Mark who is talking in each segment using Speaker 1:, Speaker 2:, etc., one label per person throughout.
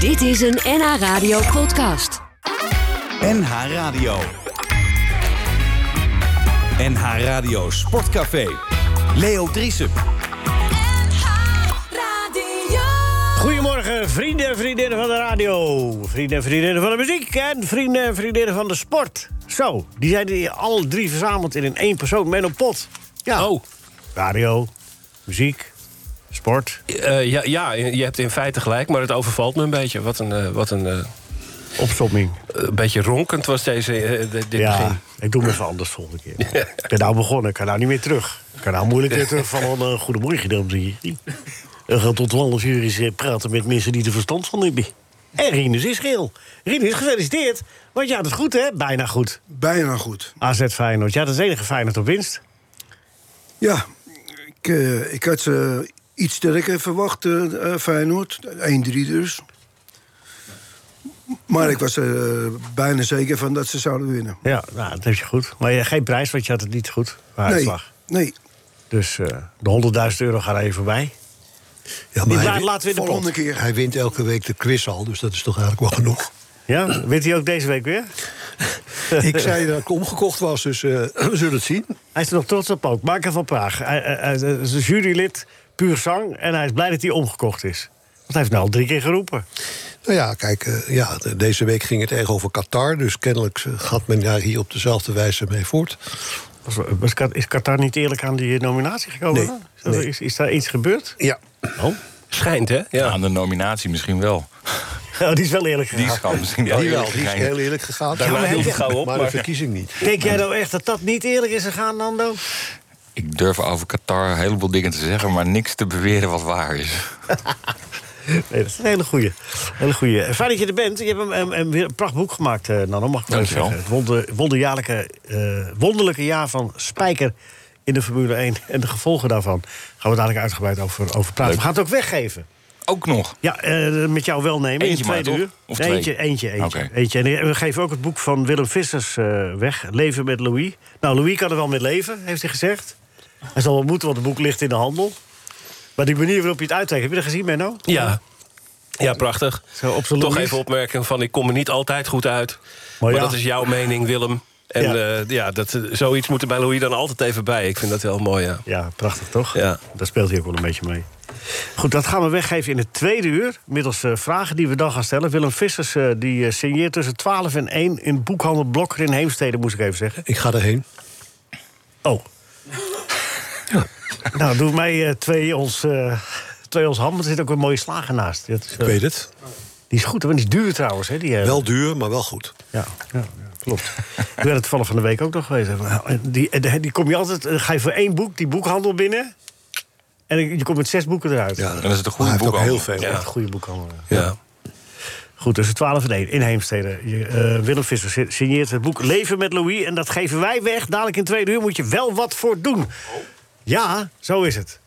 Speaker 1: Dit is een NH Radio podcast.
Speaker 2: NH Radio. NH Radio Sportcafé. Leo Driessen.
Speaker 3: Goedemorgen, vrienden en vriendinnen van de radio. Vrienden en vriendinnen van de muziek. En vrienden en vriendinnen van de sport. Zo, die zijn hier alle drie verzameld in een één persoon met een pot. Ja.
Speaker 4: Oh,
Speaker 3: Radio, muziek, sport.
Speaker 4: eh, ja, ja, je hebt in feite gelijk, maar het overvalt me een beetje. Wat een, eh, wat een eh,
Speaker 3: Opstomming.
Speaker 4: een beetje ronkend was deze, eh, dit dit
Speaker 3: Ja,
Speaker 4: begin.
Speaker 3: ik doe me even anders volgende keer. Ik ben nou begonnen, ik kan nou niet meer terug. Ik kan nou moeilijk weer terug van een eh, goedemorgen, dames en heren. We gaan tot 12 uur eens eh, praten met mensen die er verstand van hebben. En Rinus is geel. Rinus, gefeliciteerd. Want ja, dat is goed, hè? Bijna goed.
Speaker 5: Bijna goed.
Speaker 3: AZ Feyenoord. Ja, dat is het enige Feyenoord op winst.
Speaker 5: Ja, ik, eh, ik had ze iets sterker verwacht, eh, eh, Feyenoord. 1-3 dus. Maar ik was er eh, bijna zeker van dat ze zouden winnen.
Speaker 3: Ja, nou, dat heb je goed. Maar je, geen prijs, want je had het niet goed. Maar
Speaker 5: Nee,
Speaker 3: uitslag.
Speaker 5: nee.
Speaker 3: Dus eh, de 100.000 euro gaat er even voorbij.
Speaker 6: Ja,
Speaker 3: Die
Speaker 6: maar
Speaker 3: blaad
Speaker 6: hij,
Speaker 3: laten we in de
Speaker 5: Volgende
Speaker 3: pot.
Speaker 5: keer.
Speaker 6: hij wint elke week de quiz al, dus dat is toch eigenlijk wel genoeg.
Speaker 3: Ja, wint hij ook deze week weer?
Speaker 6: ik zei dat ik omgekocht was, dus eh, we zullen het zien.
Speaker 3: Hij is er nog trots op ook. Marker van Praag. Hij, hij- hij is een jurylid, puur zang. En hij is blij dat hij omgekocht is. Want hij heeft nou al drie keer geroepen.
Speaker 6: Nou ja, kijk, eh, ja, de- deze week ging het erg over Qatar. Dus kennelijk eh, gaat men daar hier op dezelfde wijze mee voort.
Speaker 3: Was- was Kat- Is Qatar niet eerlijk aan die nominatie gekomen?
Speaker 6: Nee,
Speaker 3: Is dat- Is, is daar iets gebeurd?
Speaker 6: Ja.
Speaker 4: Schijnt, hè? Ja.
Speaker 7: Aan de nominatie misschien wel.
Speaker 3: Oh, die is wel eerlijk
Speaker 7: Die
Speaker 3: gegaan.
Speaker 7: is gewoon misschien
Speaker 6: Die
Speaker 7: wel
Speaker 6: wel, die is heel eerlijk gegaan.
Speaker 4: Daar laat ik niet gauw op,
Speaker 6: maar de
Speaker 4: maar-
Speaker 6: verkiezing niet.
Speaker 3: Denk jij nou echt dat dat niet eerlijk is gegaan, Nando?
Speaker 7: Ik durf over Qatar een heleboel dingen te zeggen, maar niks te beweren wat waar is.
Speaker 3: Nee, dat is een hele goeie. Hele goeie. Fijn dat je er bent. Je hebt hem, hem- hem weer een prachtboek gemaakt, eh Nano. Mag ik wel
Speaker 7: Dankjewel.
Speaker 3: zeggen. Het wonder, wonderjaarlijke, eh, wonderlijke jaar van Spijker in de Formule 1. En de gevolgen daarvan gaan we dadelijk uitgebreid over, over praten. We gaan het ook weggeven.
Speaker 7: Ook nog.
Speaker 3: Ja, eh, met jou wel nemen
Speaker 7: Eentje
Speaker 3: in tweede
Speaker 7: maar,
Speaker 3: uur.
Speaker 7: toch? Of
Speaker 3: Nee,
Speaker 7: twee?
Speaker 3: Eentje, eentje, eentje,
Speaker 7: Oké.
Speaker 3: eentje. En we geven ook het boek van Willem Vissers eh, weg. Leven met Louis. Nou, Louis kan er wel met leven, heeft hij gezegd. Hij zal wel moeten, want het boek ligt in de handel. Maar die manier waarop je het uittrekt, heb je dat gezien, Menno?
Speaker 4: Ja. ja, prachtig.
Speaker 3: Zo op zijn
Speaker 4: Toch
Speaker 3: Louis.
Speaker 4: even opmerking van, ik kom er niet altijd goed uit. Maar,
Speaker 3: ja.
Speaker 4: dat is jouw mening, Willem. En
Speaker 3: Ja.
Speaker 4: ja, ja dat, eh, zoiets moet er bij Louis dan altijd even bij. Ik vind dat heel mooi, ja.
Speaker 3: Ja, prachtig toch?
Speaker 4: Ja.
Speaker 3: Daar speelt hij ook wel een beetje mee. Goed, dat gaan we weggeven in het tweede uur. Middels eh, vragen die we dan gaan stellen. Willem Vissers eh, die eh, signeert tussen 12 en 1 in boekhandel Blokker in Heemstede, moest ik even zeggen.
Speaker 6: Ik ga erheen.
Speaker 3: Oh. Nou, doe mij eh, twee ons, eh, twee ons ham. want Er zit ook een mooie slager naast. Dat is, eh,
Speaker 6: Ik weet het.
Speaker 3: die is goed, hè, want die is duur trouwens. Hè, die, eh,
Speaker 6: Wel duur, maar wel goed.
Speaker 3: Ja, ja, ja, klopt. Ik ben het toevallig van de week ook nog geweest. En Die, en die, die kom je altijd, eh, ga je voor één boek, die boekhandel binnen. En je komt met zes boeken eruit.
Speaker 6: Ja,
Speaker 7: Dan is het een goede
Speaker 6: maar hij heeft ook heel
Speaker 7: boekhandel.
Speaker 6: veel.
Speaker 3: Ja. Goede boekhandel. ja.
Speaker 4: ja.
Speaker 3: Goed, tussen 12 en 1 in Heemstede. Je, eh, Willem Visser si- signeert het boek Leven met Louis. En dat geven wij weg. Dadelijk in tweede uur moet je wel wat voor doen. Ja, zo is het.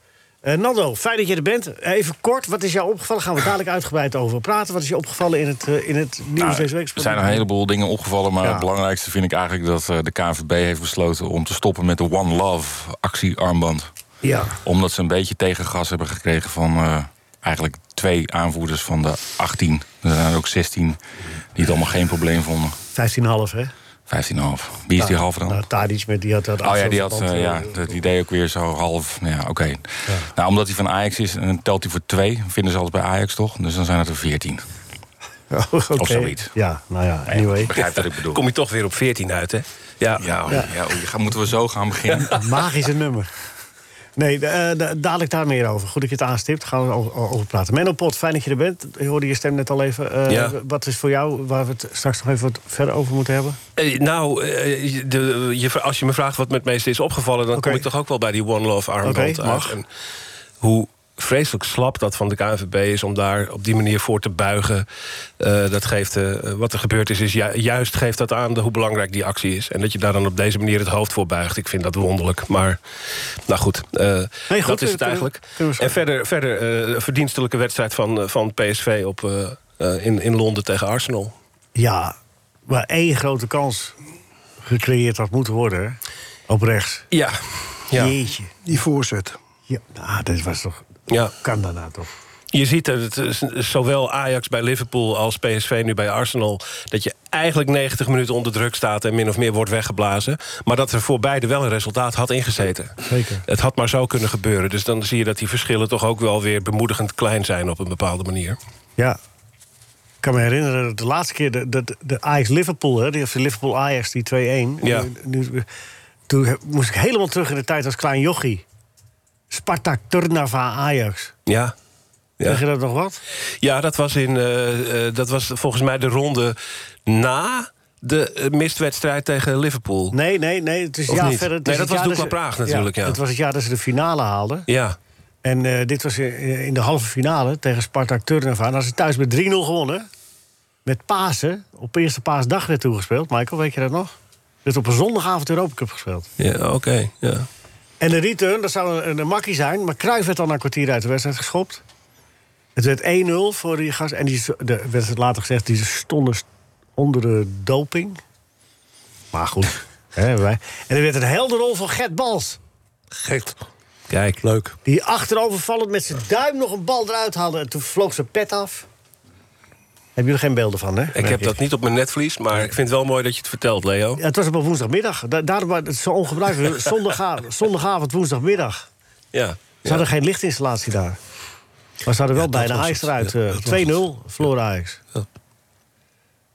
Speaker 3: Eh Nando, fijn dat je er bent. Even kort, wat is jou opgevallen? Gaan we dadelijk uitgebreid over praten. Wat is je opgevallen in het, eh, in het nieuws
Speaker 7: Nou,
Speaker 3: deze week?
Speaker 7: er zijn een heleboel dingen opgevallen, maar
Speaker 3: Ja.
Speaker 7: het belangrijkste vind ik eigenlijk dat eh, de KNVB heeft besloten om te stoppen met de One Love actiearmband.
Speaker 3: Ja,
Speaker 7: Omdat ze een beetje tegengas hebben gekregen van eh, eigenlijk twee aanvoerders van de 18. Er zijn er ook 16 die het allemaal geen probleem vonden.
Speaker 3: 15,5 hè?
Speaker 7: 15,5. Wie is die halve dan?
Speaker 3: Nou, Tadic met die had dat
Speaker 7: Oh ja, die had
Speaker 3: afstandsverband,
Speaker 7: eh, ja,
Speaker 3: eh,
Speaker 7: dat idee ook weer zo half. Ja, oké. Nou, omdat hij van Ajax is, en telt hij voor twee. Vinden ze altijd bij Ajax toch? Dus dan zijn het er veertien.
Speaker 3: eh, oké.
Speaker 7: of zoiets.
Speaker 3: Ja, nou ja, anyway.
Speaker 7: Begrijp wat ik bedoel?
Speaker 4: Kom je toch weer op 14 uit, hè? Ja.
Speaker 7: Ja, oh, ja. oh, je gaat- moeten we zo gaan beginnen?
Speaker 3: Magische nummer. Nee, eh, da- dadelijk daar meer over. Goed dat je het aanstipt, gaan we o- o- over praten. Menno Pot, fijn dat je er bent. Je hoorde je stem net al even. Eh,
Speaker 4: Ja.
Speaker 3: w- Wat is voor jou, waar we het straks nog even wat verder over moeten hebben?
Speaker 4: Eh, nou, eh, je- de, je, als je me vraagt wat me het meeste is opgevallen... dan
Speaker 3: Oké.
Speaker 4: kom ik toch ook wel bij die One Love armband
Speaker 3: Oké,
Speaker 4: uit.
Speaker 3: mag.
Speaker 4: En hoe vreselijk slap dat van de KNVB is om daar op die manier voor te buigen. Eh, dat geeft, eh, wat er gebeurd is, is ju- juist geeft dat aan de- hoe belangrijk die actie is. En dat je daar dan op deze manier het hoofd voor buigt. Ik vind dat wonderlijk. Maar, nou goed, eh,
Speaker 3: Nee, goed,
Speaker 4: dat is
Speaker 3: we-
Speaker 4: het eigenlijk.
Speaker 3: kunnen we-
Speaker 4: en verder, verder eh, verdienstelijke wedstrijd van, eh, van PSV op, eh, eh, in, in Londen tegen Arsenal.
Speaker 3: Ja, waar één grote kans gecreëerd had moeten worden. hè? Op rechts.
Speaker 4: Ja, ja,
Speaker 3: Jeetje.
Speaker 5: Die voorzet.
Speaker 3: Ja, nou, dit was toch...
Speaker 4: ja.
Speaker 3: Kan daarna toch?
Speaker 4: je ziet dat het, is- zowel Ajax bij Liverpool als PSV nu bij Arsenal... dat je eigenlijk 90 minuten onder druk staat en min of meer wordt weggeblazen. Maar dat er voor beide wel een resultaat had ingezeten.
Speaker 3: Zeker.
Speaker 4: Het had maar zo kunnen gebeuren. Dus dan zie je dat die verschillen toch ook wel weer bemoedigend klein zijn... op een bepaalde manier.
Speaker 3: Ja. Ik kan me herinneren dat de laatste keer de, de, de Ajax-Liverpool, hè, die- of de Liverpool-Ajax, die 2-1.
Speaker 4: Ja.
Speaker 3: Nu, nu- toen he- moest ik helemaal terug in de tijd als klein jochie. Spartak Turnava Ajax.
Speaker 4: Ja. Ja.
Speaker 3: Zeg je dat nog wat?
Speaker 4: Ja, dat was, in, eh, eh, dat was volgens mij de ronde na de eh, mistwedstrijd tegen Liverpool.
Speaker 3: Nee, nee, nee. Het is
Speaker 4: Of
Speaker 3: ja,
Speaker 4: niet?
Speaker 3: verder. het
Speaker 4: Nee,
Speaker 3: is
Speaker 4: dat
Speaker 3: het jaar
Speaker 4: was Dukla
Speaker 3: ze-
Speaker 4: Praag natuurlijk, ja.
Speaker 3: Het was het jaar dat ze de finale haalden.
Speaker 4: Ja,
Speaker 3: En eh, dit was eh, in de halve finale tegen Spartak Turnava. En als ze thuis met 3-0 gewonnen. Met Pasen. Op eerste paasdag werd toegespeeld. Michael, weet je dat nog? Dus op een zondagavond Europa Cup gespeeld.
Speaker 4: ja oké. ja.
Speaker 3: En de return, dat zou een, een makkie zijn. Maar Cruijff werd al na een kwartier uit de wedstrijd geschopt. Het werd 1-0 voor die gast. En die z- de, werd het later gezegd, die stonden st- onder de doping. Maar goed. hè, wij. En er werd een helderrol van Gert Bals.
Speaker 6: Gek.
Speaker 4: Kijk,
Speaker 6: Leuk.
Speaker 3: Die achterovervallend met zijn duim nog een bal eruit haalde. En toen vloog zijn pet af. Hebben jullie geen beelden van, hè?
Speaker 4: ik heb dat niet op mijn netvlies, maar ik vind het wel mooi dat je het vertelt, Leo.
Speaker 3: Ja, het was op een woensdagmiddag. Da- daarom was het zo ongebruikelijk. Zondagav- zondagavond, woensdagmiddag.
Speaker 4: Ja.
Speaker 3: Ze hadden geen lichtinstallatie daar. Maar ze hadden wel bijna Ajax eruit. eh, 2-0, verloren Ajax.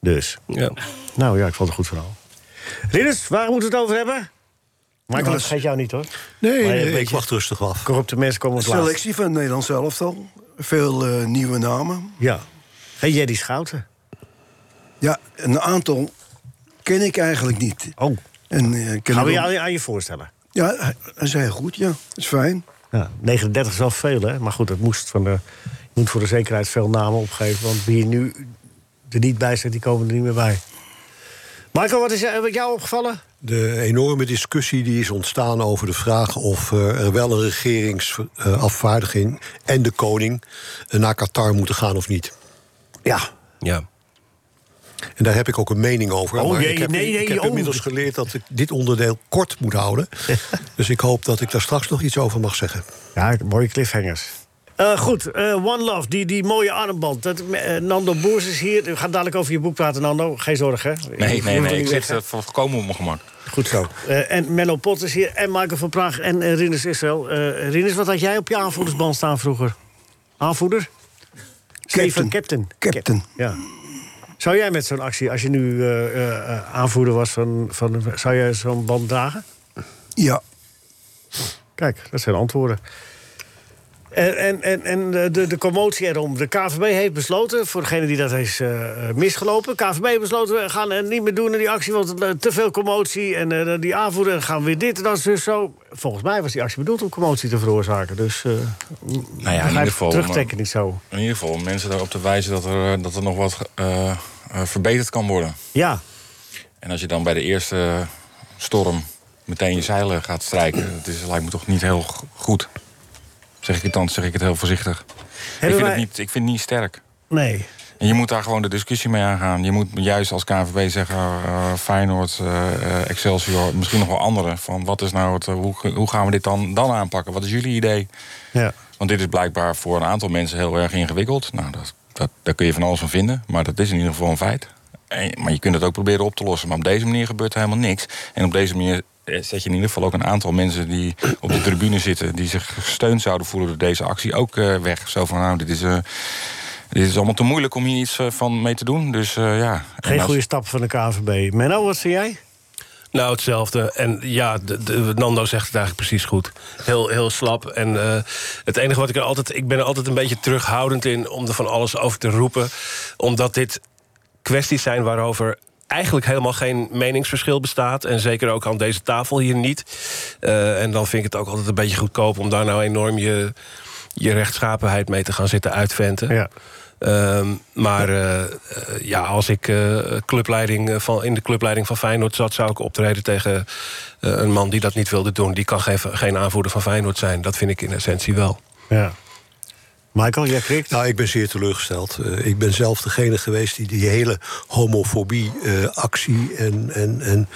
Speaker 3: Dus.
Speaker 4: Ja.
Speaker 3: Nou ja, ik vond het een goed verhaal. Ridders, waar moeten we het over hebben? Michael, dat vergeet jou niet hoor.
Speaker 6: Nee,
Speaker 3: Maar, eh,
Speaker 6: nee,
Speaker 3: weet
Speaker 6: ik
Speaker 3: je-
Speaker 6: wacht rustig af.
Speaker 3: Corrupte mensen komen
Speaker 5: De
Speaker 3: op laatst.
Speaker 5: selectie van het Nederlands elftal. Veel eh, nieuwe namen.
Speaker 3: Ja. Hey, Jeddy Schouten.
Speaker 5: Ja, een aantal ken ik eigenlijk niet.
Speaker 3: Oh.
Speaker 5: En, eh, ken
Speaker 3: Gaan we
Speaker 5: ik
Speaker 3: je
Speaker 5: ook-
Speaker 3: aan, aan je voorstellen?
Speaker 5: Ja, hij- hij is heel goed, ja. Dat is fijn.
Speaker 3: Ja, 39 is wel veel, hè? Maar goed, dat moest van de, je moet voor de zekerheid veel namen opgeven. Want wie nu er niet bij zit, die komen er niet meer bij. Michael, wat is eh, wat jou opgevallen?
Speaker 6: De enorme discussie die is ontstaan over de vraag of eh, er wel een regeringsafvaardiging en de koning eh, naar Qatar moeten gaan of niet.
Speaker 3: Ja.
Speaker 4: ja.
Speaker 6: En daar heb ik ook een mening over.
Speaker 3: Oh,
Speaker 6: maar
Speaker 3: jee,
Speaker 6: ik heb,
Speaker 3: nee, nee,
Speaker 6: ik heb
Speaker 3: oh.
Speaker 6: inmiddels geleerd dat ik dit onderdeel kort moet houden. dus ik hoop dat ik daar straks nog iets over mag zeggen.
Speaker 3: Ja, mooie cliffhangers. Eh, goed, eh, One Love, die, die mooie armband. Dat, eh, Nando Boers is hier. We gaan dadelijk over je boek praten, Nando. Geen zorgen, hè?
Speaker 7: Nee,
Speaker 3: Je
Speaker 7: nee,
Speaker 3: hoeft
Speaker 7: nee.
Speaker 3: er
Speaker 7: Ik
Speaker 3: niet weg,
Speaker 7: zit
Speaker 3: hè?
Speaker 7: eh, volkomen op mijn gemak.
Speaker 3: Goed zo. Eh, en Menno Pot is hier, en Michael van Praag en eh, Rinus Israël. Eh Rinus, wat had jij op je aanvoerdersband staan vroeger? Aanvoerder? Steven Captain.
Speaker 5: Captain.
Speaker 3: Ja. Zou jij met zo'n actie, als je nu eh, eh, eh, aanvoerder was, van, van, zou jij zo'n band dragen?
Speaker 5: Ja,
Speaker 3: Kijk, dat zijn antwoorden. En, en, en, en eh, de, de commotie erom. De KVB heeft besloten, voor degene die dat heeft eh, eh, misgelopen... KVB heeft besloten, we gaan het niet meer doen in die actie... want het, eh, te veel commotie en eh, die aanvoerder en gaan we weer dit en dat is dus zo. Volgens mij was die actie bedoeld om commotie te veroorzaken. Dus eh
Speaker 7: Nou ja, in
Speaker 3: begrijp
Speaker 7: ieder
Speaker 3: het
Speaker 7: geval.
Speaker 3: terugtrekken
Speaker 7: eh,
Speaker 3: niet zo.
Speaker 7: In ieder geval om mensen daarop te wijzen dat er, eh, dat er nog wat eh, eh, verbeterd kan worden.
Speaker 3: Ja,
Speaker 7: En als je dan bij de eerste eh, storm meteen je zeilen gaat strijken, dat is, lijkt me toch niet heel g- goed. Zeg ik het dan, zeg ik het heel voorzichtig. ik, vind
Speaker 3: wij-
Speaker 7: het niet, ik vind het niet sterk.
Speaker 3: nee.
Speaker 7: En je moet daar gewoon de discussie mee aangaan. Je moet juist als KNVB zeggen, eh, Feyenoord, eh, eh, Excelsior, misschien nog wel anderen. Van wat is nou het, eh, hoe, hoe gaan we dit dan, dan aanpakken? Wat is jullie idee?
Speaker 3: Ja.
Speaker 7: Want dit is blijkbaar voor een aantal mensen heel erg ingewikkeld. Nou, dat, dat, daar kun je van alles van vinden, maar dat is in ieder geval een feit. En- maar je kunt het ook proberen op te lossen. Maar op deze manier gebeurt er helemaal niks. En op deze manier eh, zet je in ieder geval ook een aantal mensen die op de tribune zitten... die zich gesteund zouden voelen door deze actie ook eh, weg. Zo van, nou, dit is, eh, dit is allemaal te moeilijk om hier iets eh, van mee te doen. Dus eh, ja. En
Speaker 3: Geen
Speaker 7: als-
Speaker 3: goede stap van de KVB. Menno, wat zei jij?
Speaker 4: Nou, hetzelfde. En ja, de, de- Nando zegt het eigenlijk precies goed. Heel, heel slap. En eh, het enige wat ik er altijd... Ik ben er altijd een beetje terughoudend in om er van alles over te roepen. Omdat dit kwesties zijn waarover eigenlijk helemaal geen meningsverschil bestaat. En zeker ook aan deze tafel hier niet. Eh, en dan vind ik het ook altijd een beetje goedkoop... om daar nou enorm je, je rechtschapenheid mee te gaan zitten uitventen. Ehm, maar eh, eh, ja, als ik eh, clubleiding eh, van, in de clubleiding van Feyenoord zat... zou ik optreden tegen eh, een man die dat niet wilde doen. Die kan geen, geen aanvoerder van Feyenoord zijn. Dat vind ik in essentie wel.
Speaker 3: ja. Michael, jij krikt?
Speaker 6: Nou, ik ben zeer teleurgesteld. Eh, ik ben zelf degene geweest die die hele homofobie-actie eh, en, en, en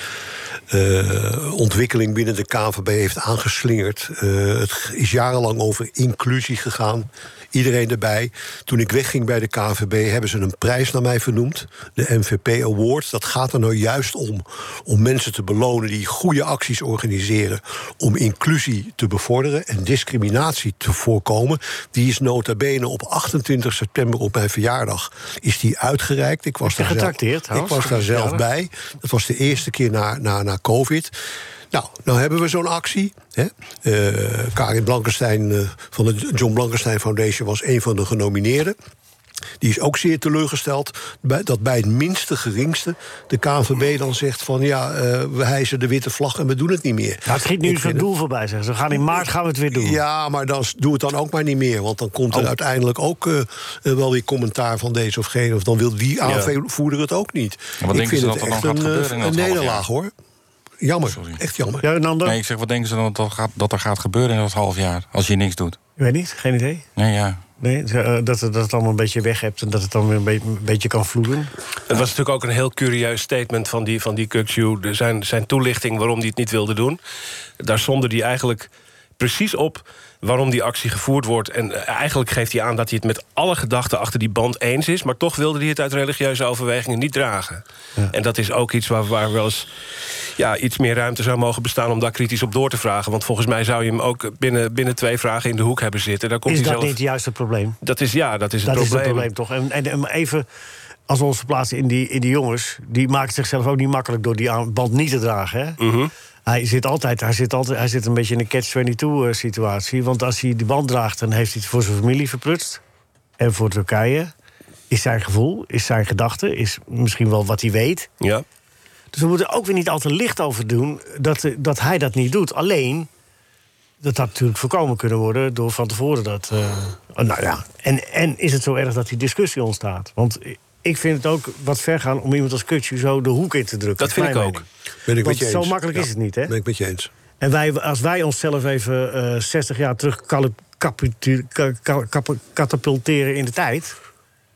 Speaker 6: eh, ontwikkeling binnen de KNVB heeft aangeslingerd. Eh, het is jarenlang over inclusie gegaan. Iedereen erbij. Toen ik wegging bij de KNVB hebben ze een prijs naar mij vernoemd. De MVP Award. Dat gaat er nou juist om. Om mensen te belonen die goede acties organiseren. Om inclusie te bevorderen en discriminatie te voorkomen. Die is nota bene op 28 september op mijn verjaardag. Is die uitgereikt. Ik was,
Speaker 3: je
Speaker 6: daar zelf,
Speaker 3: getrakteerd,
Speaker 6: ik
Speaker 3: trouwens,
Speaker 6: was
Speaker 3: op
Speaker 6: daar
Speaker 3: je
Speaker 6: zelf
Speaker 3: verjaardag?
Speaker 6: bij. Dat was de eerste keer na, na, na COVID. Nou, nou hebben we zo'n actie. Hè? Eh, Karin Blankenstein eh, van de John Blankenstein Foundation was een van de genomineerden. Die is ook zeer teleurgesteld bij- dat bij het minste geringste de KNVB dan zegt van ja, eh, we hijsen de witte vlag en we doen het niet meer.
Speaker 3: Nou, het schiet nu
Speaker 6: Ik
Speaker 3: zo'n
Speaker 6: vind
Speaker 3: doel voorbij, zeggen ze. We gaan in maart gaan we het weer doen.
Speaker 6: ja, maar dan s- doe het dan ook maar niet meer. Want dan komt er
Speaker 7: Oh.
Speaker 6: uiteindelijk ook eh, eh, wel weer commentaar van deze of gene. Of dan wil die aanvoerder het ook niet.
Speaker 7: wat denken ze dat er dan gaat
Speaker 6: een,
Speaker 7: gebeuren
Speaker 6: eh,
Speaker 7: in
Speaker 6: een
Speaker 7: dat half
Speaker 6: nederlaag hoor. Jammer,
Speaker 7: Sorry.
Speaker 6: echt jammer.
Speaker 3: Ja, Nando?
Speaker 7: Nee, ik zeg, wat denken ze dan dat, er gaat- dat er gaat gebeuren in dat half jaar? Als je niks doet.
Speaker 3: Ik weet niet, geen idee.
Speaker 7: Nee, ja.
Speaker 3: Nee, ze- eh, dat, het- dat het allemaal een beetje weg hebt en dat het dan weer een, be- een beetje kan vloeien.
Speaker 4: Het was natuurlijk ook een heel curieus statement van die, van die Kukju. Er Zijn, zijn toelichting waarom hij het niet wilde doen. Daar zonde hij eigenlijk precies op waarom die actie gevoerd wordt. En eh, eigenlijk geeft hij aan dat hij het met alle gedachten achter die band eens is. Maar toch wilde hij het uit religieuze overwegingen niet dragen. En dat is ook iets waar, waar wel eens ja, iets meer ruimte zou mogen bestaan om daar kritisch op door te vragen. Want volgens mij zou je hem ook binnen, binnen twee vragen in de hoek hebben zitten. Daar komt
Speaker 3: Is
Speaker 4: hij
Speaker 3: dat
Speaker 4: zelf...
Speaker 3: niet juist het probleem?
Speaker 4: Dat is ja, dat is het
Speaker 3: dat is
Speaker 4: probleem.
Speaker 3: het probleem toch? En, en, en even als we ons verplaatsen in die, in die jongens, die maken zichzelf ook niet makkelijk door die aan- band niet te dragen. Hè? Hij zit altijd, hij zit altijd, hij zit een beetje in een catch-22 eh, situatie. Want als hij die band draagt, dan heeft hij het voor zijn familie verprutst. En voor Turkije is zijn gevoel, is zijn gedachte, is misschien wel wat hij weet.
Speaker 4: Ja.
Speaker 3: Dus we moeten er ook weer niet al te licht over doen dat, eh, dat hij dat niet doet. Alleen, dat had natuurlijk voorkomen kunnen worden door van tevoren dat. eh, oh, nou ja, en, en is het zo erg dat die discussie ontstaat? Want ik vind het ook wat ver gaan om iemand als Kutje zo de hoek in te drukken.
Speaker 4: Dat
Speaker 3: is
Speaker 4: vind
Speaker 3: mijn
Speaker 4: ik ook.
Speaker 3: mening.
Speaker 6: Ben ik
Speaker 3: Want
Speaker 6: met je
Speaker 3: zo
Speaker 6: eens.
Speaker 3: makkelijk is het niet, hè?
Speaker 6: Ben ik met je eens.
Speaker 3: En wij, als wij onszelf even eh 60 jaar terug kalu- kapitu- ka- ka- kap- katapulteren in de tijd.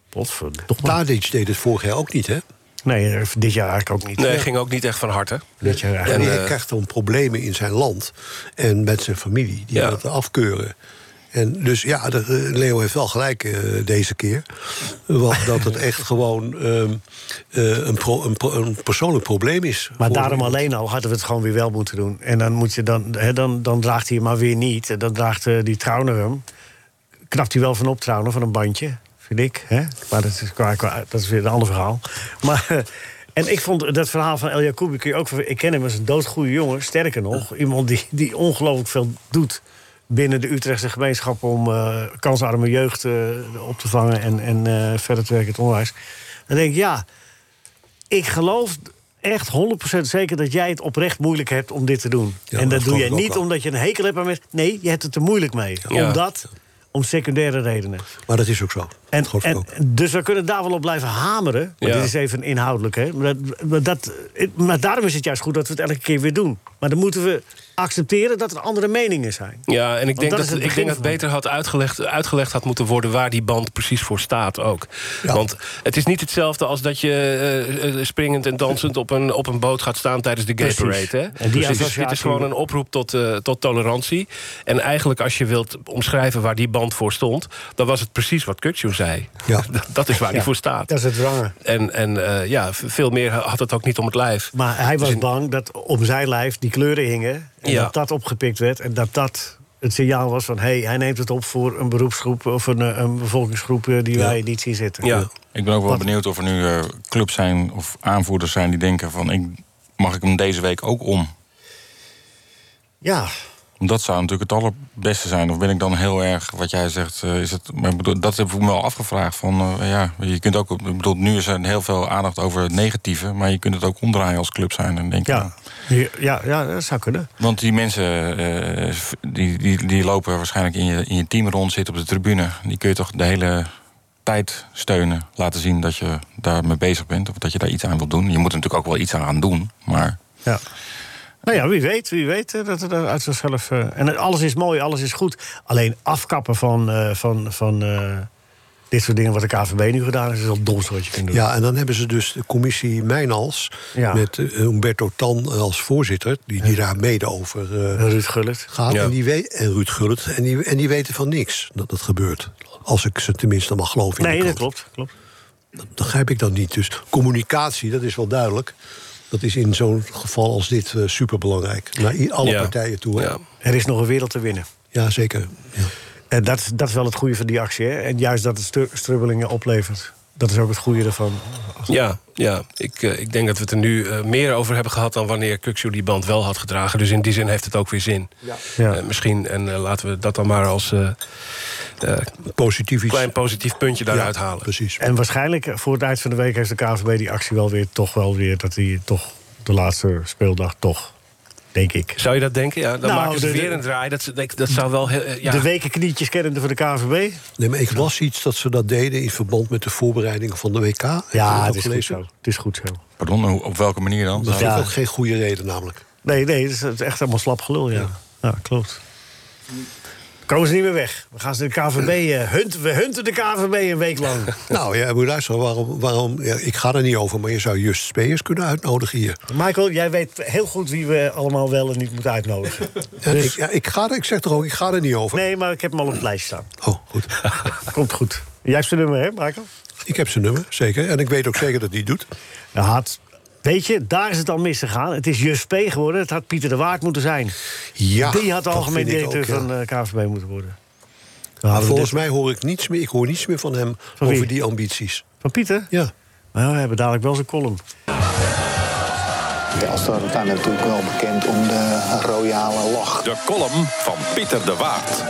Speaker 3: Potverdomme.
Speaker 6: Tadic deed het vorig jaar ook niet, hè?
Speaker 3: Nee, eh, dit jaar eigenlijk ook niet.
Speaker 4: Nee, ging ook niet echt van harte.
Speaker 3: Dit jaar
Speaker 6: En,
Speaker 3: eigenlijk.
Speaker 6: hij krijgt dan problemen in zijn land en met zijn familie. Die
Speaker 4: Ja.
Speaker 6: dat afkeuren. En dus ja, de, eh, Leo heeft wel gelijk eh, deze keer. Want dat het echt gewoon ehm, eh, een, pro- een, pro- een persoonlijk probleem is.
Speaker 3: Maar
Speaker 6: voor
Speaker 3: daarom
Speaker 6: iemand.
Speaker 3: alleen al hadden we het gewoon weer wel moeten doen. En dan, moet je dan, hè, dan, dan draagt hij hem maar weer niet. En Dan draagt eh, die Trauner hem. Knapt hij wel van op Trauner, van een bandje. Vind ik. Hè? Maar dat is, qua, qua- dat is weer een ander verhaal. Maar, eh, en ik vond dat verhaal van El Jacoubi... kun je ook van- Ik ken hem als een doodgoeie jongen. Sterker nog, iemand die, die ongelooflijk veel doet... binnen de Utrechtse gemeenschap om eh, kansarme jeugd eh, op te vangen... en, en eh, verder te werken in het onderwijs. Dan denk ik, ja... Ik geloof echt 100% zeker dat jij het oprecht moeilijk hebt om dit te doen.
Speaker 6: Ja,
Speaker 3: en dat, doe
Speaker 6: dat geloof
Speaker 3: jij
Speaker 6: ik ook
Speaker 3: niet
Speaker 6: wel.
Speaker 3: omdat je een hekel hebt aan mensen. Nee, je hebt het er moeilijk mee.
Speaker 4: Ja.
Speaker 3: Omdat, om secundaire redenen.
Speaker 6: Maar dat is ook zo.
Speaker 3: En,
Speaker 6: Dat geloof ik
Speaker 3: en,
Speaker 6: ook.
Speaker 3: dus we kunnen daar wel op blijven hameren. Maar
Speaker 4: Ja.
Speaker 3: dit is even inhoudelijk. Hè? Maar, dat, maar, dat, maar daarom is het juist goed dat we het elke keer weer doen. Maar dan moeten we accepteren dat er andere meningen zijn.
Speaker 4: Ja, en ik
Speaker 3: dat
Speaker 4: denk dat,
Speaker 3: is het
Speaker 4: ik
Speaker 3: begin
Speaker 4: denk dat
Speaker 3: van.
Speaker 4: beter had uitgelegd, uitgelegd had moeten worden waar die band precies voor staat ook.
Speaker 6: Ja.
Speaker 4: Want het is niet hetzelfde als dat je eh, eh, springend en dansend op een, op een boot gaat staan tijdens de Gay
Speaker 3: Precies.
Speaker 4: Parade. Hè?
Speaker 3: En die
Speaker 4: Precies. Dus Dit, is,
Speaker 3: associatie-
Speaker 4: dit is gewoon een oproep tot, eh, tot tolerantie. En eigenlijk, als je wilt omschrijven waar die band voor stond, dan was het precies wat Kutsu zei.
Speaker 6: Ja.
Speaker 4: dat, dat is waar die voor staat.
Speaker 3: Dat is het wrange.
Speaker 4: En, en eh, ja, v- veel meer had het ook niet om het lijf.
Speaker 3: Maar hij was
Speaker 4: Dus in-
Speaker 3: bang dat om zijn lijf die kleuren hingen. En
Speaker 4: Ja.
Speaker 3: dat dat opgepikt werd. En dat dat het signaal was van... hé, hey, hij neemt het op voor een beroepsgroep... of een, eh, een bevolkingsgroep eh, die wij niet zien zitten.
Speaker 4: ja.
Speaker 7: Ik ben ook wel
Speaker 3: Wat-
Speaker 7: benieuwd of er nu eh, clubs zijn of aanvoerders zijn die denken van... Ik, mag ik hem deze week ook om?
Speaker 3: Ja,
Speaker 7: Dat zou natuurlijk het allerbeste zijn. Of ben ik dan heel erg, wat jij zegt, eh, is het. Maar ik bedoel, dat heb ik me wel afgevraagd. Van, eh, ja, je kunt ook, ik bedoel, nu is er heel veel aandacht over het negatieve, maar je kunt het ook omdraaien als club zijn. En nou, denk,
Speaker 3: ja. Ja, ja, ja, dat zou kunnen.
Speaker 7: Want die mensen eh, v- die, die, die lopen waarschijnlijk in je, in je team rond, zitten op de tribune. Die kun je toch de hele tijd steunen, laten zien dat je daarmee bezig bent of dat je daar iets aan wilt doen. Je moet er natuurlijk ook wel iets aan doen, maar
Speaker 3: Ja. Nou ja, wie weet, wie weet eh, dat het eh, uit zichzelf... eh, en alles is mooi, alles is goed. Alleen afkappen van, eh, van, van eh, dit soort dingen wat de KVB nu gedaan heeft, is wel het domste wat je kunt doen.
Speaker 6: Ja, en dan hebben ze dus de commissie Mijnals...
Speaker 3: Ja.
Speaker 6: met eh, Humberto Tan als voorzitter... die, die daar mede over eh,
Speaker 3: Ruud Gullit.
Speaker 6: gaat.
Speaker 4: Ja.
Speaker 6: En, die weet, en Ruud Gullit. En die, en die weten van niks dat dat gebeurt. Als ik ze tenminste mag geloven. in de
Speaker 3: Nee, dat
Speaker 6: krant.
Speaker 3: klopt. klopt.
Speaker 6: Dat begrijp ik dan niet. Dus communicatie, dat is wel duidelijk. Dat is in zo'n geval als dit eh, superbelangrijk. Naar i- alle
Speaker 4: Ja.
Speaker 6: partijen toe. hè?
Speaker 4: Ja.
Speaker 3: Er is nog een wereld te winnen.
Speaker 6: Ja, zeker. Ja.
Speaker 3: En dat, is- dat is wel het goede van die actie. Hè? En juist dat het stru- strubbelingen oplevert. Dat is ook het goede ervan.
Speaker 4: Ja, ja. Ik, eh, ik denk dat we het er nu eh, meer over hebben gehad dan wanneer Kukzu die band wel had gedragen. Dus in die zin heeft het ook weer zin.
Speaker 3: Ja.
Speaker 4: Eh, misschien, en eh, laten we dat dan maar als eh, eh,
Speaker 6: Positief iets.
Speaker 4: klein positief puntje daaruit
Speaker 6: Ja,
Speaker 4: halen.
Speaker 6: Precies.
Speaker 3: En waarschijnlijk eh, voor het eind van de week heeft de KVB die actie wel weer toch wel weer. Dat hij toch de laatste speeldag toch, denk ik.
Speaker 4: Zou je dat denken? Ja, dan
Speaker 3: Nou,
Speaker 4: maken ze
Speaker 3: de-
Speaker 4: weer
Speaker 3: de-
Speaker 4: een draai. Dat, dat, dat zou wel heel. eh, ja.
Speaker 3: De weken knietjes kennende van de KVB.
Speaker 6: Nee, maar ik las iets dat ze dat deden in verband met de voorbereidingen van de WK. Heb je dat
Speaker 3: Ja,
Speaker 6: ook
Speaker 3: het is goed
Speaker 6: gelezen?
Speaker 3: zo. Het is goed zo.
Speaker 7: Pardon, hoe- op welke manier dan?
Speaker 6: Dat vind
Speaker 3: Ja.
Speaker 6: ik ook geen goede reden namelijk.
Speaker 3: Nee, nee, het is, het is echt allemaal slap gelul, ja. Ja, klopt. Komen ze niet meer weg. We gaan ze de KVB eh, hunten. We hunten de KVB een week lang.
Speaker 6: Nou ja, moet je luisteren. Waarom, waarom, ja, ik ga er niet over, maar je zou Just Speers kunnen uitnodigen hier.
Speaker 3: Michael, jij weet heel goed wie we allemaal wel en niet moeten uitnodigen.
Speaker 6: En ik, ja, ik, ga er, ik zeg toch ook, ik ga er niet over.
Speaker 3: Dus- Nee, maar ik heb hem al op het lijstje staan.
Speaker 6: Oh, goed.
Speaker 3: Komt goed. Jij hebt zijn nummer, hè, Michael?
Speaker 6: ik heb zijn nummer, zeker. En ik weet ook zeker dat hij het doet.
Speaker 3: Ja, Nou, had. Weet je, daar is het al misgegaan. Het is Just P geworden. Het had Pieter de Waard moeten zijn.
Speaker 6: Ja,
Speaker 3: Die had de
Speaker 6: dat
Speaker 3: algemeen
Speaker 6: vind ik ook,
Speaker 3: directeur
Speaker 6: ja.
Speaker 3: van eh KVB moeten worden. Dan hadden we dus-
Speaker 6: Volgens
Speaker 3: dit-
Speaker 6: mij hoor ik niets meer. Ik hoor niets meer van hem
Speaker 3: Van wie?
Speaker 6: over die ambities.
Speaker 3: Van Pieter?
Speaker 6: Ja.
Speaker 3: Nou, we hebben dadelijk wel zijn column.
Speaker 8: De Elftallen zijn natuurlijk wel bekend om de royale lach.
Speaker 9: De column van Pieter de Waard.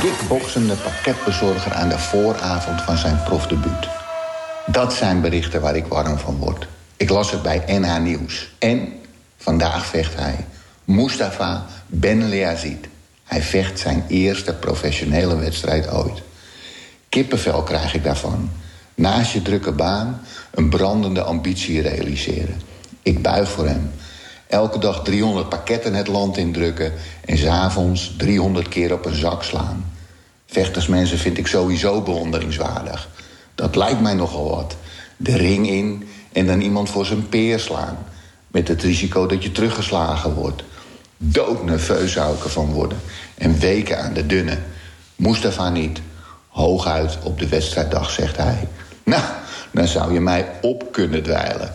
Speaker 8: Kickboksende pakketbezorger aan de vooravond van zijn profdebuut. Dat zijn berichten waar ik warm van word. Ik las het bij NH Nieuws. En vandaag vecht hij Mustafa Ben Leazid. Hij vecht zijn eerste professionele wedstrijd ooit. Kippenvel krijg ik daarvan. Naast je drukke baan een brandende ambitie realiseren. Ik buig voor hem. Elke dag 300 pakketten het land indrukken en s'avonds 300 keer op een zak slaan. Vechtersmensen vind ik sowieso bewonderingswaardig. Dat lijkt mij nogal wat. De ring in en dan iemand voor zijn peer slaan. Met het risico dat je teruggeslagen wordt. Doodnerveus zou ik ervan worden. En weken aan de dunne. Mustafa niet. Hooguit op de wedstrijddag, zegt hij. Nou, dan zou je mij op kunnen dweilen.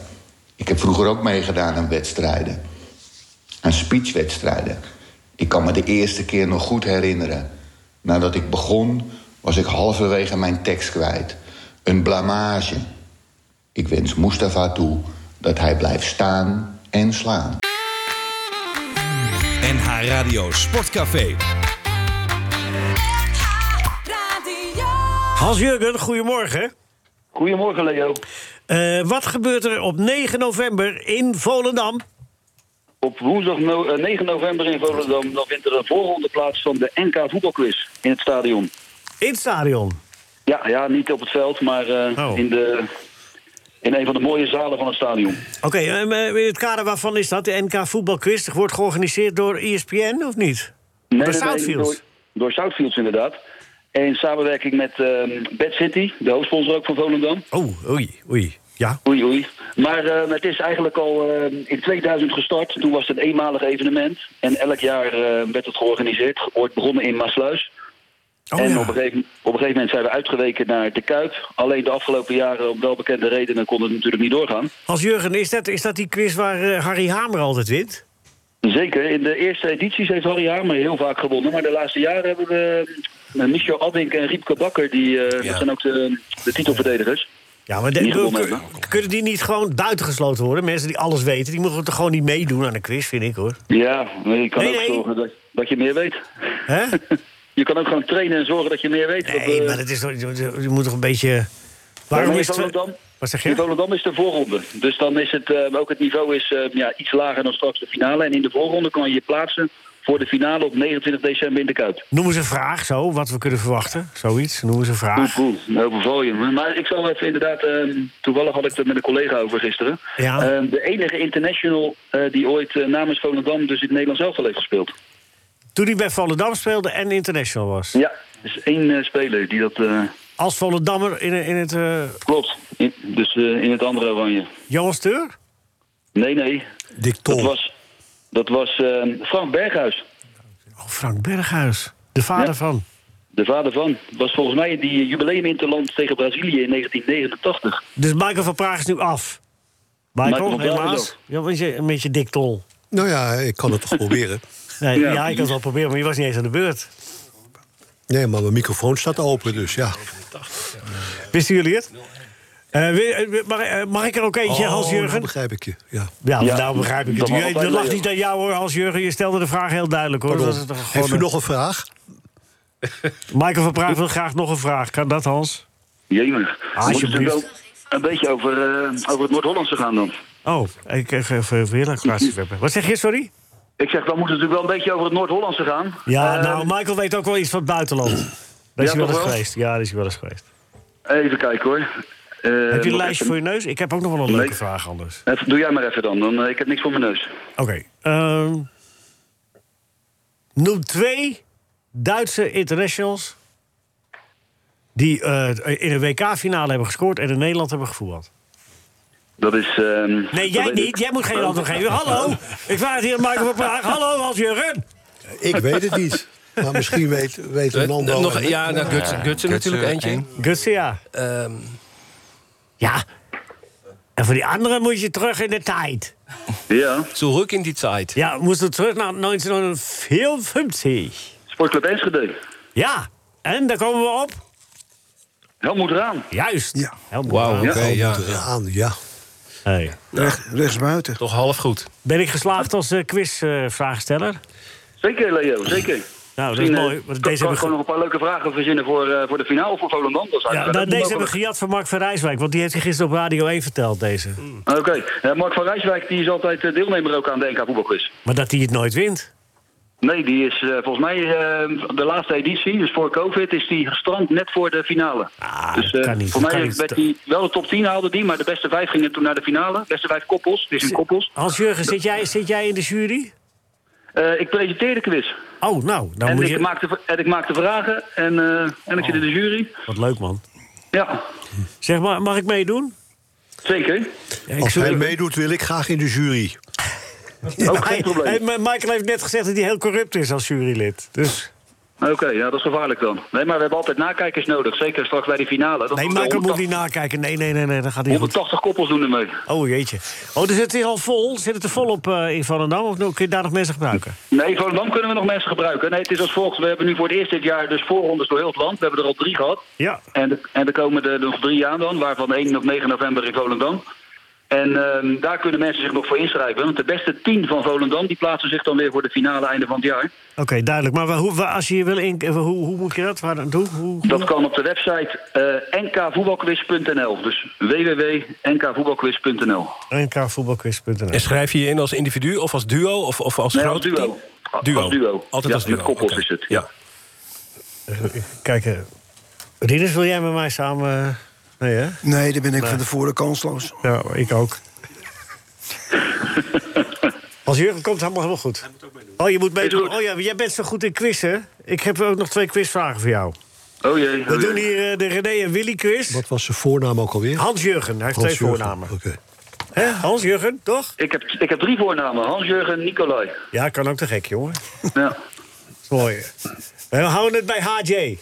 Speaker 8: Ik heb vroeger ook meegedaan aan wedstrijden aan speechwedstrijden. Ik kan me de eerste keer nog goed herinneren. Nadat ik begon, was ik halverwege mijn tekst kwijt. Een blamage. Ik wens Mustafa toe dat hij blijft staan en slaan.
Speaker 2: NH Radio Sportcafé.
Speaker 3: Hans-Jurgen, goedemorgen.
Speaker 10: Goedemorgen, Leo.
Speaker 3: Eh, wat gebeurt er op 9 november in Volendam?
Speaker 10: Op woensdag no- eh, 9 november in Volendam dan vindt er een voorronde plaats van de NK voetbalquiz in het stadion.
Speaker 3: In het stadion.
Speaker 10: Ja, ja niet op het veld, maar eh,
Speaker 3: Oh.
Speaker 10: in, de, in een van de mooie zalen van het stadion.
Speaker 3: Oké, ehm, eh, in het kader waarvan is dat? De NK Voetbalquiz wordt georganiseerd door E ESPN, of niet? door Southfield.
Speaker 10: door, door Southfields inderdaad. In samenwerking met ehm Bad City, de hoofdsponsor ook van Volendam.
Speaker 3: Oh, oei, oei. Ja.
Speaker 10: Oei, oei. Maar eh, het is eigenlijk al eh, in 2000 gestart. Toen was het een eenmalig evenement. En elk jaar eh, werd het georganiseerd. Ooit begonnen in Maasluis.
Speaker 3: Oh,
Speaker 10: en
Speaker 3: ja.
Speaker 10: op, een gegeven, op een gegeven moment zijn we uitgeweken naar de Kuip. Alleen de afgelopen jaren, om welbekende redenen, kon het natuurlijk niet doorgaan.
Speaker 3: Hans-Jurgen, is dat, is dat die quiz waar eh, Harry Hamer altijd wint?
Speaker 10: Zeker, in de eerste edities heeft Harry Hamer heel vaak gewonnen. Maar de laatste jaren hebben we eh, Michel Addink en Riepke Bakker. Die, eh,
Speaker 4: Ja.
Speaker 10: Dat zijn ook de, de titelverdedigers.
Speaker 3: Ja, maar de-
Speaker 10: Niet gewonnen
Speaker 3: kun- kunnen die niet gewoon buitengesloten worden? Mensen die alles weten, die mogen toch gewoon niet meedoen aan een quiz, vind ik, hoor.
Speaker 10: Ja, maar je kan
Speaker 3: Nee,
Speaker 10: ook
Speaker 3: nee.
Speaker 10: zorgen dat, dat je meer weet.
Speaker 3: Hè?
Speaker 10: Je kan ook gewoon trainen en zorgen dat je meer weet. Dat,
Speaker 3: Nee,
Speaker 10: eh,
Speaker 3: maar dat is toch, je moet toch een beetje... Waarom
Speaker 10: in
Speaker 3: is het...
Speaker 10: Volendam,
Speaker 3: Wat zeg
Speaker 10: in
Speaker 3: je?
Speaker 10: Volendam is de voorronde. Dus dan is het, eh, ook het niveau is eh, ja, iets lager dan straks de finale. En in de voorronde kan je je plaatsen voor de finale op 29 december in de Kuip.
Speaker 3: Noem eens een vraag, zo, wat we kunnen verwachten. Zoiets, noem eens een
Speaker 10: Goed,
Speaker 3: vraag.
Speaker 10: cool. Nou, beval je me. Maar ik zal even inderdaad... eh, toevallig had ik het met een collega over gisteren. Ehm,
Speaker 3: Ja.
Speaker 10: Eh, de enige international eh, die ooit eh, namens Volendam dus in het Nederlands elftal heeft gespeeld.
Speaker 3: Toen hij bij Volendam speelde en international was.
Speaker 10: Ja, er is één eh, speler die dat... eh,
Speaker 3: Als Volendammer in, in het... eh
Speaker 10: klopt. In- dus eh, in het andere oranje.
Speaker 3: Johan Steur?
Speaker 10: Nee, nee.
Speaker 6: Dick
Speaker 10: Dat
Speaker 6: Tol.
Speaker 10: was, dat was eh, Frank Berghuis.
Speaker 3: Oh, Frank Berghuis. De vader
Speaker 10: Ja.
Speaker 3: van.
Speaker 10: De vader van. Was volgens mij die jubileum interland tegen Brazilië in 1989.
Speaker 3: Dus Michael van Praag is nu af. Michael,
Speaker 10: Michael van Praag is
Speaker 3: helaas.
Speaker 10: af.
Speaker 3: Ja, want je een beetje dik tol.
Speaker 6: Nou ja, ik kan het toch proberen.
Speaker 3: Nee, ja,
Speaker 10: Ja.
Speaker 3: ik kan het wel proberen, maar je was niet eens aan de beurt.
Speaker 6: Nee, maar mijn microfoon staat open, dus ja.
Speaker 3: Wisten jullie het? Eh, wil- eh, mag, eh, mag ik er ook eentje,
Speaker 6: Oh, nou
Speaker 3: Hans-Jurgen?
Speaker 6: begrijp ik je. Ja.
Speaker 3: Ja,
Speaker 10: Ja,
Speaker 3: nou begrijp ik het.
Speaker 10: dat mag
Speaker 3: Je-
Speaker 10: altijd
Speaker 3: Dat lag
Speaker 10: wel,
Speaker 3: niet aan jou hoor, Hans-Jurgen. Je stelde de vraag heel duidelijk hoor. Dat is
Speaker 6: Pardon.
Speaker 3: toch gewoon
Speaker 6: Heeft u
Speaker 3: een-
Speaker 6: nog een vraag?
Speaker 3: Michael van Praag wil graag nog een vraag. Kan dat, Hans?
Speaker 10: Jemig.
Speaker 3: Ah,
Speaker 10: Moet het
Speaker 3: alsjeblieft.
Speaker 10: ook een beetje over, eh, over het Noord-Hollandse gaan dan.
Speaker 3: Oh, ik heb weer een kwaadsverwerper. Wat zeg je, sorry?
Speaker 10: Ik zeg, dan moet het natuurlijk wel een beetje over het Noord-Hollandse gaan.
Speaker 3: Ja,
Speaker 10: Eh,
Speaker 3: nou, Michael weet ook wel iets van het buitenland. Daar is
Speaker 10: Ja,
Speaker 3: hij wel
Speaker 10: toch
Speaker 3: eens
Speaker 10: wel?
Speaker 3: geweest. Ja, daar is hij wel eens geweest.
Speaker 10: Even kijken hoor. Eh,
Speaker 3: heb je een
Speaker 10: nog
Speaker 3: lijstje
Speaker 10: even-
Speaker 3: voor je neus? Ik heb ook nog wel een leuke
Speaker 10: Nee.
Speaker 3: vraag anders.
Speaker 10: Even- Doe jij maar even dan, dan eh, ik heb niks voor mijn neus.
Speaker 3: Oké. ehm, noem twee Duitse internationals... die eh, in een WK-finale hebben gescoord... en in Nederland hebben gevoetbald.
Speaker 10: Dat is... ehm,
Speaker 3: Nee,
Speaker 10: dat
Speaker 3: jij
Speaker 10: weet ik.
Speaker 3: niet. Jij moet geen antwoord geven. Hallo, ik vraag het hier aan Michael van Praag. Hallo, Hans-Jurgen.
Speaker 6: Ik weet het niet. Maar misschien weet, weet
Speaker 4: Eh,
Speaker 6: Ronaldo...
Speaker 4: nog,
Speaker 6: en-
Speaker 4: ja, nou, Gutsen, Gutsen natuurlijk
Speaker 7: Gutsen,
Speaker 4: eentje.
Speaker 7: één.
Speaker 3: Gutsia.
Speaker 4: Ehm,
Speaker 3: Ja. En voor die andere moet je terug in de tijd.
Speaker 10: Ja,
Speaker 4: zurück in die Zeit.
Speaker 3: Ja, we moesten terug naar 1954.
Speaker 10: Sportclub Enschede.
Speaker 3: Ja, en daar komen we op.
Speaker 10: Helmoet Raam.
Speaker 3: Juist.
Speaker 5: Ja.
Speaker 3: Helemaal
Speaker 4: Wauw,
Speaker 3: goed.
Speaker 4: oké,
Speaker 6: Ronaldo
Speaker 4: ja.
Speaker 6: moet eraan, ja.
Speaker 3: Hey.
Speaker 5: Recht, rechtsbuiten.
Speaker 4: Toch half goed.
Speaker 3: Ben ik geslaagd als eh, quizvraagsteller?
Speaker 10: Zeker Leo, zeker.
Speaker 3: nou, dat is
Speaker 10: Misschien, eh,
Speaker 3: mooi. Want
Speaker 10: kan-
Speaker 3: deze
Speaker 10: kan
Speaker 3: hebben
Speaker 10: ik gewoon nog
Speaker 3: ge-
Speaker 10: een paar leuke vragen verzinnen voor, eh, voor de finale voor Volendam. Dat is
Speaker 3: ja,
Speaker 10: eigenlijk-
Speaker 3: nou,
Speaker 10: dat is
Speaker 3: deze hebben we
Speaker 10: mogelijk.
Speaker 3: gejat van Mark van Rijswijk. Want die heeft hij gisteren op Radio 1 verteld, deze.
Speaker 10: Oké, Eh, Mark van Rijswijk die is altijd eh, deelnemer ook aan de NK voetbalquiz.
Speaker 3: Maar dat hij het nooit wint.
Speaker 10: Nee, die is eh, volgens mij eh, de laatste editie, dus voor COVID, is die gestrand net voor de finale.
Speaker 3: Ah,
Speaker 10: dus
Speaker 3: dat
Speaker 10: eh,
Speaker 3: kan niet,
Speaker 10: voor
Speaker 3: dat
Speaker 10: mij
Speaker 3: kan niet.
Speaker 10: werd die wel de top 10 haalde die, maar de beste vijf gingen toen naar de finale. De beste vijf koppels, het is een koppels.
Speaker 3: Hans-Jurgen, zit jij, zit jij in de jury?
Speaker 10: Eh, ik presenteer de quiz.
Speaker 3: Oh, nou, dan
Speaker 10: En
Speaker 3: moet
Speaker 10: ik,
Speaker 3: je... Oh.
Speaker 10: maak de, en ik maak de vragen en, eh, en ik zit in de jury.
Speaker 3: Wat leuk, man.
Speaker 10: Ja,
Speaker 3: Zeg, maar, mag ik meedoen?
Speaker 10: zeker.
Speaker 3: Ja, ik
Speaker 6: Als
Speaker 3: zoek-
Speaker 6: hij meedoet, wil ik graag in de jury.
Speaker 10: Ook geen
Speaker 3: Hij- hij-
Speaker 10: probleem.
Speaker 3: maar Michael heeft net gezegd dat hij heel corrupt is als jurylid. Dus
Speaker 10: Oké, ja, dat is gevaarlijk dan. Nee, maar we hebben altijd nakijkers nodig, zeker straks bij die finale. Dat
Speaker 3: nee,
Speaker 10: doen we
Speaker 3: Michael moet
Speaker 10: 180
Speaker 3: niet nakijken. Nee, nee, nee, nee, dan gaat hij goed.
Speaker 10: 180 koppels doen er mee.
Speaker 3: Oh jeetje. Oh, dus het is al vol. Zit het er vol op eh, in Volendam? Of kun je daar nog mensen gebruiken?
Speaker 10: Nee, Volendam kunnen we nog mensen gebruiken. Nee, het is als volgt. We hebben nu voor het eerst dit jaar dus voorrondes door heel het land. We hebben er al drie gehad.
Speaker 3: Ja.
Speaker 10: En, en er komen er nog drie aan dan, waarvan één op 9 november in Volendam. En ehm, daar kunnen mensen zich nog voor inschrijven. Want de beste tien van Volendam die plaatsen zich dan weer voor de finale einde van het jaar.
Speaker 3: Oké, duidelijk. Maar wa- hoe, wa- als je je wil in, eh, hoe, hoe moet je dat? Waar naartoe? Hoe,
Speaker 10: Dat kan op de website eh, nkvoetbalquiz.nl. Dus www.nkvoetbalquiz.nl.
Speaker 3: nkvoetbalquiz.nl.
Speaker 4: En schrijf je je in als individu of als duo of, of als
Speaker 10: Nee,
Speaker 4: groot
Speaker 10: als duo.
Speaker 4: team?
Speaker 10: Als
Speaker 4: Duo.
Speaker 10: duo.
Speaker 4: Altijd
Speaker 10: Ja,
Speaker 4: als duo.
Speaker 10: met koppels
Speaker 4: oké.
Speaker 10: is het,
Speaker 4: Ja.
Speaker 3: Kijk, eh, Rieders, wil jij met mij samen... eh, nee, hè?
Speaker 5: Nee, daar ben ik van tevoren kansloos.
Speaker 3: Ja, ik ook. Als Jurgen komt, helemaal helemaal goed. Oh, je moet
Speaker 10: Is
Speaker 3: meedoen.
Speaker 10: goed.
Speaker 3: Oh ja, jij bent zo goed in quizzen. Ik heb ook nog twee quizvragen voor jou.
Speaker 10: Oh jee.
Speaker 3: We doen hier eh, de René en Willy quiz.
Speaker 6: Wat was zijn voornaam ook alweer?
Speaker 3: Hans Jurgen, hij heeft
Speaker 6: Hans
Speaker 3: twee
Speaker 6: Jurgen.
Speaker 3: voornamen.
Speaker 6: Oké.
Speaker 3: Hè? Hans Jurgen, toch?
Speaker 10: Ik heb, ik heb drie voornamen. Hans-Jurgen Nicolai.
Speaker 3: Ja, kan ook te gek, jongen.
Speaker 10: Ja.
Speaker 3: Mooi. We houden het bij HJ.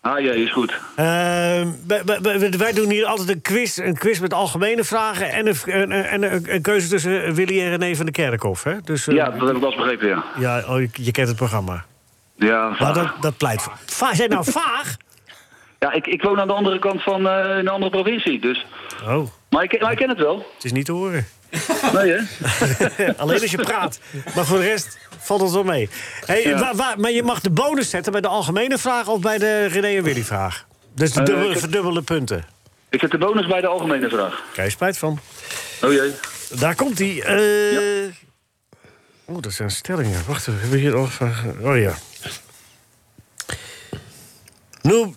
Speaker 10: Ah jee, is goed.
Speaker 3: Ehm, wij- wij- wij- wij doen hier altijd een quiz, een quiz met algemene vragen... en een, en, en- een, een keuze tussen Willy en René van de Kerkhof. Hè? Dus, eh,
Speaker 10: Ja, dat heb ik wel eens begrepen, ja.
Speaker 3: ja oh, je, je kent het programma.
Speaker 10: Ja,
Speaker 3: Maar
Speaker 10: vaag.
Speaker 3: dat, dat pleit voor. Va zijn nou vaag?
Speaker 10: ja ik, ik woon aan de andere kant van eh, een andere provincie, dus...
Speaker 3: Oh,
Speaker 10: Maar ik, maar ik ken het wel.
Speaker 3: het is niet te horen.
Speaker 10: Nee, hè?
Speaker 3: Alleen als je praat. Maar voor de rest valt het wel mee. Hey, wa- wa- maar je mag de bonus zetten bij de algemene vraag of bij de René en Willy vraag. Dus de
Speaker 10: Eh,
Speaker 3: dubbele,
Speaker 10: ik heb-
Speaker 3: verdubbele punten.
Speaker 10: Ik zet de bonus bij de algemene vraag.
Speaker 3: Krijg je spijt van.
Speaker 10: Oh jee.
Speaker 3: Daar komt hij. eh. Oeh, dat zijn stellingen. Wacht even, hebben we hier nog vragen? Oh ja. Noem,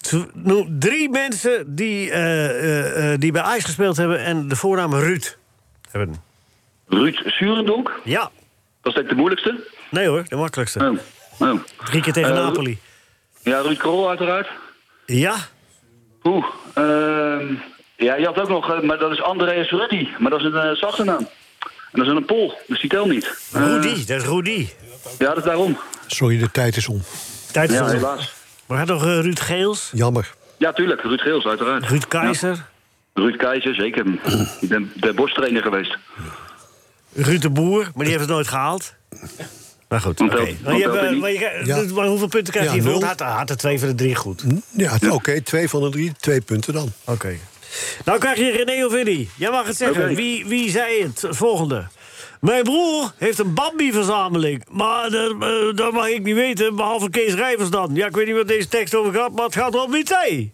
Speaker 3: tw- noem drie mensen die, eh, eh, eh, die bij IJs gespeeld hebben en de voornaam Ruud hebben.
Speaker 10: Ruud Surendonk,
Speaker 3: Ja.
Speaker 10: dat is denk ik de moeilijkste.
Speaker 3: Nee hoor, de makkelijkste.
Speaker 10: Oh. Oh.
Speaker 3: Drie keer tegen
Speaker 10: Eh,
Speaker 3: Napoli.
Speaker 10: Ja, Ruud Krol uiteraard.
Speaker 3: Ja,
Speaker 10: Oeh, ehm, ja, je had ook nog, eh, maar dat is Andreas Rudy. Maar dat is een eh, zachte naam. En dat is een Pool, dus die telt niet. Eh,
Speaker 3: Rudy, dat is Rudy.
Speaker 10: ja, dat is daarom.
Speaker 6: Sorry, de tijd is om.
Speaker 3: Tijd is
Speaker 10: Ja,
Speaker 3: om.
Speaker 10: helaas.
Speaker 3: Maar had nog eh, Ruud Geels,
Speaker 6: Jammer.
Speaker 10: Ja, tuurlijk, Ruud Geels uiteraard.
Speaker 3: Ruud
Speaker 10: Ja,
Speaker 3: Keizer,
Speaker 10: Ruud Keizer, zeker. Ik ben de borsttrainer geweest.
Speaker 3: Ruud de Boer, maar die heeft het nooit gehaald. Maar goed,
Speaker 10: Want
Speaker 3: oké.
Speaker 10: dat-
Speaker 3: Maar, je
Speaker 10: want dat
Speaker 3: hebt, eh,
Speaker 10: weet
Speaker 3: maar, je krijgt-
Speaker 6: Ja.
Speaker 3: dus- maar hoeveel punten krijg je
Speaker 6: Ja,
Speaker 3: hiervoor?
Speaker 6: nul.
Speaker 3: Had, had er twee van de drie goed.
Speaker 6: Hm? Ja, oké, twee van de drie, twee punten dan.
Speaker 3: Oké. Nou krijg je René of Willy. Jij mag het zeggen.
Speaker 10: Oké.
Speaker 3: Wie, wie zei het? Volgende. Mijn broer heeft een Bambi-verzameling. Maar dat, eh, dat mag ik niet weten, behalve Kees Rijvers dan. Ja, ik weet niet wat deze tekst over gaat, maar het gaat om iets. hé.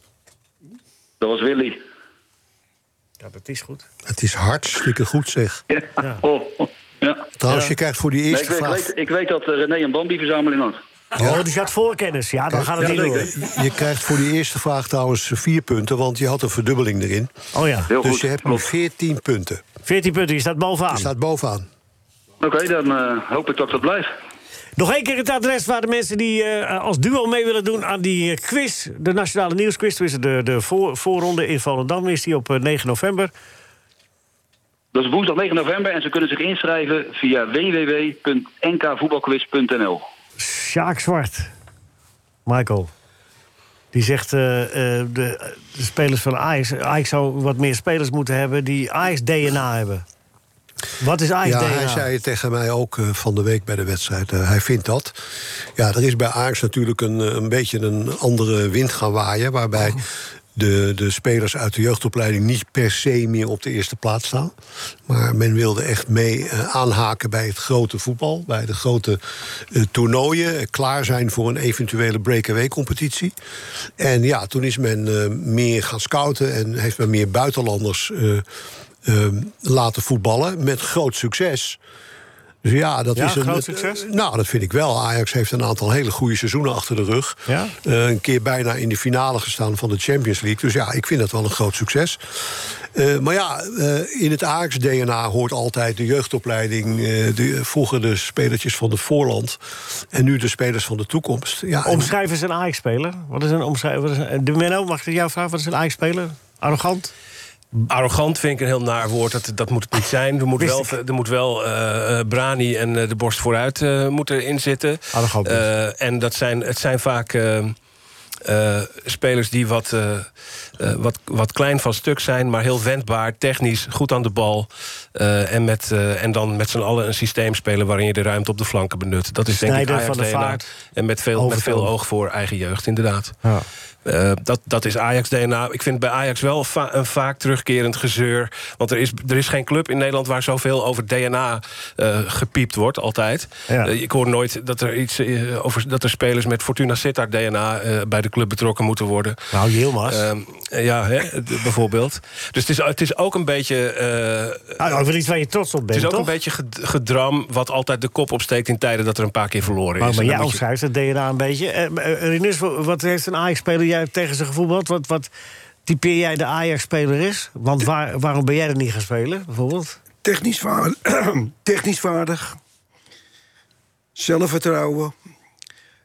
Speaker 10: Dat was Willy.
Speaker 3: Ja, dat is goed.
Speaker 6: Het is hartstikke goed, zeg.
Speaker 10: Ja. Oh, oh, ja.
Speaker 6: Trouwens, je krijgt voor die
Speaker 10: Nee,
Speaker 6: eerste
Speaker 10: ik, weet, ik,
Speaker 6: vraag...
Speaker 10: weet, ik weet dat eh, René een Bambi-verzameling had.
Speaker 3: Oh, die gaat voorkennis. Ja, dan gaat het
Speaker 10: Ja,
Speaker 3: niet door.
Speaker 10: zeker.
Speaker 6: Je krijgt voor die eerste vraag trouwens vier punten, want je had een verdubbeling erin.
Speaker 3: Oh ja,
Speaker 10: Heel
Speaker 6: dus
Speaker 10: goed.
Speaker 6: je hebt nu
Speaker 10: klopt.
Speaker 6: 14 punten.
Speaker 3: 14 punten. Je staat bovenaan.
Speaker 6: Je staat bovenaan.
Speaker 10: Oké, dan eh, hoop ik dat dat blijft.
Speaker 3: Nog één keer het adres waar de mensen die eh, als duo mee willen doen aan die eh, quiz. De Nationale Nieuwsquiz. Dus de, de voor, voorronde in Volendam is die op eh, 9 november.
Speaker 10: Dat is woensdag 9 november en ze kunnen zich inschrijven via www.nkvoetbalquiz.nl.
Speaker 3: Sjaak Zwart. Michael. Die zegt, eh, eh, de, de spelers van Ajax... Ajax zou wat meer spelers moeten hebben die Ajax-DNA hebben. Wat is
Speaker 6: Ja,
Speaker 3: Ajax-DNA?
Speaker 6: hij zei het tegen mij ook eh, van de week bij de wedstrijd. Eh, hij vindt dat. Ja, er is bij Ajax natuurlijk een, eh, een beetje een andere wind gaan waaien... waarbij de, de spelers uit de jeugdopleiding niet per se meer op de eerste plaats staan. Maar men wilde echt mee eh, aanhaken bij het grote voetbal... bij de grote eh, toernooien, eh, klaar zijn voor een eventuele breakaway-competitie. En ja, toen is men eh, meer gaan scouten en heeft men meer buitenlanders... eh, ehm, laten voetballen met groot succes. Dus ja, dat
Speaker 3: Ja,
Speaker 6: is een
Speaker 3: groot succes?
Speaker 6: eh, nou, dat vind ik wel. Ajax heeft een aantal hele goede seizoenen achter de rug.
Speaker 3: Ja?
Speaker 6: Eh, een keer bijna in de finale gestaan van de Champions League. Dus ja, ik vind dat wel een groot succes. Eh, maar ja, eh, in het Ajax-DNA hoort altijd de jeugdopleiding. eh, de, vroeger de spelertjes van het voorland. En nu de spelers van de toekomst. Ja, en-
Speaker 3: Omschrijven is een Ajax-speler. Wat is een omschrijver? Wat is een- eh, de Menno, mag ik jou vragen? Wat is een Ajax-speler? Arrogant?
Speaker 4: Arrogant vind ik een heel naar woord. Dat, dat moet het niet zijn. Er moet
Speaker 3: Wist
Speaker 4: wel,
Speaker 3: ik.
Speaker 4: er moet wel eh, eh, Brani en eh, de borst vooruit eh moeten erin zitten.
Speaker 3: Arrogant dus.
Speaker 4: Eh, en dat zijn, het zijn vaak eh, eh, spelers die wat, eh, eh, wat, wat klein van stuk zijn, maar heel wendbaar, technisch, goed aan de bal. eh, en, met, eh, en dan met z'n allen een systeem spelen waarin je de ruimte op de flanken benut. Dat is denk
Speaker 3: Snijder,
Speaker 4: ik Ajax
Speaker 3: Van der
Speaker 4: DNA.
Speaker 3: Vaart,
Speaker 4: En met veel, met
Speaker 3: Overtoom.
Speaker 4: veel oog voor eigen jeugd, inderdaad. Eh, dat, dat is Ajax-DNA. Ik vind bij Ajax wel va- een vaak terugkerend gezeur. Want er is, er is geen club in Nederland waar zoveel over DNA eh, gepiept wordt, altijd.
Speaker 3: Ja.
Speaker 4: Eh, ik hoor nooit dat er, iets, eh, over, dat er spelers met Fortuna Sittard DNA eh, bij de club betrokken moeten worden.
Speaker 3: Nou, Yilmaz.
Speaker 4: Ehm, eh, ja, hè, d- bijvoorbeeld. Dus het is, het is ook een beetje. eh,
Speaker 3: Ah, over iets waar je trots op bent,
Speaker 4: het is ook
Speaker 3: toch?
Speaker 4: een beetje ged- gedram wat altijd de kop opsteekt in tijden dat er een paar keer verloren
Speaker 3: Maar,
Speaker 4: is.
Speaker 3: maar
Speaker 4: En dan
Speaker 3: jij
Speaker 4: moet je-
Speaker 3: omschrijft het DNA een beetje. Eh, eh, Rinus, wa- wat heeft een Ajax-speler jij hebt tegen zijn gevoetbald? Wat, wat typeer jij de Ajax-speler is? Want waar, waarom ben jij er niet gaan spelen, bijvoorbeeld?
Speaker 5: Technisch, vaar- technisch vaardig. Zelfvertrouwen.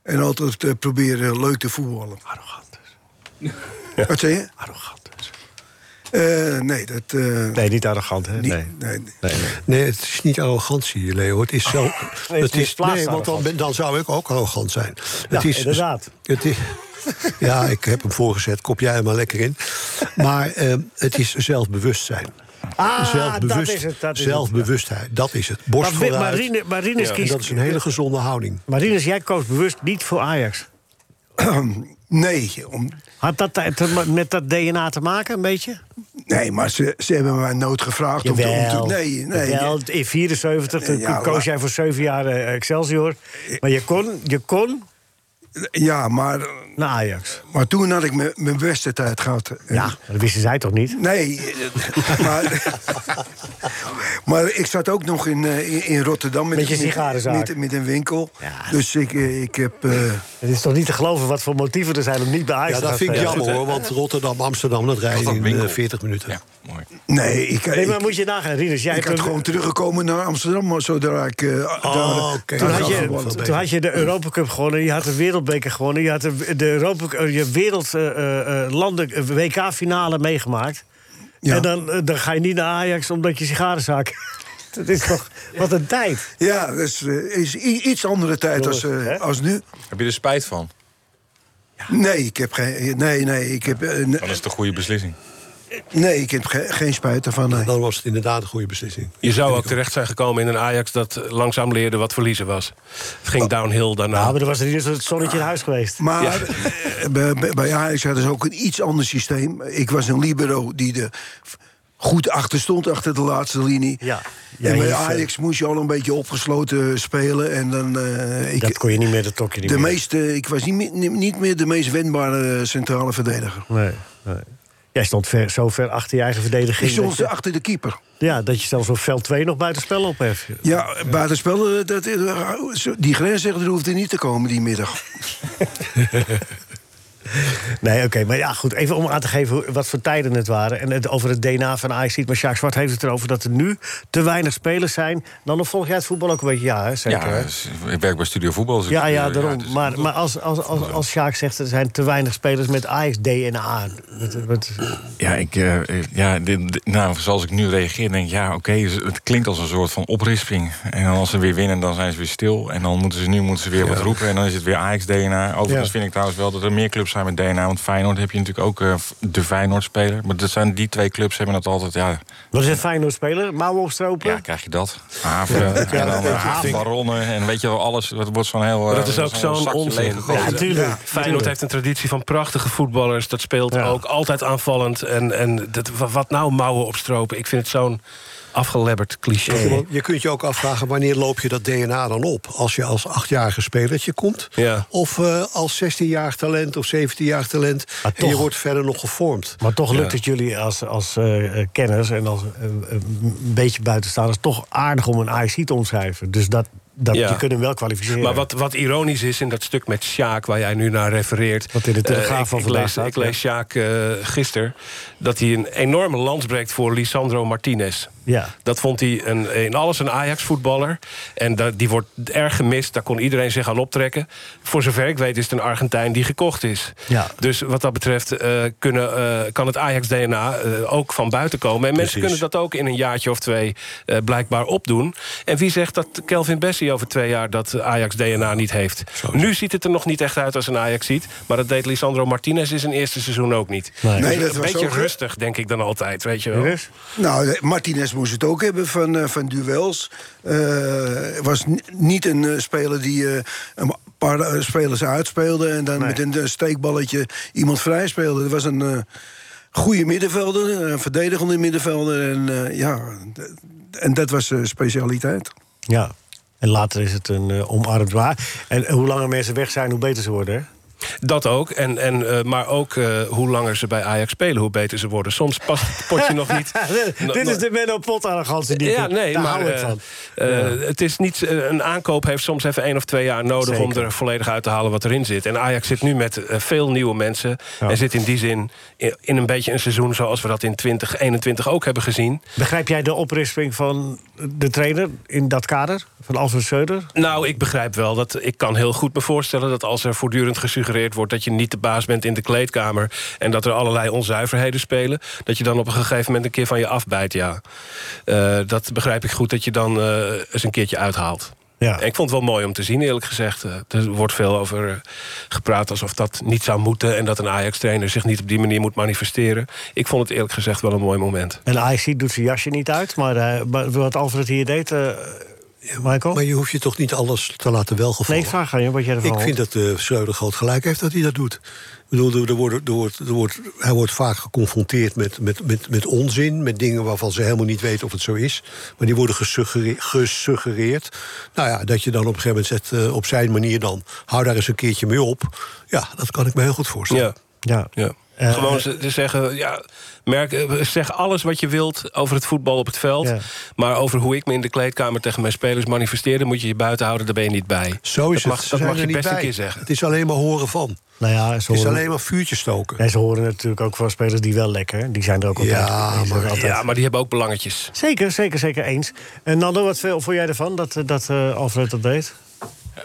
Speaker 5: En altijd eh, proberen leuk te voetballen.
Speaker 3: Arrogant dus.
Speaker 5: Wat zei je?
Speaker 3: Arrogant dus.
Speaker 5: Eh, nee, dat... eh,
Speaker 3: Nee, niet arrogant, hè?
Speaker 5: niet-
Speaker 3: Nee.
Speaker 5: nee, nee.
Speaker 6: Nee, het is niet arrogantie, Leo. Het is zo.
Speaker 3: het is
Speaker 6: het is,
Speaker 3: plaats
Speaker 6: nee, want dan, ben- dan zou ik ook arrogant zijn. het is,
Speaker 3: inderdaad.
Speaker 6: Het is, ja, ik heb hem voorgezet. Kop jij hem maar lekker in. Maar eh, het is zelfbewustzijn.
Speaker 3: Ah,
Speaker 6: Zelfbewust-
Speaker 3: dat is het. Dat is het.
Speaker 6: zelfbewustheid, dat is het. Borst
Speaker 3: Maar, Wi-
Speaker 6: vooruit.
Speaker 3: maar, Rinus, maar Rinus
Speaker 6: en
Speaker 3: kiest...
Speaker 6: dat is een hele gezonde houding.
Speaker 3: Maar Rinus, jij koos bewust niet voor Ajax.
Speaker 5: Nee, om,
Speaker 3: Had dat te- te- met dat DNA te maken, een beetje?
Speaker 5: nee, maar ze, ze hebben mij nooit gevraagd om te, om te... Nee, nee.
Speaker 3: Jawel, in 74 toen
Speaker 5: Ja,
Speaker 3: koos
Speaker 5: la-
Speaker 3: jij voor zeven jaar eh, Excelsior. Maar je kon, je kon
Speaker 5: Ja, maar,
Speaker 3: naar Ajax.
Speaker 5: maar toen had ik mijn- mijn beste tijd gehad. En-
Speaker 3: Ja, dat wisten zij toch niet?
Speaker 5: Nee, eh, maar, maar ik zat ook nog in, eh, in- in Rotterdam...
Speaker 3: Met je sigarenzaak.
Speaker 5: met, met een winkel.
Speaker 3: Ja.
Speaker 5: Dus ik, eh, ik heb... eh,
Speaker 3: Het is toch niet te geloven wat voor motieven er zijn om niet bij Ajax
Speaker 6: Ja,
Speaker 3: te
Speaker 6: dat
Speaker 3: gaan
Speaker 6: vind ik
Speaker 3: spelen?
Speaker 6: jammer hoor. Want Rotterdam, Amsterdam, dat rijden in eh, 40 minuten.
Speaker 7: mooi.
Speaker 5: Nee, ik,
Speaker 3: Nee, maar
Speaker 5: ik-
Speaker 3: moet je nagaan, Rinus. Jij
Speaker 5: ik
Speaker 3: hebt
Speaker 5: had
Speaker 3: een-
Speaker 5: gewoon teruggekomen naar Amsterdam, maar zodra ik... eh, daar-
Speaker 6: Oh, oké.
Speaker 5: daar
Speaker 3: Toen had,
Speaker 5: gaf
Speaker 3: je,
Speaker 5: ik wel een
Speaker 3: toen
Speaker 5: beetje.
Speaker 3: had je de Europa Cup gewonnen, je had de Wereldbeker gewonnen, je had de, de Europa, eh, je wereld, eh, eh, eh, landen, eh, WK-finale meegemaakt.
Speaker 5: Ja.
Speaker 3: En dan, eh, dan ga je niet naar Ajax omdat je sigarenzaak. Dat is toch wat een tijd.
Speaker 5: Ja, dat is, eh, is i- iets andere tijd als, eh,
Speaker 3: Hè?
Speaker 5: als nu.
Speaker 7: Heb je er spijt van?
Speaker 5: Nee, ik heb geen... Nee, nee, ik heb, eh,
Speaker 7: Dan is het een goede beslissing.
Speaker 5: nee, ik heb ge- geen spijt daarvan. nee.
Speaker 6: Dan was het inderdaad een goede beslissing.
Speaker 4: Je zou ook terecht zijn gekomen in een Ajax dat langzaam leerde wat verliezen was. Het ging downhill daarna.
Speaker 3: Ah, maar er was er niet eens het zonnetje in huis geweest.
Speaker 5: Maar eh, bij- bij- bij Ajax hadden ze ook een iets ander systeem. Ik was een libero die er goed achter stond, achter de laatste linie.
Speaker 3: Ja.
Speaker 5: en
Speaker 3: Ja, je-
Speaker 5: bij Ajax moest je al een beetje opgesloten eh, spelen. En dan, eh, ik,
Speaker 3: Dat kon je niet meer, dat tokje niet
Speaker 5: de
Speaker 3: meer.
Speaker 5: meeste, ik was niet, meer- niet- niet meer de meest wendbare eh, centrale verdediger.
Speaker 3: Nee, nee. Jij stond ver, zo ver achter je eigen
Speaker 5: Ik
Speaker 3: verdediging.
Speaker 5: stond
Speaker 3: dat je,
Speaker 5: achter de keeper.
Speaker 3: ja, dat je zelfs op veld 2 nog buitenspel opheft.
Speaker 5: Ja, buitenspel, eh, dat, eh, zo- die grensrechter hoefde niet te komen die middag.
Speaker 3: Nee, oké. maar ja, goed. Even om aan te geven hoe- wat voor tijden het waren. En het, over het DNA van Ajax ziet. Maar Sjaak Zwart heeft het erover dat er nu te weinig spelers zijn. Dan nog volg jij het voetbal ook een beetje. Ja, hè, zeker.
Speaker 7: Ja,
Speaker 3: hè?
Speaker 7: dus ik werk bij Studio Voetbal. dus ik-
Speaker 3: ja, ja, daarom.
Speaker 7: dus-
Speaker 3: maar maar als, als, als, als Sjaak zegt, er zijn te weinig spelers met Ajax-DNA. Met- met-
Speaker 7: Ja, ik, eh, eh, ja dit, dit- nou, zoals ik nu reageer, denk ik, ja, oké, ze- het klinkt als een soort van oprisping. En dan als ze weer winnen, dan zijn ze weer stil. En dan moeten ze nu moeten ze weer wat roepen. En dan is het weer Ajax-DNA. Overigens
Speaker 3: Ja.
Speaker 7: vind ik trouwens wel dat er meer clubs zijn met DNA. Want Feyenoord heb je natuurlijk ook eh, de Feyenoord-speler. Maar dat zijn die twee clubs hebben dat altijd, ja,
Speaker 3: Wat is een Feyenoord-speler? Mouwen opstropen?
Speaker 7: ja krijg je dat. Haven, en dan eh, baronnen en weet je wel, alles. Dat wordt zo'n heel...
Speaker 4: Maar
Speaker 7: eh,
Speaker 4: dat is ook zo'n
Speaker 7: zakje
Speaker 4: onzin.
Speaker 7: leeggegooid.
Speaker 3: Ja, tuurlijk.
Speaker 4: Feyenoord heeft een traditie van prachtige voetballers. Dat speelt
Speaker 3: Ja.
Speaker 4: ook altijd aanvallend. En, en dat, wa- wat nou mouwen opstropen? Ik vind het zo'n afgelebberd cliché.
Speaker 6: Je kunt je ook afvragen, wanneer loop je dat DNA dan op? Als je als achtjarige spelertje komt?
Speaker 4: Ja.
Speaker 6: Of eh, als 16-jarig talent of 17-jarig talent?
Speaker 3: Maar
Speaker 6: en je
Speaker 3: toch.
Speaker 6: wordt verder nog gevormd.
Speaker 3: Maar toch lukt het jullie als, als eh, eh, kenners en als eh, eh, een beetje buitenstaanders... toch aardig om een Ajax te omschrijven. Dus dat, dat,
Speaker 4: Ja.
Speaker 3: je kunt hem wel kwalificeren.
Speaker 4: Maar wat, wat ironisch is in dat stuk met Sjaak, waar jij nu naar refereert.
Speaker 3: Wat in de Telegraaf
Speaker 4: eh, ik-
Speaker 3: van
Speaker 4: ik
Speaker 3: vandaag
Speaker 4: lees-
Speaker 3: staat,
Speaker 4: Ik lees Sjaak eh, gisteren dat hij een enorme lans breekt voor Lisandro Martinez.
Speaker 3: Ja.
Speaker 4: Dat vond hij een, in alles een Ajax-voetballer. En da- die wordt erg gemist. Daar kon iedereen zich aan optrekken. Voor zover ik weet is het een Argentijn die gekocht is.
Speaker 3: Ja.
Speaker 4: Dus wat dat betreft eh, kunnen, eh, kan het Ajax-DNA eh, ook van buiten komen. En mensen
Speaker 6: Precies.
Speaker 4: kunnen dat ook in een jaartje of twee eh, blijkbaar opdoen. En wie zegt dat Kelvin Bessie over twee jaar dat Ajax-DNA niet heeft? Nu ziet het er nog niet echt uit als een Ajax ziet. Maar dat deed Lisandro Martinez in zijn eerste seizoen ook niet.
Speaker 3: Nee.
Speaker 5: Nee,
Speaker 4: Dus
Speaker 5: dat
Speaker 4: een
Speaker 5: was
Speaker 4: beetje
Speaker 5: ook, hè?
Speaker 4: rustig, denk ik dan altijd. Weet je wel.
Speaker 3: Rinus?
Speaker 5: Nou, eh, Martinez moest het ook hebben van, eh, van duels. Eh, was ni- niet een eh, speler die eh, een paar eh, spelers uitspeelde... en dan met een eh, steekballetje iemand vrij speelde. Het was een eh, goede middenvelder, een verdedigende middenvelder. En, eh, ja, d- en dat was zijn specialiteit.
Speaker 3: Ja, en later is het een eh, omarmd waar. En eh, hoe langer mensen weg zijn, hoe beter ze worden. Hè?
Speaker 4: Dat ook, en, en, eh, maar ook eh, hoe langer ze bij Ajax spelen, hoe beter ze worden. Soms past het potje nog niet. No-
Speaker 3: Dit
Speaker 4: no-
Speaker 3: is de Menno Pot-arrogantie die ik
Speaker 4: Nou, ja,
Speaker 3: heb.
Speaker 4: nee,
Speaker 3: Daar
Speaker 4: maar
Speaker 3: hou ik
Speaker 4: eh,
Speaker 3: van.
Speaker 4: eh, het is niet, eh, een aankoop heeft soms even één of twee jaar nodig om
Speaker 3: Zeker.
Speaker 4: er volledig uit te halen wat erin zit. En Ajax zit nu met eh, veel nieuwe mensen
Speaker 3: Ja.
Speaker 4: en zit in die zin in, in een beetje een seizoen zoals we dat in 2021 ook hebben gezien.
Speaker 3: Begrijp jij de oprisping van de trainer in dat kader? Van Alfred Söder?
Speaker 4: Nou, ik begrijp wel dat ik kan heel goed me voorstellen dat als er voortdurend gesuggereerd wordt dat je niet de baas bent in de kleedkamer en dat er allerlei onzuiverheden spelen, dat je dan op een gegeven moment een keer van je afbijt. Ja, Eh, dat begrijp ik goed dat je dan eh, eens een keertje uithaalt.
Speaker 3: Ja.
Speaker 4: En ik vond het wel mooi om te zien, eerlijk gezegd. Eh, Er wordt veel over eh, gepraat alsof dat niet zou moeten en dat een Ajax-trainer zich niet op die manier moet manifesteren. Ik vond het eerlijk gezegd wel een mooi moment.
Speaker 3: En Ajax doet zijn jasje niet uit. Maar eh, maar wat Alfred hier deed, eh, Michael?
Speaker 6: Maar je hoeft je toch niet alles te laten
Speaker 3: nee,
Speaker 6: welgevallen?
Speaker 3: ik vraag aan je wat jij ervan
Speaker 6: Ik vind
Speaker 3: vindt.
Speaker 6: dat de Schreuder groot gelijk heeft dat hij dat doet. Ik bedoel, er- er wordt, er wordt, er wordt, hij wordt vaak geconfronteerd met, met, met, met onzin, met dingen waarvan ze helemaal niet weten of het zo is. Maar die worden gesuggereerd. gesuggereerd. Nou ja, dat je dan op een gegeven moment zegt, eh, op zijn manier dan, hou daar eens een keertje mee op. Ja, dat kan ik me heel goed voorstellen.
Speaker 4: Ja,
Speaker 3: Ja.
Speaker 4: ja.
Speaker 3: Eh,
Speaker 4: Gewoon ze, ze zeggen, ja, merk, eh, zeg alles wat je wilt over het voetbal op het veld.
Speaker 3: Ja.
Speaker 4: Maar over hoe ik me in de kleedkamer tegen mijn spelers manifesteerde... moet je je buiten houden, daar ben je niet bij.
Speaker 11: Zo is
Speaker 4: dat
Speaker 11: het.
Speaker 4: Mag,
Speaker 11: Ze
Speaker 4: dat
Speaker 11: zijn
Speaker 4: mag
Speaker 11: er
Speaker 4: je
Speaker 11: niet
Speaker 4: best een
Speaker 11: bij.
Speaker 4: keer zeggen.
Speaker 11: Het is alleen maar horen van.
Speaker 3: nou ja, ze
Speaker 11: Het is
Speaker 3: horen,
Speaker 11: alleen maar vuurtje stoken.
Speaker 3: nee, ze horen natuurlijk ook van spelers die wel lekker. Die zijn er ook altijd.
Speaker 11: Ja,
Speaker 3: die zijn er
Speaker 11: maar-
Speaker 3: altijd.
Speaker 4: Ja, maar die hebben ook belangetjes.
Speaker 3: Zeker, zeker, zeker eens. En Nando, wat eh, vond jij ervan dat, eh, dat eh, Alfred dat deed?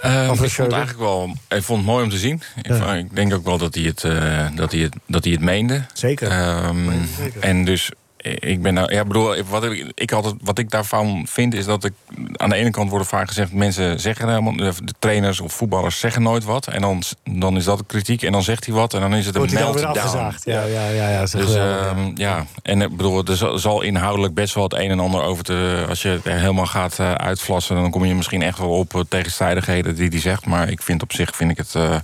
Speaker 7: Ehm, ik vond het
Speaker 3: Schreuder.
Speaker 7: eigenlijk wel, ik vond het mooi om te zien. Ik, vond- ik denk ook wel dat hij het, eh, dat hij het, dat hij het meende.
Speaker 3: Zeker.
Speaker 7: Ehm,
Speaker 3: zeker.
Speaker 7: En dus, eh, ik ben nou, ja, ik bedoel, ik- wat ik, ik altijd, wat ik daarvan vind is dat ik, aan de ene kant wordt er vaak gezegd, mensen zeggen helemaal, eh, de trainers of voetballers zeggen nooit wat. En dan, dan is dat kritiek en dan zegt hij wat en dan is het een
Speaker 3: Wordt hij dan weer
Speaker 7: meltdown.
Speaker 3: afgezaagd? Ja, ja, ja. ja,
Speaker 7: Dus
Speaker 3: geweldig,
Speaker 7: ehm, ja, en ik bedoel, er zal- zal inhoudelijk best wel het een en ander over te. Als je er helemaal gaat eh, uitvlassen, dan kom je misschien echt wel op eh, tegenstrijdigheden die die zegt. Maar ik vind op zich, vind ik het. eh,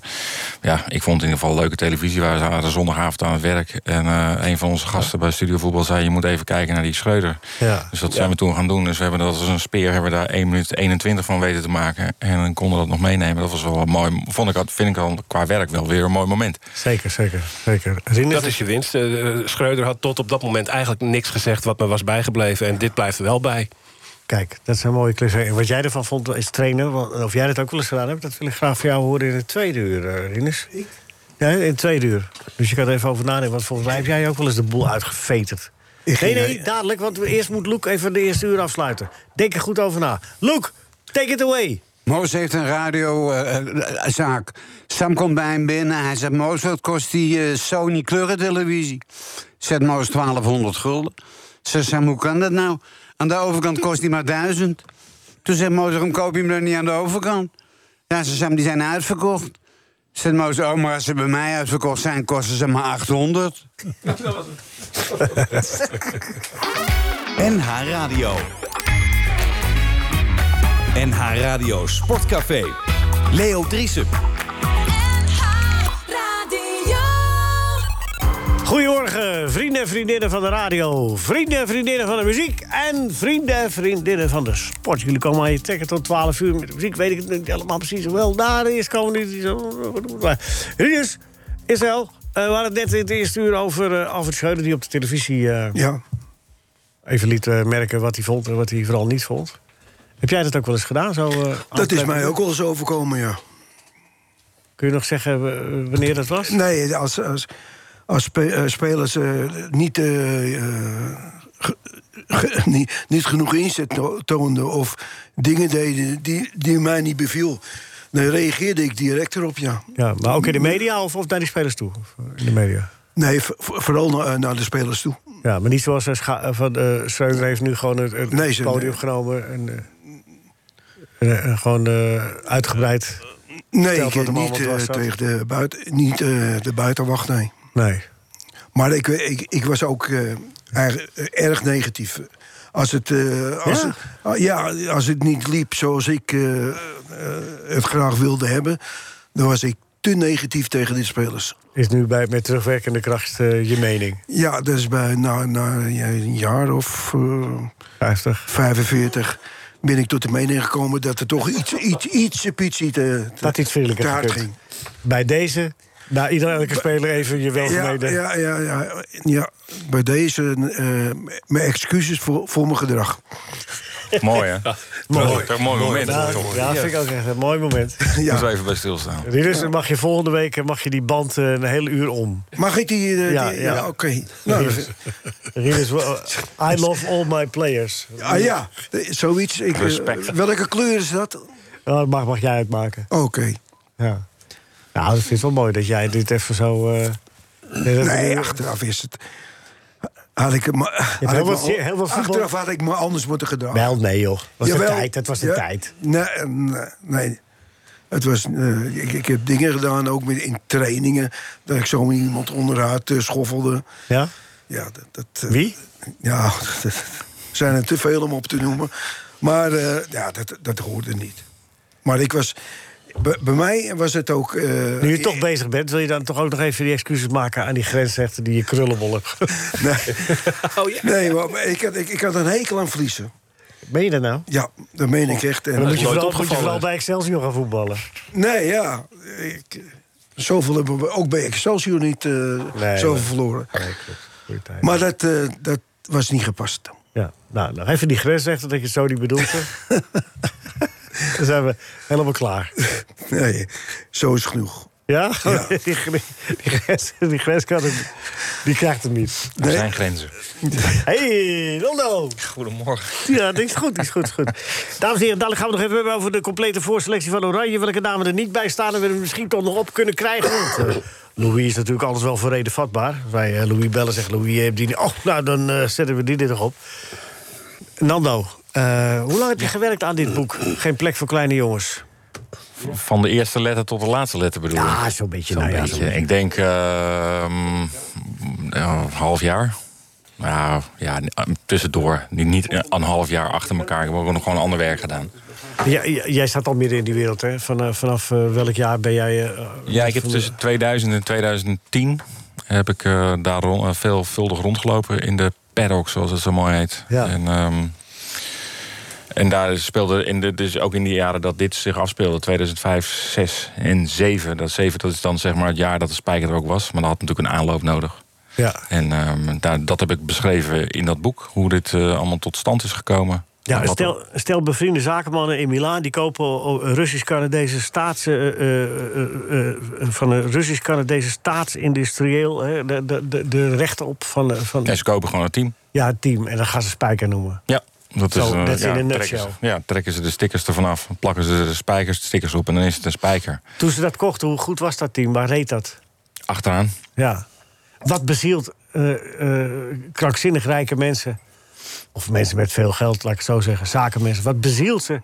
Speaker 7: ja, ik vond het in ieder geval leuke televisie. We zaten zondagavond aan het werk. En eh, een van onze gasten bij Studio Voetbal zei: Je moet even kijken naar die Schreuder.
Speaker 3: Ja.
Speaker 7: Dus dat zijn we toen gaan doen. Dus we hebben dat als een speer, hebben we daar 1 minuut 21 van weten te maken. En dan konden we dat nog meenemen. Dat was wel een mooi. Vond ik, dat- vind ik dan qua werk wel weer een mooi moment.
Speaker 3: Zeker, zeker, zeker. Rinus,
Speaker 4: Dat is je winst. Eh, Schreuder had tot op dat moment eigenlijk niks gezegd... wat me was bijgebleven en dit blijft er wel bij.
Speaker 3: Kijk, dat zijn mooie cliché. En wat jij ervan vond is trainen, want- of jij dat ook wel eens gedaan hebt... dat wil ik graag van jou horen in het tweede uur, eh, Rinus. Ik? Ja, in het tweede uur. Dus je kan er even over nadenken, want volgens mij heb jij ook wel eens de boel uitgeveterd. Nee, nee, dadelijk, want we- eerst moet Loek even de eerste uur afsluiten. Denk er goed over na. Loek, take it away.
Speaker 12: Moos heeft een radiozaak. Sam komt bij hem binnen. Hij zegt: Moos, wat kost die eh, Sony kleurentelevisie? Zet Moos 1200 gulden. Zegt Sam: Hoe kan dat nou? Aan de overkant kost die maar 1000. Toen zegt Moos: Waarom koop je hem dan niet aan de overkant? Ja, zegt Sam: Die zijn uitverkocht. Zegt Moos: Oh, maar als ze bij mij uitverkocht zijn, kosten ze maar 800.
Speaker 13: NH Radio.
Speaker 2: NH Radio Sportcafé. Leo Driesen.
Speaker 3: Goedemorgen, vrienden en vriendinnen van de radio, vrienden en vriendinnen van de muziek en vrienden en vriendinnen van de sport. Jullie komen aan je trekken tot 12 uur met de muziek, weet ik het niet helemaal precies. Wel, Nou, daar is komen niet. zo- Maar Rinus, Israël, eh, we hadden het net in het eerste uur over eh, Alfred Schreuder... die op de televisie eh,
Speaker 6: Ja.
Speaker 3: even liet eh, merken wat hij vond en wat hij vooral niet vond. Heb jij dat ook wel eens gedaan? Zo, eh, aan
Speaker 6: Dat
Speaker 3: het
Speaker 6: is
Speaker 3: trekken?
Speaker 6: mij ook wel eens overkomen, ja.
Speaker 3: Kun je nog zeggen eh, wanneer dat was?
Speaker 6: Nee, als, als, als spe- eh, spelers eh, niet, eh, eh, ge- ge- niet, niet genoeg inzet to- toonden of dingen deden die, die mij niet beviel, dan reageerde ik direct erop, ja.
Speaker 3: Ja, maar ook in de media of, of naar die spelers toe? Of, eh, In de media?
Speaker 6: Nee, v- v- vooral na- eh, naar de spelers toe.
Speaker 3: Ja, maar niet zoals eh, Scha- eh, van, eh Schreuder heeft nu gewoon het, het
Speaker 6: Nee, ze-
Speaker 3: podium genomen en, eh, en, eh, gewoon eh, uitgebreid.
Speaker 6: Nee,
Speaker 3: Vertel wat
Speaker 6: ik, eh,
Speaker 3: hem
Speaker 6: niet
Speaker 3: allemaal
Speaker 6: eh,
Speaker 3: dwars zat.
Speaker 6: tegen de, buiten, niet, eh, de buitenwacht, nee.
Speaker 3: Nee.
Speaker 6: Maar ik, ik, ik was ook eh, erg, erg negatief. Als het, eh, als,
Speaker 3: Ja?
Speaker 6: het- ah, ja, als het niet liep zoals ik eh, eh, het graag wilde hebben, dan was ik te negatief tegen die spelers.
Speaker 3: Is nu bij, met terugwerkende kracht eh, je mening.
Speaker 6: Ja, dat is bij na, na een jaar of eh,
Speaker 3: 50.
Speaker 6: 45 ben ik tot de mening gekomen dat er toch iets, iets, iets, ietsje te, te,
Speaker 3: Dat iets vriendelijker
Speaker 6: te hard
Speaker 3: gekund.
Speaker 6: ging.
Speaker 3: Bij deze, nou, ieder elke speler even je
Speaker 6: Ja,
Speaker 3: welgemene...
Speaker 6: ja, ja, ja, ja, bij deze eh, mijn excuses voor, voor mijn gedrag.
Speaker 7: Mooi, hè?
Speaker 3: Mooi.
Speaker 7: Dat is een mooi moment.
Speaker 3: Nou,
Speaker 7: toch?
Speaker 3: ja, vind ik ook echt een mooi moment.
Speaker 7: Moeten we even bij stilstaan.
Speaker 3: Rinus, dan mag je volgende week eh, mag je die band eh, een hele uur om.
Speaker 6: Mag ik die? eh,
Speaker 3: Ja,
Speaker 6: die-
Speaker 3: ja.
Speaker 6: ja, oké. Nou, dat-
Speaker 3: Rinus, eh, I love all my players.
Speaker 6: ah, ja, eh, zoiets. Ik, eh,
Speaker 7: Respect.
Speaker 6: welke kleur is dat? Oké.
Speaker 3: Nou, dat mag, mag jij uitmaken. Ja. Nou, dat vind ik wel mooi dat jij dit even zo. eh, nee, dat-
Speaker 6: Nee, achteraf is het. Had ik hem. had
Speaker 3: heel
Speaker 6: ik me
Speaker 3: wat-
Speaker 6: al-
Speaker 3: heel wat voetbal-
Speaker 6: achteraf had ik me anders moeten gedragen.
Speaker 3: Wel, nee, joh. Dat was de
Speaker 6: Jawel.
Speaker 3: tijd. Dat was de
Speaker 6: Ja,
Speaker 3: tijd.
Speaker 6: Nee, eh, nee, nee. Het was, eh, ik, ik heb dingen gedaan, ook met, in trainingen, dat ik zo iemand onderuit eh, schoffelde.
Speaker 3: Ja?
Speaker 6: Ja, dat, dat, eh,
Speaker 3: Wie?
Speaker 6: Ja, er zijn er te veel om op te noemen. Maar eh, ja, dat, dat hoorde niet. Maar ik was... Bij, bij mij was het ook... eh,
Speaker 3: Nu je toch bezig bent, wil je dan toch ook nog even die excuses maken aan die grensrechter die je krullenbol hebt.
Speaker 6: Nee,
Speaker 3: Oh,
Speaker 6: nee maar ik had, ik, ik had een hekel aan vliezen.
Speaker 3: Meen je dat nou?
Speaker 6: Ja, dat meen ik echt.
Speaker 3: En Oh, dan
Speaker 6: En,
Speaker 3: moet je, vooral,
Speaker 4: nooit
Speaker 3: moet je
Speaker 4: opgevallen.
Speaker 3: vooral bij Excelsior gaan voetballen.
Speaker 6: nee, ja. Ik,
Speaker 5: Zoveel hebben we ook bij Excelsior niet eh, zoveel
Speaker 3: maar-
Speaker 5: verloren.
Speaker 3: Goeie tijd.
Speaker 5: Maar dat, eh, dat was niet gepast.
Speaker 3: Ja, nou, nou even die grensrechter dat je het zo niet bedoelt. hè. Dan zijn we helemaal klaar.
Speaker 5: Nee, zo is genoeg.
Speaker 3: Ja? Die, gre- die, grens, die grenskant, die krijgt hem niet.
Speaker 7: Er zijn grenzen.
Speaker 3: Hey, Rollo!
Speaker 7: Goedemorgen.
Speaker 3: Ja, dat is goed, dat is goed, is goed. Dames en heren, dadelijk gaan we het nog even hebben over de complete voorselectie van Oranje. Welke namen er niet bij staan en we er misschien toch nog op kunnen krijgen. Want, eh, Louis is natuurlijk alles wel voor reden vatbaar. Als wij eh, Louis bellen, zegt Louis, heb die niet. Oh, nou, dan eh, zetten we die er nog op. Nando, eh, hoe lang heb je gewerkt aan dit boek? Geen plek voor kleine jongens.
Speaker 7: Van de eerste letter tot de laatste letter bedoel ik.
Speaker 3: Ja, zo'n beetje.
Speaker 7: Zo'n
Speaker 3: nou ja,
Speaker 7: beetje.
Speaker 3: zo'n beetje.
Speaker 7: Ik denk eh, mm, eh, een half jaar. Nou ja, n- eh, tussendoor. Niet, niet eh, een half jaar achter elkaar. Ik heb ook nog gewoon ander werk gedaan.
Speaker 3: Ja, ja, jij staat al midden in die wereld, hè? Van, eh, vanaf eh, welk jaar ben jij... eh,
Speaker 7: Ja, ik heb
Speaker 3: van-
Speaker 7: tussen 2000 en 2010 heb ik eh, daar rond, eh, veelvuldig rondgelopen in de paddock, zoals het zo mooi heet.
Speaker 3: Ja.
Speaker 7: En, ehm, en daar speelde, in de, dus ook in die jaren dat dit zich afspeelde, 2005, 6 en 7. Dat 7 dat is dan zeg maar het jaar dat de spijker er ook was, maar dat had natuurlijk een aanloop nodig.
Speaker 3: Ja,
Speaker 7: En ehm, daar, dat heb ik beschreven in dat boek, hoe dit eh, allemaal tot stand is gekomen.
Speaker 3: Ja,
Speaker 7: En wat-
Speaker 3: stel, stel bevriende zakenmannen in Milaan... die kopen o- o- Russisch-Canadese staats... eh, eh, eh, eh, van een Russisch-Canadese staatsindustrieel... hè, de, de, de, de rechten op van, eh, van
Speaker 7: En ze kopen gewoon een team.
Speaker 3: ja, het team. En dan gaan ze Spijker noemen.
Speaker 7: Ja, dat
Speaker 3: Zo,
Speaker 7: is eh,
Speaker 3: that's
Speaker 7: ja,
Speaker 3: in a
Speaker 7: trekken ze,
Speaker 3: nutshell.
Speaker 7: ja, trekken ze de stickers ervan af, plakken ze de spijkers, de stickers op en dan is het een spijker.
Speaker 3: Toen ze dat kochten, hoe goed was dat team? Waar reed dat?
Speaker 7: Achteraan.
Speaker 3: Ja. Wat bezielt eh, eh, krankzinnig rijke mensen... of mensen met veel geld, laat ik het zo zeggen, zakenmensen... wat bezielt ze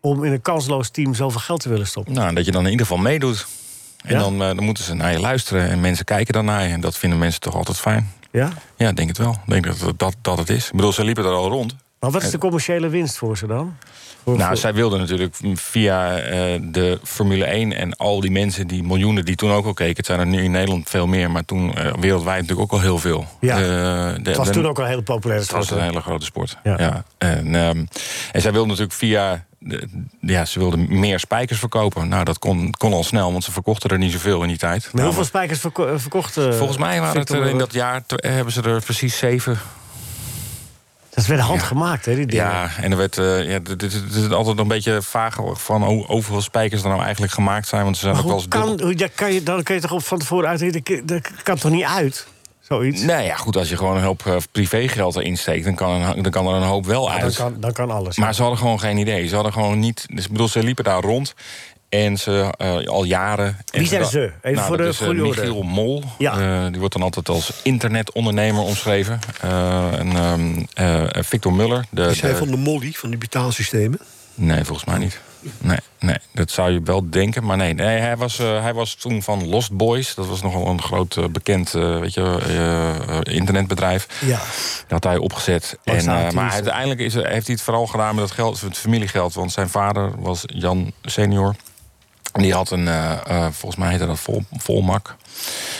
Speaker 3: om in een kansloos team zoveel geld te willen stoppen?
Speaker 7: Nou, dat je dan in ieder geval meedoet. En
Speaker 3: Ja?
Speaker 7: dan, eh, dan moeten ze naar je luisteren en mensen kijken dan naar je. En dat vinden mensen toch altijd fijn.
Speaker 3: Ja?
Speaker 7: Ja, ik denk het wel. Ik denk dat het- dat, dat het is. Ik bedoel, ze liepen er al rond.
Speaker 3: Maar wat is de commerciële winst voor ze dan? Voor-
Speaker 7: Nou,
Speaker 3: voor-
Speaker 7: zij wilden natuurlijk via eh, de Formule 1 en al die mensen, die miljoenen die toen ook al keken. Het zijn er nu in Nederland veel meer, maar toen eh, wereldwijd natuurlijk ook al heel veel.
Speaker 3: Ja.
Speaker 7: Eh, de-
Speaker 3: Het was
Speaker 7: de-
Speaker 3: toen ook al heel populair.
Speaker 7: Het was eh, een hele grote sport.
Speaker 3: eh, Ja.
Speaker 7: Ja. En, ehm, en zij wilde natuurlijk via. de- ja, ze wilden meer spijkers verkopen. Nou, dat kon, kon al snel, want ze verkochten er niet zoveel in die tijd.
Speaker 3: Maar
Speaker 7: Nou,
Speaker 3: hoeveel spijkers verko- eh, verkocht? eh,
Speaker 7: Volgens mij waren het
Speaker 3: Victor
Speaker 7: er in dat
Speaker 3: Lambert?
Speaker 7: jaar tw- hebben ze er precies zeven.
Speaker 3: Dat is met de hand gemaakt, hè, die dingen.
Speaker 7: Ja, en er werd eh, ja, dit, dit, dit is altijd een beetje vaag van hoe hoeveel spijkers er nou eigenlijk gemaakt zijn. Want ze zijn
Speaker 3: Maar
Speaker 7: ook wel
Speaker 3: hoe
Speaker 7: eens
Speaker 3: kan,
Speaker 7: dubbel-
Speaker 3: hoe, ja, kan je, dan kun je toch op van tevoren uitrekenen... Dat kan toch niet uit, zoiets?
Speaker 7: Nou ja, goed, als je gewoon een hoop eh, privégeld erin steekt, dan kan, een, dan kan er een hoop wel
Speaker 3: dan,
Speaker 7: uit.
Speaker 3: kan, dan kan alles.
Speaker 7: Maar ze hadden gewoon geen idee. Ze hadden gewoon niet. Dus ik bedoel, ze liepen daar rond. En ze eh, al jaren. en
Speaker 3: Wie zijn
Speaker 7: da-
Speaker 3: ze? Even
Speaker 7: nou,
Speaker 3: voor
Speaker 7: dat
Speaker 3: de
Speaker 7: is, eh,
Speaker 3: goede orde.
Speaker 7: Michiel Mol.
Speaker 3: Ja.
Speaker 7: Eh, die wordt dan altijd als internetondernemer omschreven. Eh, en, ehm, eh, Victor Muller. De,
Speaker 6: Is hij
Speaker 7: de-
Speaker 6: van de Molly, van die betaalsystemen?
Speaker 7: Nee, volgens mij niet. Nee, nee, dat zou je wel denken. Maar nee, nee hij, was, eh, hij was toen van Lost Boys. Dat was nogal een groot eh, bekend eh, weet je, eh, eh, internetbedrijf.
Speaker 3: Ja.
Speaker 7: Dat had hij opgezet. En,
Speaker 3: Langzaam
Speaker 7: eh,
Speaker 3: het
Speaker 7: maar
Speaker 3: is-
Speaker 7: uiteindelijk is, er- heeft hij het vooral gedaan met dat geld, het familiegeld. Want zijn vader was Jan senior. En Die had een, eh, eh, volgens mij heette dat vol, volmak.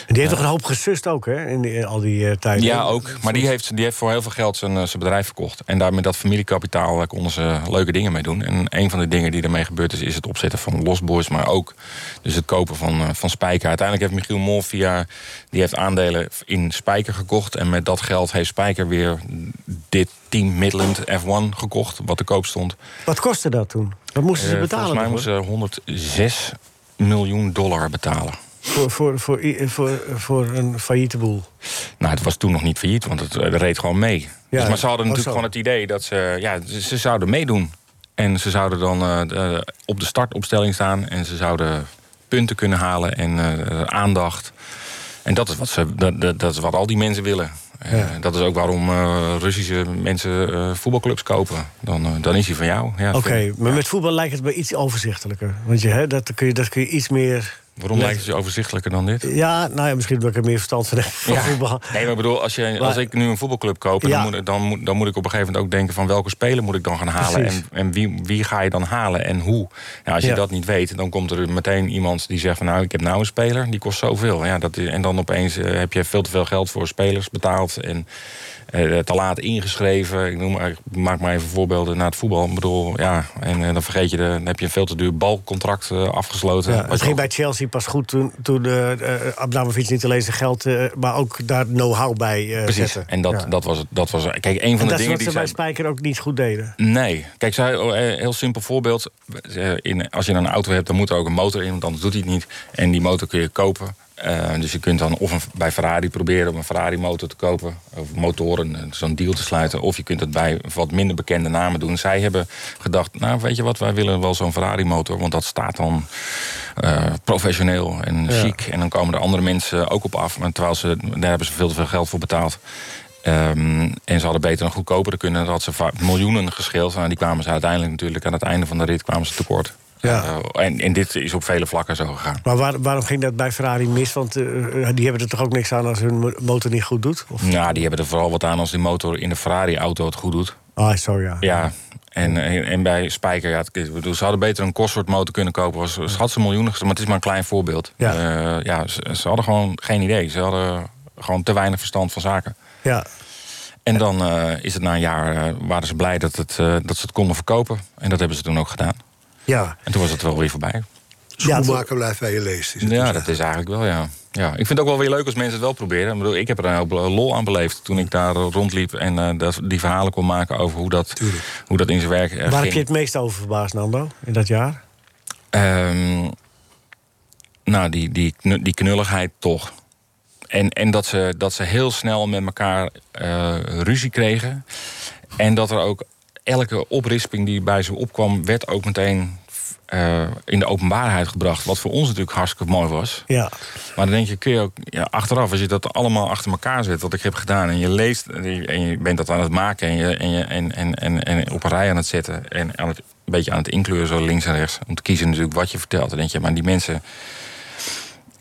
Speaker 3: En die heeft toch een hoop gesust ook, hè? In, die- in al die eh, tijden.
Speaker 7: Ja, ook. Maar die heeft, die heeft voor heel veel geld zijn, eh, zijn bedrijf verkocht. En daar met dat familiekapitaal eh, konden ze leuke dingen mee doen. En een van de dingen die ermee gebeurd is, is het opzetten van Lost Boys. Maar ook dus het kopen van, eh, van Spijker. Uiteindelijk heeft Michiel Mol via... Die heeft aandelen in Spijker gekocht. En met dat geld heeft Spijker weer dit team Midland F1 gekocht. Wat te koop stond.
Speaker 3: Wat kostte dat toen? Wat moesten ze
Speaker 7: Eh,
Speaker 3: betalen?
Speaker 7: volgens mij
Speaker 3: toch,
Speaker 7: moesten ze 106 miljoen dollar betalen.
Speaker 3: hoor? voor, voor, voor, i- eh, voor, voor een failliete boel.
Speaker 7: Nou, het was toen nog niet failliet, want het eh, reed gewoon mee.
Speaker 3: Ja,
Speaker 7: dus, maar ze hadden
Speaker 3: oh,
Speaker 7: natuurlijk
Speaker 3: zo.
Speaker 7: gewoon het idee dat ze, ja, ze, ze zouden meedoen. En ze zouden dan eh, de- op de startopstelling staan en ze zouden punten kunnen halen en eh, aandacht. En dat is, wat ze, dat, dat, dat is wat al die mensen willen. Eh, dat is ook waarom eh, Russische mensen eh, voetbalclubs kopen. Dan, eh, dan is hij van jou. Ja,
Speaker 3: Oké,
Speaker 7: vind-
Speaker 3: maar met voetbal lijkt het me iets overzichtelijker. Want je, hè, dat, kun je, dat kun je iets meer...
Speaker 7: Waarom lijkt het je overzichtelijker dan dit?
Speaker 3: Ja, nou ja, misschien omdat ik er meer verstand van heb van
Speaker 7: Ja.
Speaker 3: voetbal.
Speaker 7: Nee, maar ik bedoel, als, je, als
Speaker 3: Maar-
Speaker 7: ik nu een voetbalclub koop...
Speaker 3: Ja.
Speaker 7: Dan, moet, ik- dan, moet, dan moet ik op een gegeven moment ook denken... van welke speler moet ik dan gaan halen?
Speaker 3: Precies.
Speaker 7: En, en wie, wie ga je dan halen en hoe? Nou, als je
Speaker 3: Ja.
Speaker 7: dat niet weet, dan komt er meteen iemand die zegt... van nou, ik heb nou een speler, die kost zoveel. Ja, dat, is- en dan opeens eh, heb je veel te veel geld voor spelers betaald. En eh, eh, te laat ingeschreven. Ik, noem, maar- ik maak maar even voorbeelden naar het voetbal. Ik bedoel, ja, en eh, dan vergeet je, de, dan heb je een veel te duur balcontract eh, afgesloten.
Speaker 3: Ja,
Speaker 7: Wat
Speaker 3: het
Speaker 7: je
Speaker 3: ging bij Chelsea pas goed toen, toen eh, eh, Abramovich niet alleen zijn geld, eh, maar ook daar know-how bij eh
Speaker 7: Precies.
Speaker 3: zetten.
Speaker 7: En dat,
Speaker 3: Ja.
Speaker 7: dat, was, het- dat was. Kijk, een van
Speaker 3: En
Speaker 7: de
Speaker 3: dat is
Speaker 7: dingen
Speaker 3: wat
Speaker 7: die
Speaker 3: ze bij
Speaker 7: zij.
Speaker 3: Spijker ook niet goed deden.
Speaker 7: Nee. Kijk, zij, oh, eh, heel simpel voorbeeld. Eh, In, als je een auto hebt, dan moet er ook een motor in, want anders doet hij het niet. En die motor kun je kopen. Eh, dus je kunt dan of een, bij Ferrari proberen om een Ferrari-motor te kopen. Of motoren, eh, zo'n deal te sluiten. Of je kunt het bij wat minder bekende namen doen. Zij hebben gedacht, nou weet je wat, wij willen wel zo'n Ferrari-motor. Want dat staat dan eh, professioneel en
Speaker 14: Ja.
Speaker 7: chic. En dan komen er andere mensen ook op af. Maar terwijl ze, daar hebben ze veel te veel geld voor betaald. Ehm, en ze hadden beter een goedkopere kunnen. Dat had ze va- miljoenen gescheeld. Nou, die kwamen ze uiteindelijk natuurlijk aan het einde van de rit kwamen ze tekort. Eh, en, en dit is op vele vlakken zo gegaan.
Speaker 3: Maar waar- waarom ging dat bij Ferrari mis? Want eh, eh, die hebben er toch ook niks aan als hun mo- motor niet goed doet? Of?
Speaker 7: Nou, die hebben er vooral wat aan als die motor in de Ferrari-auto het goed doet.
Speaker 3: Ah, sorry, ja.
Speaker 7: Ja, en, en, en bij Spijker, ja, het- ik bedoel, ze hadden beter een Cosworth motor kunnen kopen. Was, ze had ze miljoenen, gez- maar het is maar een klein voorbeeld.
Speaker 3: Ja.
Speaker 7: Eh, ja ze, ze hadden gewoon geen idee. Ze hadden gewoon te weinig verstand van zaken.
Speaker 3: Ja.
Speaker 7: En dan eh, is het na een jaar, eh, waren ze blij dat, het, eh, dat ze het konden verkopen. En dat hebben ze toen ook gedaan.
Speaker 3: Ja.
Speaker 7: En toen was het wel weer voorbij.
Speaker 6: Schoenmaker blijft bij je leest. Is het
Speaker 7: Ja, dat is eigenlijk wel, ja. ja. Ik vind het ook wel weer leuk als mensen het wel proberen. Ik, bedoel, ik heb er een heel bl- lol aan beleefd toen ik daar rondliep... en eh, dat, die verhalen kon maken over hoe dat, hoe dat in zijn werk eh,
Speaker 3: Waar heb
Speaker 7: ging.
Speaker 3: je het meest over verbaasd, Nando, in dat jaar?
Speaker 7: Ehm, nou, die, die, knu- die knulligheid toch. En, en dat, ze, dat ze heel snel met elkaar eh, ruzie kregen. En dat er ook elke oprisping die bij ze opkwam, werd ook meteen eh, in de openbaarheid gebracht. Wat voor ons natuurlijk hartstikke mooi was.
Speaker 3: Ja.
Speaker 7: Maar dan denk je, kun je ook ja, achteraf, als je dat allemaal achter elkaar zet, wat ik heb gedaan, en je leest en je, en je bent dat aan het maken en, je, en, je, en, en, en, en op een rij aan het zetten en aan het, een beetje aan het inkleuren, zo links en rechts, om te kiezen natuurlijk wat je vertelt. Dan denk je, maar die mensen,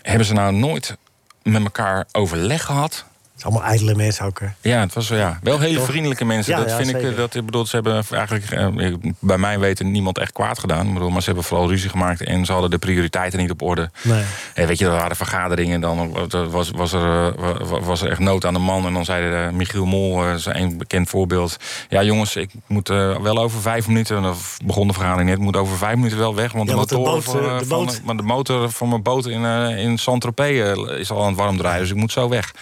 Speaker 7: hebben ze nou nooit met elkaar overleg gehad?
Speaker 3: Het is allemaal ijdele mensen ook, hè?
Speaker 7: Ja, het was ja, wel hele
Speaker 3: Toch?
Speaker 7: vriendelijke mensen.
Speaker 3: Ja,
Speaker 7: dat
Speaker 3: ja,
Speaker 7: vind ik. eh,
Speaker 3: zeker.
Speaker 7: Dat, ik bedoel, ze hebben eigenlijk eh, bij mij weten niemand echt kwaad gedaan. Ik bedoel, maar ze hebben vooral ruzie gemaakt en ze hadden de prioriteiten niet op orde.
Speaker 3: Nee.
Speaker 7: En weet je, er waren vergaderingen. Dan eh, was, was, er, eh, wa- wa- was er echt nood aan de man. En dan zei eh, Michiel Mol, eh, zijn een bekend voorbeeld. Ja, jongens, ik moet eh, wel over vijf minuten. En dan begon de vergadering net. Moet over vijf minuten wel weg. Want
Speaker 3: Ja,
Speaker 7: de
Speaker 3: want de
Speaker 7: motor
Speaker 3: boot,
Speaker 7: van,
Speaker 3: eh,
Speaker 7: eh,
Speaker 3: de
Speaker 7: van,
Speaker 3: boot-
Speaker 7: maar de motor van mijn boot in, eh, in Saint-Tropez eh, is al aan het warm draaien. Dus ik moet zo weg.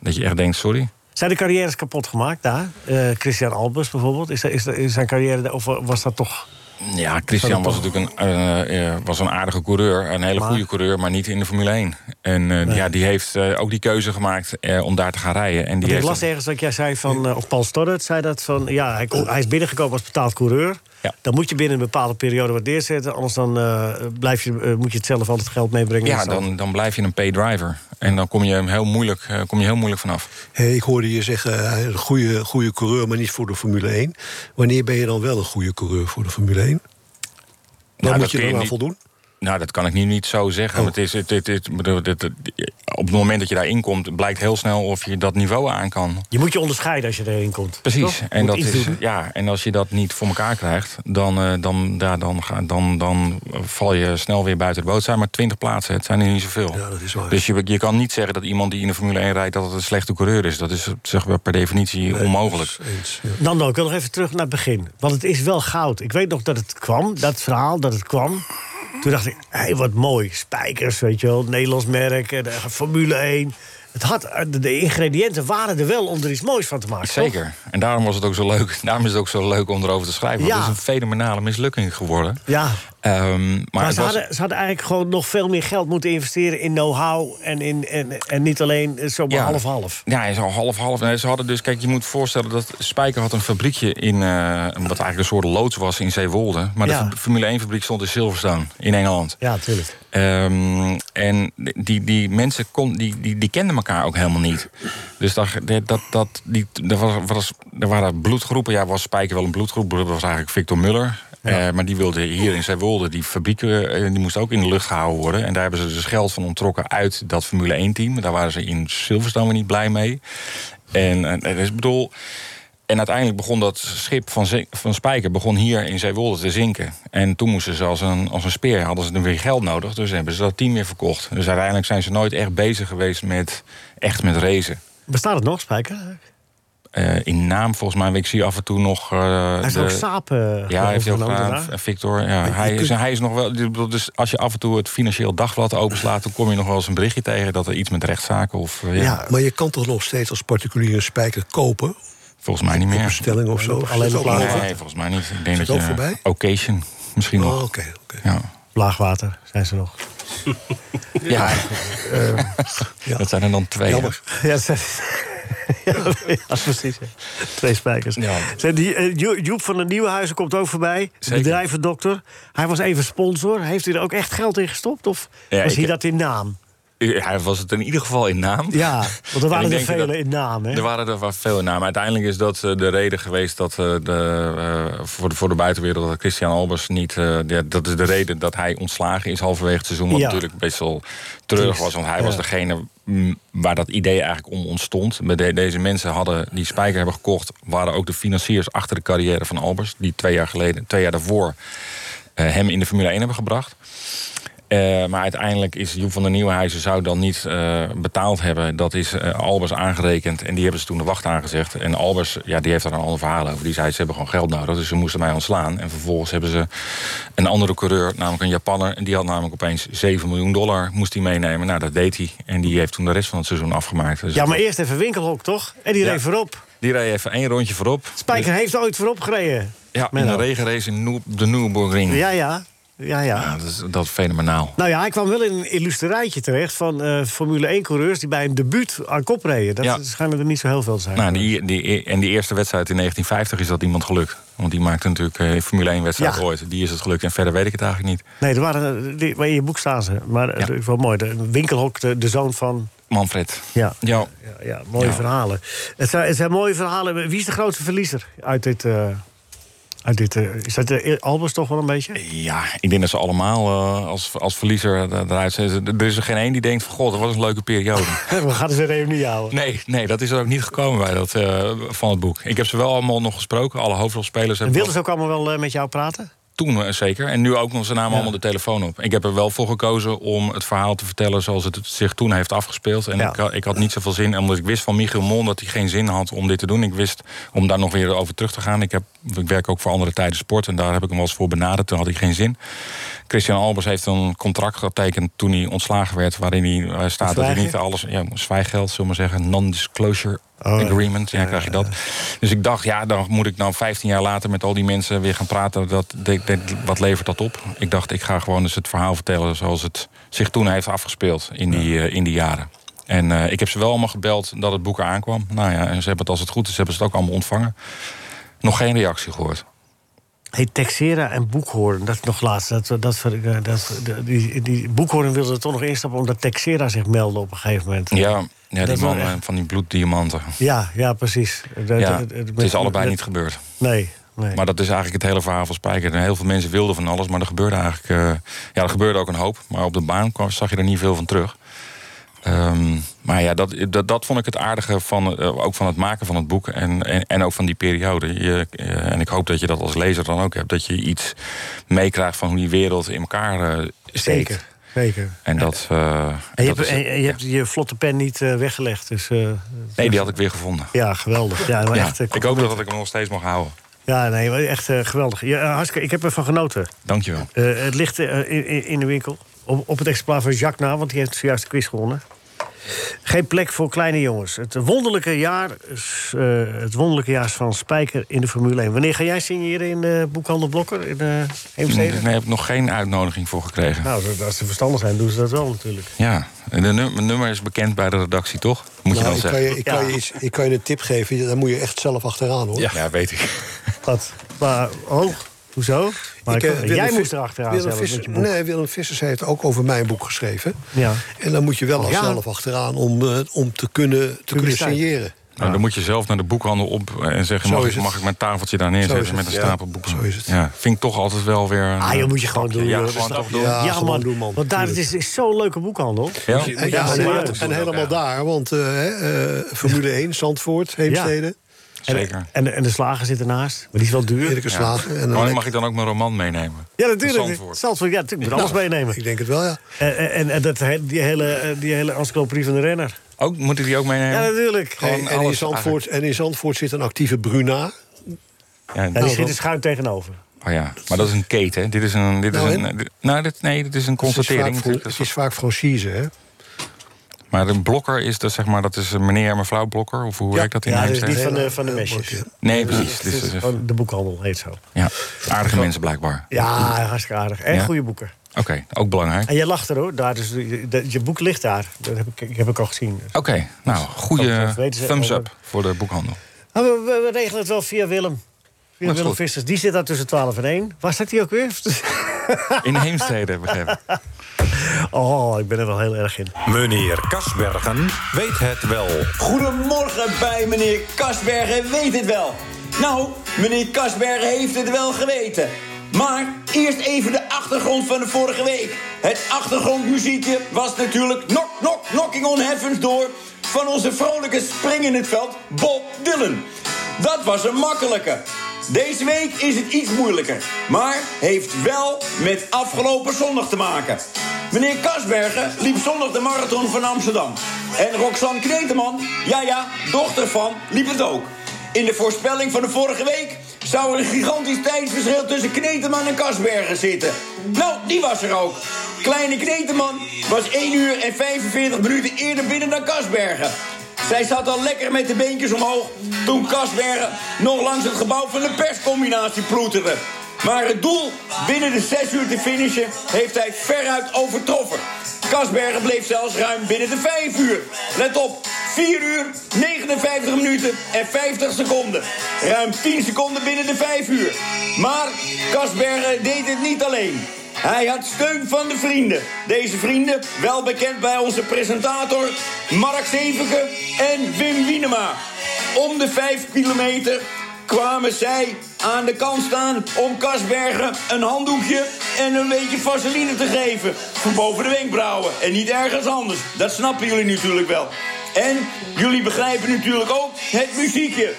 Speaker 7: Dat je echt denkt, sorry.
Speaker 3: Zijn de carrières kapot gemaakt daar? Eh, Christian Albers bijvoorbeeld. Is, is, is zijn carrière, daar- of was dat toch...
Speaker 7: Ja, Christian
Speaker 3: Zou
Speaker 7: was
Speaker 3: dat
Speaker 7: natuurlijk een, eh, eh, was een aardige coureur. Een hele
Speaker 3: Maar-
Speaker 7: goede coureur, maar niet in de Formule 1. En eh, ja, die heeft eh, ook die keuze gemaakt eh, om daar te gaan rijden. En die
Speaker 3: Want ik
Speaker 7: heeft
Speaker 3: las ergens dat jij zei van, eh, of Paul Stoddard zei dat van, ja, hij, kon- hij is binnengekomen als betaald coureur. Dan moet je binnen een bepaalde periode wat neerzetten, anders dan eh, blijf je, eh, moet je het zelf al het geld meebrengen.
Speaker 7: Ja,
Speaker 3: Dus
Speaker 7: dan, dan blijf je een pay driver. En dan kom je hem heel moeilijk, eh, kom je heel moeilijk vanaf.
Speaker 6: Hey, ik hoorde je zeggen, hij is een goede, goede coureur, maar niet voor de Formule 1. Wanneer ben je dan wel een goede coureur voor de Formule 1? Waar moet
Speaker 7: dat
Speaker 6: je
Speaker 7: kun
Speaker 6: dan aan
Speaker 7: niet-
Speaker 6: voldoen?
Speaker 7: Nou, dat kan ik nu niet zo
Speaker 3: Oh.
Speaker 7: zeggen. want Het is, het, het, het- bedoel, dit- dit- op het moment dat je daarin komt, blijkt heel snel of je dat niveau aan kan.
Speaker 3: Je moet je onderscheiden als je erin komt.
Speaker 7: Precies.
Speaker 3: toch?
Speaker 7: En,
Speaker 3: Moet
Speaker 7: dat
Speaker 3: iets
Speaker 7: is,
Speaker 3: doen.
Speaker 7: ja, en als je dat niet voor elkaar krijgt, dan, eh, dan, ja, dan, ga- dan, dan val je snel weer buiten de boot. Het zijn maar twintig plaatsen, het zijn er niet zoveel. Ja, dat is waar. Dus je, je kan niet zeggen dat iemand die in de Formule 1 rijdt... dat het een slechte coureur is. Dat is zeg maar, per definitie onmogelijk.
Speaker 3: Nando, ik wil nog even terug naar het begin. Want het is wel goud. Ik weet nog dat het kwam, dat verhaal, dat het kwam. Toen dacht ik, hé, wat mooi. Spijkers, weet je wel, Nederlands merk, en, eh, Formule 1. Het had, eh, de- de ingrediënten waren er wel om er iets moois van te maken. toch?
Speaker 7: Zeker. En daarom was het ook zo leuk. Daarom is het ook zo leuk om erover te schrijven. Want
Speaker 3: Ja.
Speaker 7: het is een fenomenale mislukking geworden.
Speaker 3: Ja,
Speaker 7: Ehm, maar
Speaker 3: Maar,
Speaker 7: het
Speaker 3: ze,
Speaker 7: was-
Speaker 3: hadden, ze hadden eigenlijk gewoon nog veel meer geld moeten investeren in know-how en, in, en, en niet alleen eh, zomaar half-half.
Speaker 7: Ja, hij is al half-half. Nee, ze hadden dus, kijk, je moet voorstellen dat Spijker had een fabriekje in. eh, wat eigenlijk een soort loods was in Zeewolde. Maar
Speaker 3: Ja.
Speaker 7: de Formule 1-fabriek stond in Silverstone in Engeland.
Speaker 3: Ja, natuurlijk.
Speaker 7: Ehm, en die, die mensen kon, die, die, die kenden elkaar ook helemaal niet. Dus dat, dat, dat, die, er, was, was, er waren bloedgroepen. Ja, was Spijker wel een bloedgroep? Dat was eigenlijk Victor Muller. Eh, maar die wilde hier in Zeewolde, die fabrieken, eh, die moest ook in de lucht gehouden worden. En daar hebben ze dus geld van onttrokken uit dat Formule 1-team. Daar waren ze in Silverstone weer niet blij mee. En, en, en dus, ik bedoel, en uiteindelijk begon dat schip van, Zin- van Spijker begon hier in Zeewolde te zinken. En toen moesten ze als een, als een speer, hadden ze er weer geld nodig. Dus hebben ze dat team weer verkocht. Dus uiteindelijk zijn ze nooit echt bezig geweest met, echt met racen.
Speaker 3: Bestaat het nog, Spijker?
Speaker 7: eh, in naam volgens mij. want Ik zie af en toe nog. eh,
Speaker 3: heeft
Speaker 7: de-
Speaker 3: ook Saab, eh,
Speaker 7: ja, hij heeft heel
Speaker 3: overgenomen
Speaker 7: graag.
Speaker 3: daar.
Speaker 7: En Victor. Ja, hij, is, hij is nog wel. ik bedoel, Dus als je af en toe het financieel dagblad openslaat, dan kom je nog wel eens een berichtje tegen dat er iets met rechtszaken of. eh, ja.
Speaker 6: maar je kan toch nog steeds als particulier een spijker kopen?
Speaker 7: Volgens mij niet meer.
Speaker 6: Op een stelling of zo?
Speaker 3: Alleen op
Speaker 6: Is dat ook
Speaker 7: Nee, volgens mij niet. Ik denk
Speaker 6: Is
Speaker 7: dat
Speaker 6: het ook
Speaker 7: je-
Speaker 6: voorbij?
Speaker 7: Occasion, misschien nog.
Speaker 6: Oh, oké, oké.
Speaker 7: Ja.
Speaker 3: Laagwater zijn ze nog.
Speaker 7: Ja.
Speaker 3: Eh,
Speaker 7: Dat zijn er dan twee.
Speaker 6: Jammer.
Speaker 3: Ja, dat zijn- ja, ja, precies. ja. Twee spijkers.
Speaker 7: Ja.
Speaker 3: Zijn die, eh, Jo- Joep van de Nieuwenhuizen komt ook voorbij.
Speaker 7: Zeker.
Speaker 3: Bedrijvendokter. Hij was even sponsor. Heeft hij er ook echt geld in gestopt? Of
Speaker 7: Ja,
Speaker 3: was
Speaker 7: ik-
Speaker 3: hij dat in naam?
Speaker 7: Ja. Hij was het in ieder geval in naam.
Speaker 3: Ja, want er
Speaker 7: En
Speaker 3: waren
Speaker 7: ik
Speaker 3: er
Speaker 7: denk
Speaker 3: velen
Speaker 7: dat-
Speaker 3: in naam. Hè?
Speaker 7: Er waren er wel veel namen. Uiteindelijk is dat eh, de reden geweest dat eh, de, eh, voor, de, voor de buitenwereld dat Christian Albers niet. eh, ja, dat is de reden dat hij ontslagen is halverwege het seizoen. Wat
Speaker 3: Ja.
Speaker 7: natuurlijk best wel treurig was. Want hij
Speaker 3: Ja.
Speaker 7: was degene mm, waar dat idee eigenlijk om ontstond. Met de- deze mensen hadden die Spijker hebben gekocht, waren ook de financiers achter de carrière van Albers. Die twee jaar geleden, twee jaar daarvoor eh, hem in de Formule 1 hebben gebracht. Eh, maar uiteindelijk is Joep van der Nieuwenhuizen zou dan niet eh, betaald hebben. Dat is eh, Albers aangerekend en die hebben ze toen de wacht aangezegd. En Albers, ja, die heeft daar een ander verhaal over. Die zei, ze hebben gewoon geld nodig, dus ze moesten mij ontslaan. En vervolgens hebben ze een andere coureur, namelijk een Japanner... en die had namelijk opeens 7 miljoen dollar, moest hij meenemen. Nou, dat deed hij. En die heeft toen de rest van het seizoen afgemaakt. Dus
Speaker 3: Ja, maar eerst even Winkelhok, toch? En die
Speaker 7: Ja.
Speaker 3: reed voorop.
Speaker 7: Die reed even één rondje voorop.
Speaker 3: Spijker heeft ooit voorop gereden.
Speaker 7: Dus- ja, in
Speaker 3: Menno.
Speaker 7: een regenrace in Noe- de Nürburgring.
Speaker 3: Ja, ja. ja, ja.
Speaker 7: Ja, dat is, dat is fenomenaal.
Speaker 3: Nou ja, hij kwam wel in een illustre rijtje terecht... van eh, Formule 1-coureurs die bij een debuut aan kop reden. Dat
Speaker 7: Ja.
Speaker 3: schijnen er niet zo heel veel te zijn.
Speaker 7: Nou, die, die, en die eerste wedstrijd in 1950 is dat iemand gelukt. Want die maakte natuurlijk eh Formule 1 wedstrijd
Speaker 3: Ja.
Speaker 7: ooit. Die is het gelukt en verder weet ik het eigenlijk niet.
Speaker 3: Nee, er waren, eh, die, maar in je boek staan ze. Maar eh,
Speaker 7: Ja.
Speaker 3: dat is wel mooi. De winkelhok, de, de zoon van...
Speaker 7: Manfred.
Speaker 3: Ja,
Speaker 7: Ja.
Speaker 3: ja, ja mooie
Speaker 7: Ja.
Speaker 3: verhalen. Het zijn, het zijn mooie verhalen. Wie is de grootste verliezer uit dit... eh, uit dit eh, is dat de Albers toch wel een beetje?
Speaker 7: Ja, ik denk dat ze allemaal eh, als, als verliezer da- eruit zijn. Dus Er is er geen één die denkt van, god, dat was een leuke periode.
Speaker 3: We gaan eens een reunie houden.
Speaker 7: nee, nee, dat is er ook niet gekomen bij dat, eh, van het boek. Ik heb ze wel allemaal nog gesproken. Alle hoofdrolspelers
Speaker 3: En
Speaker 7: hebben
Speaker 3: wilden ze ook allemaal wel eh, met jou praten?
Speaker 7: Toen eh, zeker. En nu ook nog, ze namen allemaal de telefoon op. Ik heb er wel voor gekozen om het verhaal te vertellen zoals het zich toen heeft afgespeeld. En
Speaker 3: Ja.
Speaker 7: ik, had- ik had niet zoveel zin, omdat ik wist van Michiel Mon dat hij geen zin had om dit te doen. Ik wist om daar nog weer over terug te gaan. Ik, heb, ik werk ook voor andere tijden sport en daar heb ik hem wel eens voor benaderd. Toen had hij geen zin. Christian Albers heeft een contract getekend toen hij ontslagen werd... waarin hij eh, staat dat hij
Speaker 3: Zwijgen?
Speaker 7: niet alles... Ja, zwijgeld, zullen we maar zeggen. Non-disclosure
Speaker 3: Oh, ja.
Speaker 7: agreement. Ja, krijg je dat. Dus ik dacht, ja, dan moet ik nou 15 jaar later met al die mensen weer gaan praten. Dat, ik denk, wat levert dat op? Ik dacht, ik ga gewoon eens het verhaal vertellen zoals het zich toen heeft afgespeeld in die, eh, in die jaren. En eh, ik heb ze wel allemaal gebeld dat het boek eraan kwam. Nou ja, en ze hebben het als het goed is, hebben ze het ook allemaal ontvangen. Nog geen reactie gehoord.
Speaker 3: Hey, Texera en Boekhoorn, dat is nog laatst. Dat, dat, eh, dat, die, die Boekhoorn wilde er toch nog instappen... omdat Texera zich meldde op een gegeven moment.
Speaker 7: Ja, ja
Speaker 3: Dat
Speaker 7: die
Speaker 3: is wel
Speaker 7: man
Speaker 3: echt-
Speaker 7: eh, van die bloeddiamanten.
Speaker 3: ja, ja, precies. Dat-
Speaker 7: Ja,
Speaker 3: dat- dat-
Speaker 7: het
Speaker 3: met-
Speaker 7: is allebei
Speaker 3: met-
Speaker 7: niet gebeurd.
Speaker 3: Nee, nee.
Speaker 7: Maar dat is eigenlijk het hele verhaal van Spijker. En Heel veel mensen wilden van alles, maar er gebeurde eigenlijk... eh, ja, er gebeurde ook een hoop. Maar op de baan kwam, zag je er niet veel van terug. Ehm, maar ja, dat, dat, dat vond ik het aardige van, eh, ook van het maken van het boek. En, en, en ook van die periode. Je, eh, en ik hoop dat je dat als lezer dan ook hebt. Dat je iets meekrijgt van hoe die wereld in elkaar eh, steekt.
Speaker 3: Zeker, zeker.
Speaker 7: En dat... eh,
Speaker 3: En je,
Speaker 7: dat
Speaker 3: hebt,
Speaker 7: is-
Speaker 3: en- en je hebt je vlotte pen niet eh, weggelegd. Dus, eh,
Speaker 7: nee, die had ik weer gevonden.
Speaker 3: ja, geweldig. Ja, maar
Speaker 7: Ja,
Speaker 3: echt, eh,
Speaker 7: ik hoop dat ik hem nog steeds mag houden.
Speaker 3: ja nee, maar echt eh, geweldig. Ja, eh, hartstikke, ik heb ervan genoten.
Speaker 7: Dankjewel.
Speaker 3: Eh, het ligt eh, in- in, in de winkel. Op, op het exemplaar van Jacques na, want die heeft zojuist de quiz gewonnen. Geen plek voor kleine jongens. Het wonderlijke jaar, is, eh, het wonderlijke jaar van Spijker in de Formule 1. Wanneer ga jij signeren in de boekhandel Blokker in eh
Speaker 7: Nee,
Speaker 3: Heemstede?
Speaker 7: daar heb ik nog geen uitnodiging voor gekregen.
Speaker 3: Nou, als ze verstandig zijn, doen ze dat wel natuurlijk.
Speaker 7: Ja, en de num- mijn nummer is bekend bij de redactie, toch? Moet je
Speaker 6: Nou,
Speaker 7: dan
Speaker 6: ik, kan
Speaker 7: zeggen.
Speaker 6: je, ik, kan
Speaker 3: Ja.
Speaker 6: je iets, ik kan je een tip geven, daar moet je echt zelf achteraan hoor.
Speaker 7: Ja. weet ik.
Speaker 3: Wat? Maar, oh, hoezo? Maar
Speaker 6: Ik,
Speaker 3: ik-
Speaker 6: eh,
Speaker 3: jij
Speaker 6: Willem
Speaker 3: moest
Speaker 6: Vi-
Speaker 3: er achteraan
Speaker 6: Willem
Speaker 3: zelf met je
Speaker 6: Vissers,
Speaker 3: boek.
Speaker 6: Nee, Willem Vissers heeft ook over mijn boek geschreven.
Speaker 3: Ja. Oh,
Speaker 6: En dan moet je wel als
Speaker 3: ja.
Speaker 6: zelf achteraan om, eh, om te kunnen, te kunnen
Speaker 3: Publiciteit.
Speaker 6: signeren.
Speaker 7: Nou, dan moet je zelf naar de boekhandel op eh, en zeggen...
Speaker 6: Zo
Speaker 7: Mag
Speaker 6: is
Speaker 7: ik,
Speaker 6: het.
Speaker 7: mag ik mijn tafeltje daar
Speaker 6: Zo is
Speaker 7: neerzetten
Speaker 6: het,
Speaker 7: met een
Speaker 6: ja.
Speaker 7: stapel boeken?
Speaker 6: Zo is het.
Speaker 7: Ja, vind ik toch altijd wel weer... een,
Speaker 3: Ah,
Speaker 7: eh,
Speaker 3: joh, moet je gewoon
Speaker 7: stapje.
Speaker 3: doen.
Speaker 7: Ja,
Speaker 3: joh,
Speaker 7: gewoon
Speaker 3: dat
Speaker 7: toch
Speaker 3: snap-
Speaker 7: doen.
Speaker 6: Ja,
Speaker 3: Ja,
Speaker 6: gewoon
Speaker 3: man.
Speaker 6: doen, man.
Speaker 3: Want daar het is, is zo'n leuke boekhandel.
Speaker 7: Ja?
Speaker 15: Eh,
Speaker 6: En, ja, en,
Speaker 7: ja,
Speaker 6: en helemaal daar, want eh, hè, eh, Formule 1, Zandvoort, Heemstede,
Speaker 7: Zeker.
Speaker 3: En, en de slager zit ernaast. Maar die is wel duur.
Speaker 6: Eerlijke
Speaker 15: eh,
Speaker 6: Slagen. En
Speaker 7: Maar
Speaker 6: dan-
Speaker 7: dan mag ik dan ook mijn roman meenemen?
Speaker 3: Ja,
Speaker 7: Van
Speaker 3: natuurlijk.
Speaker 7: Zandvoort. Nou.
Speaker 15: Nou,
Speaker 3: Zandvoort. Ja, natuurlijk. Moet alles meenemen.
Speaker 6: ik denk het wel, ja.
Speaker 3: En, en, en dat, he- die hele, eh, die hele encyclopedie van de renner.
Speaker 7: Ook, moet ik die ook meenemen?
Speaker 3: Ja, natuurlijk.
Speaker 7: Gewoon
Speaker 15: en, in
Speaker 7: alles
Speaker 15: Zandvoort, en in Zandvoort zit een actieve Bruna.
Speaker 7: eigenlijk.
Speaker 3: Ja,
Speaker 7: Ja,
Speaker 3: die zit er schuin tegenover.
Speaker 7: oh ja, maar dat is een keten. hè? Dit is een. Dit
Speaker 15: Nou,
Speaker 7: is een dit- nou, dit, nee, dit is een
Speaker 15: Het is vaak
Speaker 7: constatering.
Speaker 15: fran-
Speaker 7: natuurlijk. Dat
Speaker 15: Het
Speaker 7: is-
Speaker 15: is vaak franchise, hè?
Speaker 7: Maar een blokker is dat zeg maar, dat is een meneer en mevrouw blokker. Of hoe werkt dat in
Speaker 3: Ja, dus
Speaker 7: Heemstede?
Speaker 3: niet van de, van de mesjes. Dus
Speaker 7: Nee, precies. Dit is, eh,
Speaker 3: Gewoon de boekhandel heet zo.
Speaker 7: ja, aardige mensen blijkbaar.
Speaker 3: Ja, hartstikke aardig. En
Speaker 7: Ja.
Speaker 3: goede boeken.
Speaker 7: Oké, ook belangrijk.
Speaker 3: En je lacht er hoor. Daar, dus, je, de- je boek ligt daar. Dat heb ik, heb ik al gezien.
Speaker 7: Oké, nou, goede
Speaker 3: Dat weten ze
Speaker 7: thumbs
Speaker 3: wel.
Speaker 7: up voor de boekhandel.
Speaker 3: Maar Ah, we, we- we regelen het wel via Willem. Via
Speaker 7: is
Speaker 3: Willem
Speaker 7: goed.
Speaker 3: Vissers. Die zit daar tussen 12 en 1. Waar zit hij ook weer?
Speaker 7: In Heemstede, begrijp ik.
Speaker 3: Oh, ik ben er wel heel erg in.
Speaker 2: Meneer Kasbergen weet het wel.
Speaker 4: Goedemorgen bij meneer Kasbergen weet het wel. Nou, meneer Kasbergen heeft het wel geweten. Maar eerst even de achtergrond van de vorige week. Het achtergrondmuziekje was natuurlijk Knock Knock Knocking on Heavens Door... van onze vrolijke spring in het veld, Bob Dylan. Dat was een makkelijke. Deze week is het iets moeilijker. Maar heeft wel met afgelopen zondag te maken. Meneer Kasbergen liep zondag de marathon van Amsterdam. En Roxanne Kneteman, ja ja, dochter van, liep het ook. In de voorspelling van de vorige week zou er een gigantisch tijdsverschil tussen Kneteman en Kasbergen zitten. Nou, die was er ook. Kleine Kneteman was 1 uur en 45 minuten eerder binnen dan Kasbergen. Zij zat al lekker met de beentjes omhoog toen Kasbergen nog langs het gebouw van de perscombinatie ploeterde. Maar het doel binnen de 6 uur te finishen heeft hij veruit overtroffen. Kasbergen bleef zelfs ruim binnen de 5 uur. Let op, 4 uur, 59 minuten en 50 seconden. Ruim 10 seconden binnen de 5 uur. Maar Kasbergen deed het niet alleen. Hij had steun van de vrienden. Deze vrienden, wel bekend bij onze presentator Mark Zeveke en Wim Wienema. Om de 5 kilometer kwamen zij aan de kant staan om Kasbergen een handdoekje en een beetje vaseline te geven. Van boven de wenkbrauwen en niet ergens anders. Dat snappen jullie natuurlijk wel. En jullie begrijpen natuurlijk ook het muziekje.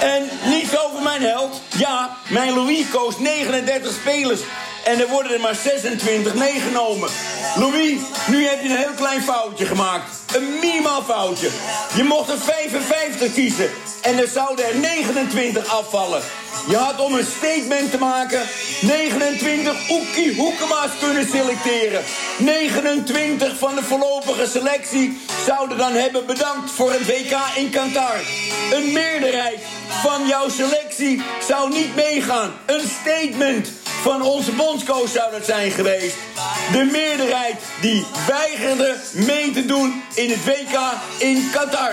Speaker 4: En niets over mijn held. Ja, mijn Louis koos 39 spelers. En er worden er maar 26 meegenomen. Louis, nu heb je een heel klein foutje gemaakt. Een minimaal foutje. Je mocht er 55 kiezen. En er zouden er 29 afvallen. Je had om een statement te maken 29 Oekie Hoekema's kunnen selecteren. 29 van de voorlopige selectie zouden dan hebben bedankt voor het WK in Qatar. Een meerderheid van jouw selectie zou niet meegaan. Een statement van onze bondscoach zou dat zijn geweest. De meerderheid die weigerde mee te doen in het WK in Qatar.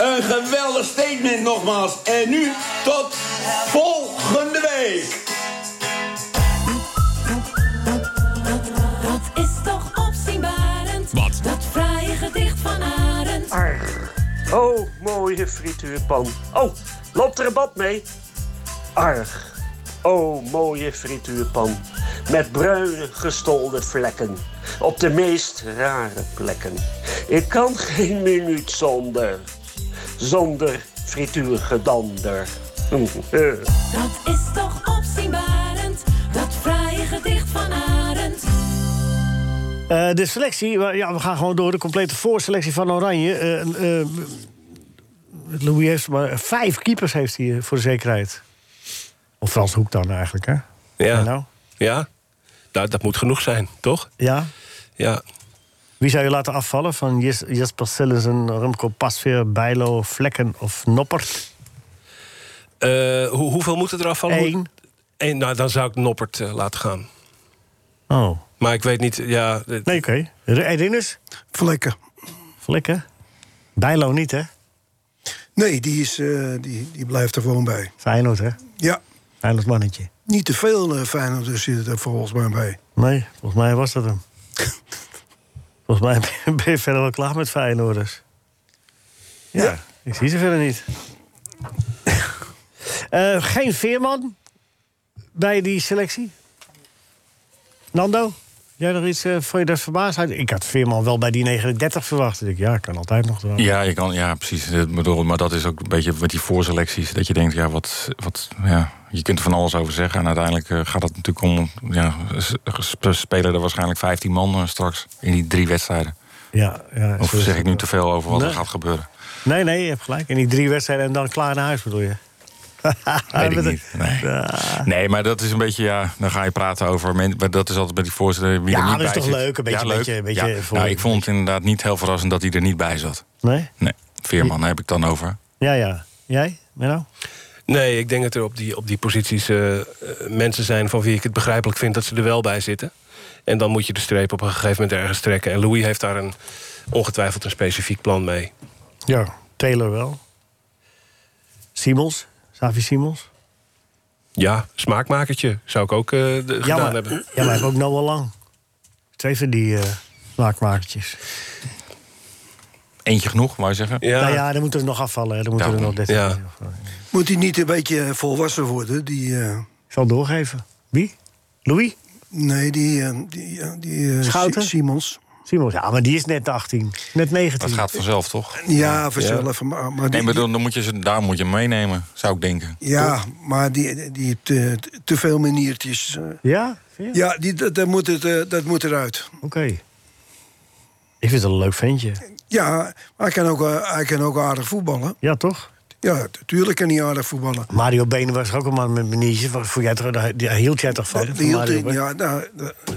Speaker 4: Een geweldig statement nogmaals. En nu tot volgende week.
Speaker 16: Dat is toch opzienbarend? Wat? Dat fraaie gedicht van Arend.
Speaker 17: Oh, mooie frituurpan. Oh, loopt er een bad mee? Arg. Oh, mooie frituurpan. Met bruine gestolde vlekken. Op de meest rare plekken. Ik kan geen minuut zonder. Zonder frituurgedander. Hm, eh.
Speaker 16: Dat is toch opzienbarend? Dat fraaie gedicht van Arend.
Speaker 3: Eh, de selectie, wa- ja, we gaan gewoon door. De complete voorselectie van Oranje. Eh, eh, Louis heeft maar vijf keepers heeft hij eh, voor de zekerheid. Of Frans Hoek dan eigenlijk, hè?
Speaker 18: Ja.
Speaker 3: Nou?
Speaker 18: Ja? Nou, dat moet genoeg zijn, toch?
Speaker 3: Ja.
Speaker 18: Ja.
Speaker 3: Wie zou je laten afvallen? Van Jes- Jesper Sillissen, Remco Pasveer, Bijlo, Vlekken of Noppert?
Speaker 18: Eh, hoe, hoeveel moeten er afvallen?
Speaker 3: Eén.
Speaker 18: Eén, nou, dan zou ik Noppert eh, laten gaan.
Speaker 3: Oh.
Speaker 18: Maar ik weet niet, ja... eh,
Speaker 3: Nee, oké. Okay. Rinus?
Speaker 6: Vlekken.
Speaker 3: Vlekken? Bijlo niet, hè?
Speaker 6: Nee, die, is, eh, die, die blijft er gewoon bij.
Speaker 3: Feyenoord, hè?
Speaker 6: Ja,
Speaker 3: Feyenoord mannetje.
Speaker 6: niet te veel eh Feyenoorders zitten er volgens mij bij.
Speaker 3: Nee, volgens mij was dat hem. volgens mij ben- ben je verder wel klaar met Feyenoorders. Ja, ik zie ze verder niet. Eh, geen Veerman bij die selectie? Nando, jij nog iets? eh vond je dat verbaasd? uit? Ik had Veerman wel bij die 39 verwacht. Ik, ja, kan altijd nog. eraan.
Speaker 7: Ja, je kan, ja, precies. Ik bedoel, maar dat is ook een beetje met die voorselecties. Dat je denkt, ja, wat, wat, ja, je kunt er van alles over zeggen. En uiteindelijk eh, gaat het natuurlijk om, ja, s- s- spelen er waarschijnlijk 15 man eh, straks in die drie wedstrijden.
Speaker 3: Ja, ja,
Speaker 7: of
Speaker 3: zo is
Speaker 7: zeg
Speaker 3: het.
Speaker 7: ik nu te veel over wat
Speaker 3: Nee.
Speaker 7: er gaat gebeuren?
Speaker 3: Nee, nee, je hebt gelijk. En die drie wedstrijden en dan klaar naar huis bedoel je? Ah,
Speaker 7: Weet ik niet. Nee. nee, maar dat is een beetje, ja, dan ga je praten over. men- Maar dat is altijd bij die voorzitter. Wie
Speaker 3: Ja,
Speaker 7: er niet
Speaker 3: dat is
Speaker 7: bij
Speaker 3: toch
Speaker 7: zit.
Speaker 3: leuk, een beetje- beetje- beetje voor-
Speaker 7: nou, ik vond het inderdaad niet heel verrassend dat hij er niet bij zat.
Speaker 3: Nee?
Speaker 7: Nee, Veerman daar heb ik dan over.
Speaker 3: Ja, ja. Jij, Menno?
Speaker 4: Nee, ik denk dat er op die, op die posities eh, eh, mensen zijn van wie ik het begrijpelijk vind dat ze er wel bij zitten. En dan moet je de streep op een gegeven moment ergens trekken. En Louis heeft daar een, ongetwijfeld een specifiek plan mee.
Speaker 3: Ja. Taylor wel. Simons? Savi Simons?
Speaker 4: Ja, smaakmakertje zou ik ook eh, de- gedaan
Speaker 3: maar- eh,
Speaker 4: hebben.
Speaker 3: Ja, maar hij heeft ook Noah Lang. Twee van die eh, smaakmakertjes.
Speaker 7: Eentje genoeg, wou je zeggen?
Speaker 3: Nou ja, dan moeten we nog afvallen. hè. Dan moeten we er nog 13
Speaker 6: Moet hij niet een beetje eh, volwassen worden? Die, eh,
Speaker 3: Ik zal doorgeven. Wie? Louis?
Speaker 6: Nee, die, eh, die, eh, die eh,
Speaker 3: Schouten?
Speaker 6: Si- Simons.
Speaker 3: Simons, ja, maar die is net 18. Net 19.
Speaker 7: Dat gaat vanzelf, toch?
Speaker 6: Ja, vanzelf, maar- maar die-
Speaker 7: nee, maar dan, dan moet je ze, daar moet je hem meenemen, zou ik denken.
Speaker 6: Ja, maar die, die heeft eh, te veel maniertjes. eh.
Speaker 3: Ja?
Speaker 6: Ja, die, dat, dat moet het, eh, dat moet eruit.
Speaker 3: Oké. Ik vind het een leuk ventje.
Speaker 6: Ja, hij kan, ook, eh, hij kan ook aardig voetballen.
Speaker 3: Ja, toch?
Speaker 6: Ja, natuurlijk kan hij aardig voetballen.
Speaker 3: Mario Benen was ook een man met maniertjes. Wat vond jij toch- Daar daar hield jij toch van?
Speaker 6: Die
Speaker 3: van
Speaker 6: hield,
Speaker 3: Mario
Speaker 6: ik,
Speaker 3: Been?
Speaker 6: ja, nou,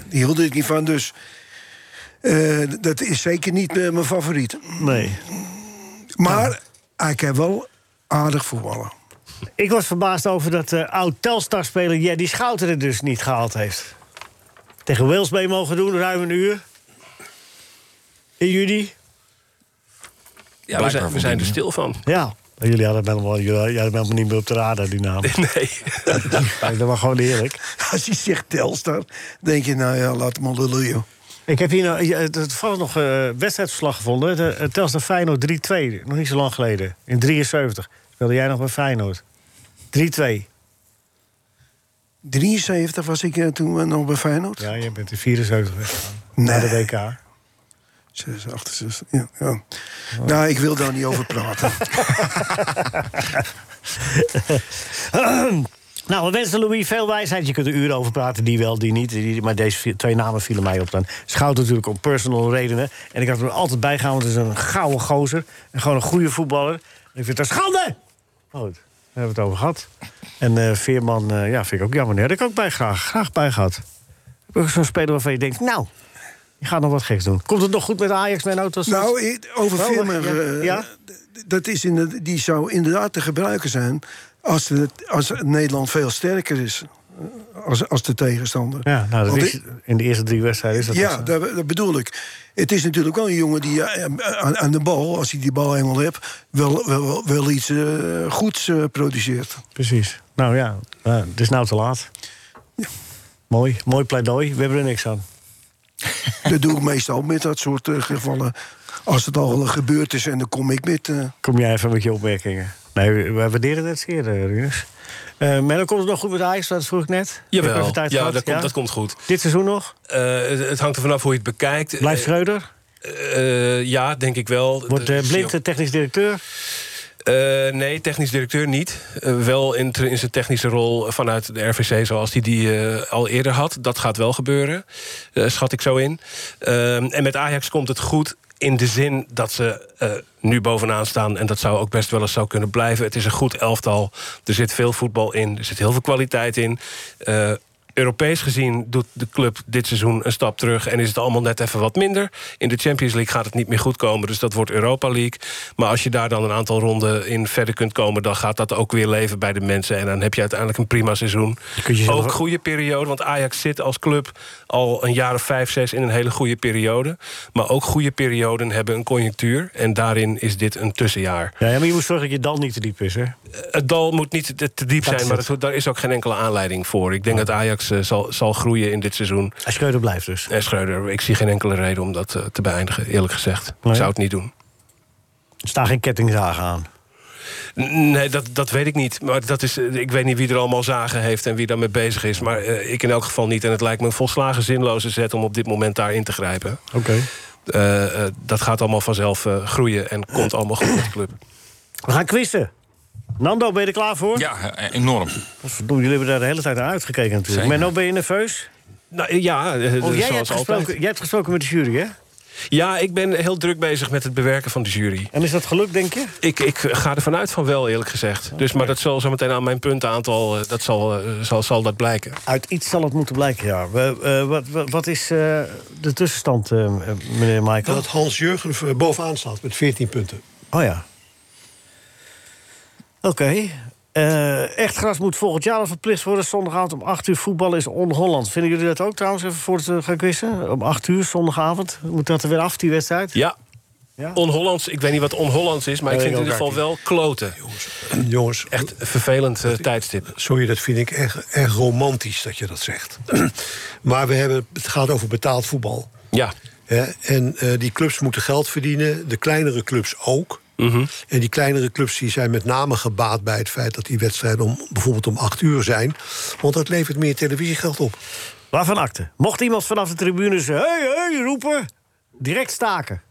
Speaker 6: die hield ik niet van, dus... eh, dat is zeker niet eh, mijn favoriet.
Speaker 3: Nee.
Speaker 6: Maar hij kan wel aardig voetballen.
Speaker 3: Ik was verbaasd over dat eh oud-Telstar-speler Jerry Schouten het dus niet gehaald heeft. Tegen Wales mee mogen doen, ruim een uur. In juli.
Speaker 4: Ja, we zijn, we zijn er stil van.
Speaker 3: Ja. Maar Jullie hadden hem helemaal, jullie hadden hem helemaal niet meer op de radar, die naam.
Speaker 4: Nee.
Speaker 3: dat was gewoon eerlijk.
Speaker 6: Als hij zegt Telstar, denk je, nou ja, laat hem al lullen, joh.
Speaker 3: Ik heb hier nou, ja, het- het toevallig nog eh wedstrijdverslag gevonden. De, eh, Telstar Feyenoord 3-2, nog niet zo lang geleden. In 73 speelde jij nog bij Feyenoord. 3-2.
Speaker 6: 73 was ik eh, toen eh, nog bij Feyenoord.
Speaker 3: Ja, je bent in 74 weggegaan.
Speaker 6: Nee.
Speaker 3: Naar de WK.
Speaker 6: 68, 60, ja. ja. Nou, ik wil daar niet over praten.
Speaker 3: nou, we wensen Louis veel wijsheid. Je kunt er uren over praten, die wel, die niet. Die- maar deze vi- twee namen vielen mij op dan. Schout natuurlijk om personal redenen. En ik had hem er altijd bij gehouden, want het is een gouden gozer. En gewoon een goede voetballer. En ik vind het een schande! Oh, daar hebben we het over gehad. En eh, Veerman, eh, ja, vind ik ook jammer. Daar had ik ook bij, graag, graag bij gehad. Heb je Zo'n speler waarvan je denkt, nou, je gaat nog wat geks doen. Komt het nog goed met Ajax, mijn auto's?
Speaker 6: Nou, i- over
Speaker 3: Oh,
Speaker 6: Veerman,
Speaker 3: ja.
Speaker 6: eh,
Speaker 3: ja?
Speaker 6: d- dat is inderdaad- die zou inderdaad te gebruiken zijn... als, het, als Nederland veel sterker is eh, als, als de tegenstander.
Speaker 3: Ja, nou, dat
Speaker 6: Want
Speaker 3: is,
Speaker 6: ik-
Speaker 3: in de eerste drie wedstrijden is dat al
Speaker 6: ja,
Speaker 3: zo.
Speaker 6: dat, dat bedoel ik. Het is natuurlijk wel een jongen die eh, aan, aan de bal, als hij die bal eenmaal hebt, wel, wel, wel, wel iets eh, goeds eh, produceert.
Speaker 3: Precies. Nou ja, eh, het is nou te laat. Mooi, mooi pleidooi. We hebben er niks aan.
Speaker 6: Dat doe ik meestal met dat soort eh, gevallen. Als het al gebeurd is en dan kom ik met. eh,
Speaker 3: Kom jij even met je opmerkingen? Nee, we- we waarderen het zeer, eh, Rinus. Eh maar dan komt het nog goed met Ajax, dat vroeg ik net. Ik heb
Speaker 4: Jawel,
Speaker 3: even tijd
Speaker 4: ja,
Speaker 3: gehad,
Speaker 4: dat, Komt, dat komt goed.
Speaker 3: Dit seizoen nog?
Speaker 4: Eh, het, het hangt er vanaf hoe je het bekijkt.
Speaker 3: Blijft
Speaker 4: Eh,
Speaker 3: Schreuder?
Speaker 4: eh, ja, denk ik wel.
Speaker 3: Wordt
Speaker 4: De-
Speaker 3: eh, Blind de technisch directeur?
Speaker 4: Eh, nee, technisch directeur niet. Eh, wel in, tr- in zijn technische rol vanuit de RVC zoals hij die, eh, al eerder had. Dat gaat wel gebeuren, eh, schat ik zo in. Ehm, en met Ajax komt het goed in de zin dat ze eh, nu bovenaan staan. En dat zou ook best wel eens zo kunnen blijven. Het is een goed elftal. Er zit veel voetbal in. Er zit heel veel kwaliteit in. Eh, Europees gezien doet de club dit seizoen een stap terug en is het allemaal net even wat minder. In de Champions League gaat het niet meer goed komen, dus dat wordt Europa League. Maar als je daar dan een aantal ronden in verder kunt komen, dan gaat dat ook weer leven bij de mensen. En dan heb je uiteindelijk een prima seizoen.
Speaker 3: kunt jezelf
Speaker 4: Ook
Speaker 3: ook-
Speaker 4: goede periode, want Ajax zit als club al een jaar of vijf, zes in een hele goede periode. Maar ook goede perioden hebben een conjunctuur en daarin is dit een tussenjaar.
Speaker 3: Ja, ja, maar je moet zorgen dat je dan niet te diep is, hè?
Speaker 4: Het dal moet niet te- te diep
Speaker 3: Dat is
Speaker 4: zijn, maar
Speaker 3: het.
Speaker 4: dat- daar is ook geen enkele aanleiding voor. Ik denk dat Ajax eh, zal, zal groeien in dit seizoen.
Speaker 3: En Schreuder blijft dus.
Speaker 4: En Eh, Schreuder, ik zie geen enkele reden om dat eh, te beëindigen, eerlijk gezegd.
Speaker 3: Nee.
Speaker 4: Ik zou het niet doen.
Speaker 3: Er staan geen kettingzagen aan.
Speaker 4: N- Nee, dat, dat weet ik niet. Maar dat is, eh, ik weet niet wie er allemaal zagen heeft en wie daarmee bezig is. Maar eh, ik in elk geval niet. En het lijkt me een volslagen zinloze zet om op dit moment daarin te grijpen.
Speaker 3: Oké.
Speaker 4: Eh, eh, dat gaat allemaal vanzelf eh, groeien en komt allemaal goed met de club.
Speaker 3: We gaan quizzen. Nando, ben je er klaar voor?
Speaker 7: Ja, eh, enorm.
Speaker 3: Jullie hebben daar de hele tijd naar uitgekeken natuurlijk.
Speaker 7: Zeker.
Speaker 3: Menno, ben je nerveus?
Speaker 4: Nou, eh, ja, eh,
Speaker 3: Oh, jij, hebt
Speaker 4: zoals altijd.
Speaker 3: gesproken, jij hebt gesproken met de jury, hè?
Speaker 4: Ja, ik ben heel druk bezig met het bewerken van de jury.
Speaker 3: En is dat gelukt, denk je?
Speaker 4: Ik, ik ga er vanuit van wel, eerlijk gezegd. Dus, maar dat zal zometeen aan mijn puntenaantal... eh, dat zal, eh, zal, zal dat blijken.
Speaker 3: Uit iets zal het moeten blijken, ja. We, eh, wat, wat, wat is eh, de tussenstand, eh, meneer Michael?
Speaker 6: Dat Hans Jurgen eh, bovenaan staat met 14 punten.
Speaker 3: Oh ja. Oké. Eh, echt gras moet volgend jaar al verplicht worden. Zondagavond om 8 uur voetbal is on-Holland. Vinden jullie dat ook trouwens, even voor het eh, gaan quizzen? Om 8 uur zondagavond. Moet dat er weer af, die wedstrijd?
Speaker 4: Ja. On-Hollands, ik weet niet wat on-Hollands is... maar ik
Speaker 6: Nee,
Speaker 4: vind het in
Speaker 6: ik
Speaker 4: ieder
Speaker 6: ook
Speaker 4: geval wel kloten.
Speaker 6: Jongens,
Speaker 4: echt een vervelend eh, tijdstip.
Speaker 6: Sorry, dat vind ik echt, echt romantisch dat je dat zegt. maar we hebben, het gaat over betaald voetbal.
Speaker 4: Ja.
Speaker 6: Hè? En eh, die clubs moeten geld verdienen, de kleinere clubs ook. En die kleinere clubs die zijn met name gebaat bij het feit dat die wedstrijden om, bijvoorbeeld om acht uur zijn. Want dat levert meer televisiegeld op.
Speaker 3: Waarvan akte? Mocht iemand vanaf de tribune zeggen... hey, hey, roepen, direct staken.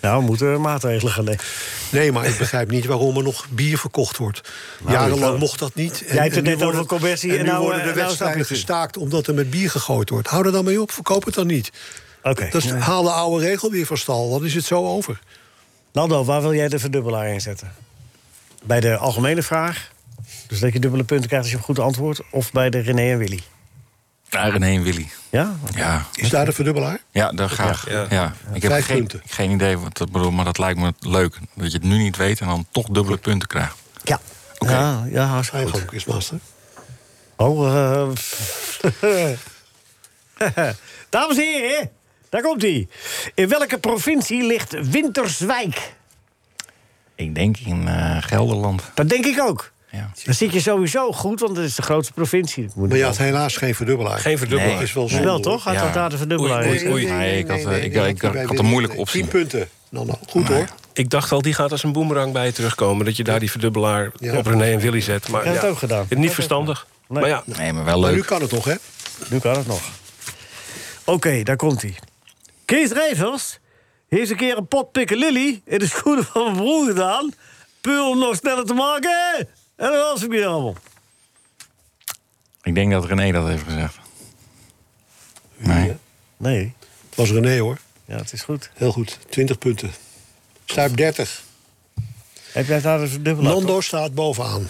Speaker 3: nou, moeten er maatregelen gaan nemen.
Speaker 6: Nee, maar ik begrijp niet waarom er nog bier verkocht wordt. Jarenlang
Speaker 3: Nou, ik-
Speaker 6: mocht dat niet.
Speaker 3: Jij hebt het
Speaker 6: nu
Speaker 3: net over
Speaker 6: worden-
Speaker 3: commercie
Speaker 6: en
Speaker 3: en
Speaker 6: nu
Speaker 3: nou,
Speaker 6: worden
Speaker 3: eh,
Speaker 6: de
Speaker 3: nou snap
Speaker 6: wedstrijden
Speaker 3: ik het.
Speaker 6: gestaakt omdat er met bier gegooid wordt. Hou er dan mee op, verkoop het dan niet.
Speaker 3: Oké.
Speaker 6: Dat is,
Speaker 3: Ja.
Speaker 6: haal de oude regel weer van stal, dan is het zo over.
Speaker 3: Nando, waar wil jij de verdubbelaar in zetten? Bij de algemene vraag, dus dat je dubbele punten krijgt als je op goed antwoord... of bij de René en Willy?
Speaker 7: Ja, René en Willy.
Speaker 3: Ja?
Speaker 7: Ja,
Speaker 6: Is daar de verdubbelaar?
Speaker 7: ja daar graag. Ja. Ik heb
Speaker 6: Vijf
Speaker 7: geen,
Speaker 6: punten.
Speaker 7: geen idee wat dat bedoelt, maar dat lijkt me leuk. Dat je het nu niet weet en dan toch dubbele punten krijgt.
Speaker 3: Ja. Ja, ja, hartstikke
Speaker 6: goed. Quizmaster.
Speaker 3: Oh, eh, Dames en heren, daar komt hij. In welke provincie ligt Winterswijk?
Speaker 7: Ik denk in eh, Gelderland.
Speaker 3: Dat denk ik ook. Dan zit je sowieso goed, want dat is de grootste provincie. Moet
Speaker 6: Maar
Speaker 3: ik
Speaker 6: je
Speaker 3: wel-
Speaker 6: had helaas geen verdubbelaar.
Speaker 4: Geen verdubbelaar.
Speaker 6: Dat is wel
Speaker 3: Nee.
Speaker 6: zonde.
Speaker 3: Wel, toch? Had dat daar de verdubbelaar in?
Speaker 6: Nee,
Speaker 3: Oei,
Speaker 6: nee,
Speaker 7: Nee, ik had, eh, ik- ik- ik had
Speaker 6: Willy.
Speaker 7: een moeilijke
Speaker 6: Nee,
Speaker 7: optie.
Speaker 6: 10 punten. Nou, nou, goed hoor.
Speaker 4: Ik dacht al, die gaat als een boemerang bij je terugkomen. Dat je daar die verdubbelaar
Speaker 6: Ja.
Speaker 4: op René en Willy zet. Maar
Speaker 3: Ik heb
Speaker 4: ja,
Speaker 3: het ook gedaan.
Speaker 4: Niet verstandig.
Speaker 3: Nee.
Speaker 4: Maar ja.
Speaker 7: Nee, maar wel
Speaker 6: Maar nu
Speaker 7: leuk.
Speaker 6: kan het nog, hè?
Speaker 3: Nu kan het nog. Oké, daar komt hij. Kees Rijvers heeft een keer een pot pikken Lily in de schoenen van mijn broer gedaan. Puur om nog sneller te maken. En dan was ik weer allemaal.
Speaker 7: Ik denk dat René dat heeft gezegd.
Speaker 3: Nee,
Speaker 6: Het was René hoor.
Speaker 3: ja, het is goed.
Speaker 6: Heel goed. 20 punten. Stuip 30.
Speaker 3: Heb jij daar dus een verdubbelaar?
Speaker 6: Nando staat bovenaan.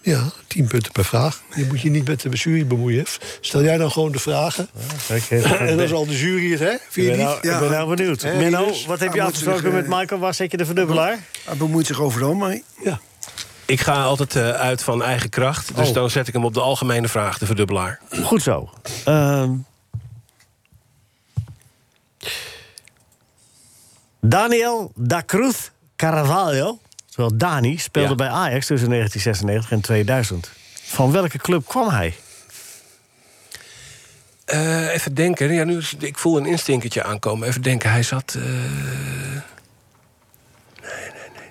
Speaker 6: Ja, 10 punten per vraag. Je moet je niet met de jury bemoeien. Stel jij dan gewoon de vragen. en dan zal de jury het, hè?
Speaker 3: Ik
Speaker 6: Vind je
Speaker 3: ben,
Speaker 6: niet?
Speaker 3: nou, ik ben nou benieuwd.
Speaker 6: Hè,
Speaker 3: Menno,
Speaker 6: dus?
Speaker 3: wat heb je
Speaker 5: hij moet zich,
Speaker 3: afgesproken
Speaker 5: eh,
Speaker 3: met Michael? Waar zet je de verdubbelaar?
Speaker 5: Hij bemoeit zich overal mee.
Speaker 6: Ja.
Speaker 4: Ik ga altijd eh, uit van eigen kracht. Dus
Speaker 3: Oh.
Speaker 4: dan zet ik hem op de algemene vraag, de verdubbelaar.
Speaker 3: Goed zo. Ehm. Daniel da Cruz Carvalho, terwijl Dani, speelde
Speaker 4: Ja.
Speaker 3: bij Ajax tussen 1996 en 2000. Van welke club kwam hij?
Speaker 4: Eh, even denken. Ja, nu, is- ik voel een instinkertje aankomen. Even denken. Hij zat... eh, Nee, nee, nee. nee.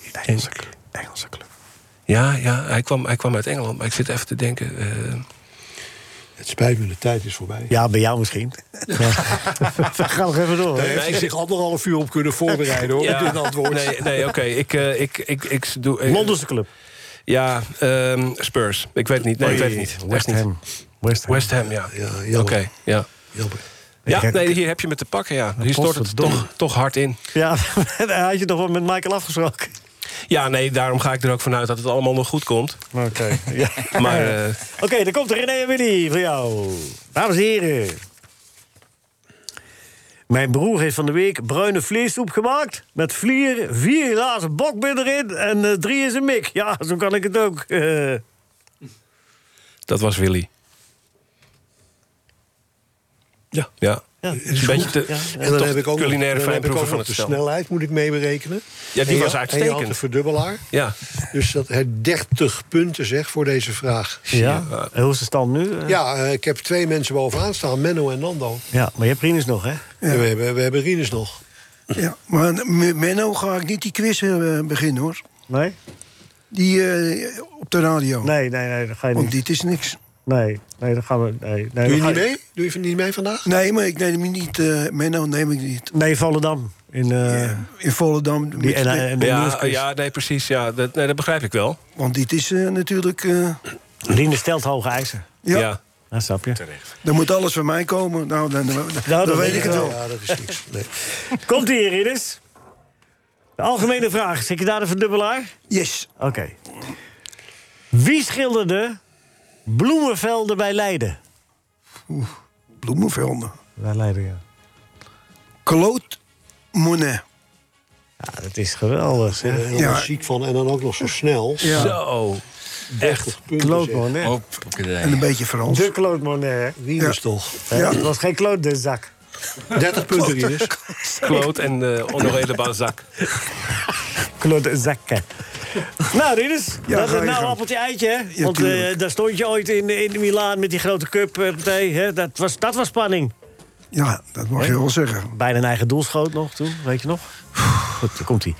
Speaker 4: Ik denk-
Speaker 3: Engelse club.
Speaker 4: Ja, ja hij, kwam, hij kwam uit Engeland. Maar ik zit even te denken. eh,
Speaker 6: Oh, Het spijt me, de tijd is voorbij.
Speaker 3: Ja, bij jou misschien. We gaan nog even door.
Speaker 6: Daar
Speaker 3: hoor.
Speaker 6: heeft hij zich anderhalf uur op kunnen voorbereiden, hoor.
Speaker 4: ja.
Speaker 6: Op dit antwoord.
Speaker 4: Nee, nee oké. Ik, eh, ik, ik, ik doe... eh,
Speaker 3: Londense club.
Speaker 4: Ja, ehm, Spurs. Ik weet het niet. Nee, ik weet het niet. Echt
Speaker 3: West
Speaker 4: niet.
Speaker 3: Ham. West Ham.
Speaker 4: West Ham, ja.
Speaker 6: Ja,
Speaker 4: Oké,
Speaker 6: jammer.
Speaker 4: ja.
Speaker 6: jammer.
Speaker 4: Ja,
Speaker 3: Kijk,
Speaker 4: nee, hier heb je me te pakken, ja. Hier stort het
Speaker 3: potverdomme.
Speaker 4: toch, toch hard in.
Speaker 3: Ja, daar had je toch wel met Michael afgesproken.
Speaker 4: Ja, nee, daarom ga ik er ook vanuit dat het allemaal nog goed komt.
Speaker 3: Oké. Ja.
Speaker 4: Maar eh,
Speaker 3: Oké, dan komt er René en Willy voor jou. Dames en heren. Mijn broer heeft van de week bruine vleessoep gemaakt. Met vlier, vier glazen bokbin erin en eh, drie is een mik. Ja, zo kan ik het ook. Eh,
Speaker 4: dat was Willy.
Speaker 6: Ja.
Speaker 4: Ja.
Speaker 3: ja.
Speaker 6: Het is
Speaker 4: Een beetje
Speaker 6: goed.
Speaker 4: te-
Speaker 6: En dan
Speaker 4: toch
Speaker 6: heb ik ook nog-
Speaker 4: culinaire
Speaker 6: dan heb ik
Speaker 4: fijnproever
Speaker 6: ook
Speaker 4: van
Speaker 6: nog
Speaker 4: het
Speaker 6: de
Speaker 4: stel.
Speaker 6: snelheid, moet ik mee berekenen.
Speaker 4: Ja, die
Speaker 6: En je-
Speaker 4: was
Speaker 6: En je had
Speaker 4: uitstekend.
Speaker 6: de verdubbelaar.
Speaker 4: Ja,
Speaker 6: Dus dat hij 30 punten zeg voor deze vraag.
Speaker 3: ja. En hoe is de stand nu? Eh,
Speaker 6: Ja, eh, ik heb twee mensen bovenaan staan, Menno en Nando.
Speaker 3: ja, maar je hebt Rinus nog, hè?
Speaker 6: En we, hebben, we hebben Rinus nog.
Speaker 5: Ja, maar met Menno ga ik niet die quiz eh, beginnen hoor.
Speaker 3: Nee?
Speaker 5: Die eh, op de radio.
Speaker 3: Nee, nee, nee, dat ga je
Speaker 5: Want
Speaker 3: niet.
Speaker 5: dit is niks.
Speaker 3: Nee, nee, dat gaan we... Nee, nee,
Speaker 6: Doe je
Speaker 3: dat
Speaker 6: niet
Speaker 3: ga-
Speaker 6: mee? Doe je niet mee vandaag?
Speaker 5: Nee, maar ik neem hem niet. eh Menno neem ik niet.
Speaker 3: Nee, Volendam. In, eh
Speaker 5: In Volendam.
Speaker 3: die,
Speaker 5: met-
Speaker 3: en, eh, en, en-
Speaker 4: ja, ja nee, precies. Ja, dat, nee, dat begrijp ik wel.
Speaker 5: want dit is eh, natuurlijk. eh,
Speaker 3: Rinus stelt hoge eisen.
Speaker 5: ja.
Speaker 4: Ja.
Speaker 3: Nou, snap je.
Speaker 5: Dan moet alles van mij komen. Nou, dan, dan- dan-
Speaker 3: Nou,
Speaker 5: dan weet ik het wel.
Speaker 3: Ja, dat is niks. Komt hier, ridders. De algemene vraag. Zit je daar de verdubbelaar?
Speaker 5: Yes.
Speaker 3: Oké. Wie schilderde bloemenvelden bij Leiden?
Speaker 5: Bloemenvelden.
Speaker 3: Bij Leiden, ja.
Speaker 5: Claude Monet.
Speaker 3: Ja, Ah, dat is geweldig.
Speaker 6: Ik ben er heel
Speaker 5: Ja.
Speaker 6: ziek van en dan ook nog zo snel.
Speaker 5: Ja.
Speaker 4: Zo.
Speaker 6: Echt.
Speaker 3: Claude Monet.
Speaker 5: En een beetje Frans.
Speaker 3: De Claude Monet. hè?
Speaker 6: Wie is toch?
Speaker 3: Hè,
Speaker 5: Ja.
Speaker 3: Het was geen Claude de Zak.
Speaker 6: 30 punten, Rinus.
Speaker 4: Kloot en eh Honoré de Balzac.
Speaker 3: Claude Zakke. Nou, Rinus,
Speaker 5: Ja,
Speaker 3: dat
Speaker 5: ga
Speaker 3: is
Speaker 5: je
Speaker 3: nou
Speaker 5: gang.
Speaker 3: appeltje eitje, hè?
Speaker 5: Ja,
Speaker 3: Want eh,
Speaker 5: tuurlijk.
Speaker 3: daar stond je ooit in, in Milaan met die grote cup. eh, partij, hè? Dat, was, dat was spanning.
Speaker 5: Ja, dat mag je wel zeggen.
Speaker 3: Bijna een eigen doel schoot nog toen, weet je nog? Goed, daar komt hij.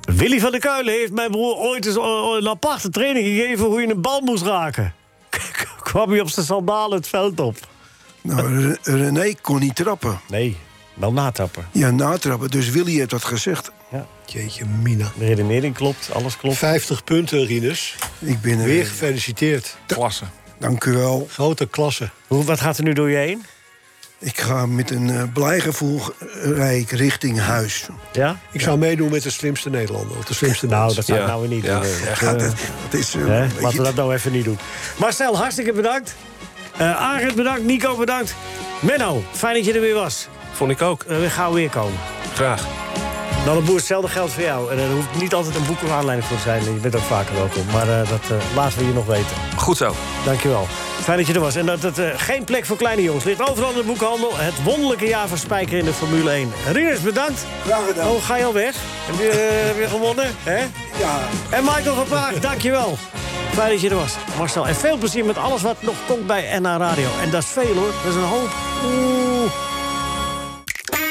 Speaker 3: Willy van der Kuilen heeft mijn broer ooit eens o- o- een aparte training gegeven... hoe je een bal moest raken. Kwam hij op zijn sandalen het veld op.
Speaker 5: Nou, Re- René kon niet trappen.
Speaker 3: Nee, wel natrappen.
Speaker 5: Ja, natrappen. Dus Willy heeft dat gezegd.
Speaker 6: Jeetje, Mina.
Speaker 3: De redenering klopt, alles klopt.
Speaker 6: 50 punten, Rinus.
Speaker 5: Ik ben er
Speaker 6: Weer
Speaker 5: weer.
Speaker 6: gefeliciteerd.
Speaker 7: Klasse.
Speaker 5: Dank u wel.
Speaker 6: Grote klasse.
Speaker 3: Hoe, wat gaat er nu door je heen?
Speaker 5: Ik ga met een eh, blij gevoel eh, rij ik richting huis.
Speaker 3: Ja?
Speaker 6: Ik zou meedoen met de slimste Nederlander. of De slimste
Speaker 3: Nou,
Speaker 6: mens.
Speaker 3: dat zou ik
Speaker 4: Ja.
Speaker 3: nou weer niet
Speaker 4: Ja,
Speaker 3: doen. hè.
Speaker 5: Ja, dat, dat is eh,
Speaker 3: Hè?
Speaker 5: een beetje-
Speaker 3: Laten we dat nou even niet doen. Marcel, hartstikke bedankt. Eh Arend, bedankt. Nico, bedankt. Menno, fijn dat je er weer was.
Speaker 4: Vond ik ook.
Speaker 3: Eh, we gaan weer komen.
Speaker 4: Graag.
Speaker 3: Nou, de boer, hetzelfde geldt voor jou. En eh, er hoeft niet altijd een boek of aanleiding voor te zijn. Je bent ook vaker welkom. Maar eh, dat eh, laten we je nog weten.
Speaker 4: Goed zo.
Speaker 3: Dankjewel. Fijn dat je er was. En dat het eh, geen plek voor kleine jongens ligt. Overal in de boekhandel. Het wonderlijke jaar van Spijker in de Formule 1. Rinus, bedankt.
Speaker 5: Graag gedaan.
Speaker 3: Oh, ga je al weg? Heb je eh, weer gewonnen? Hè?
Speaker 5: Ja.
Speaker 3: En Michael van Praag, dankjewel. Fijn dat je er was, Marcel. En veel plezier met alles wat nog komt bij NH Radio. En dat is veel hoor, dat is een hoop. Oeh.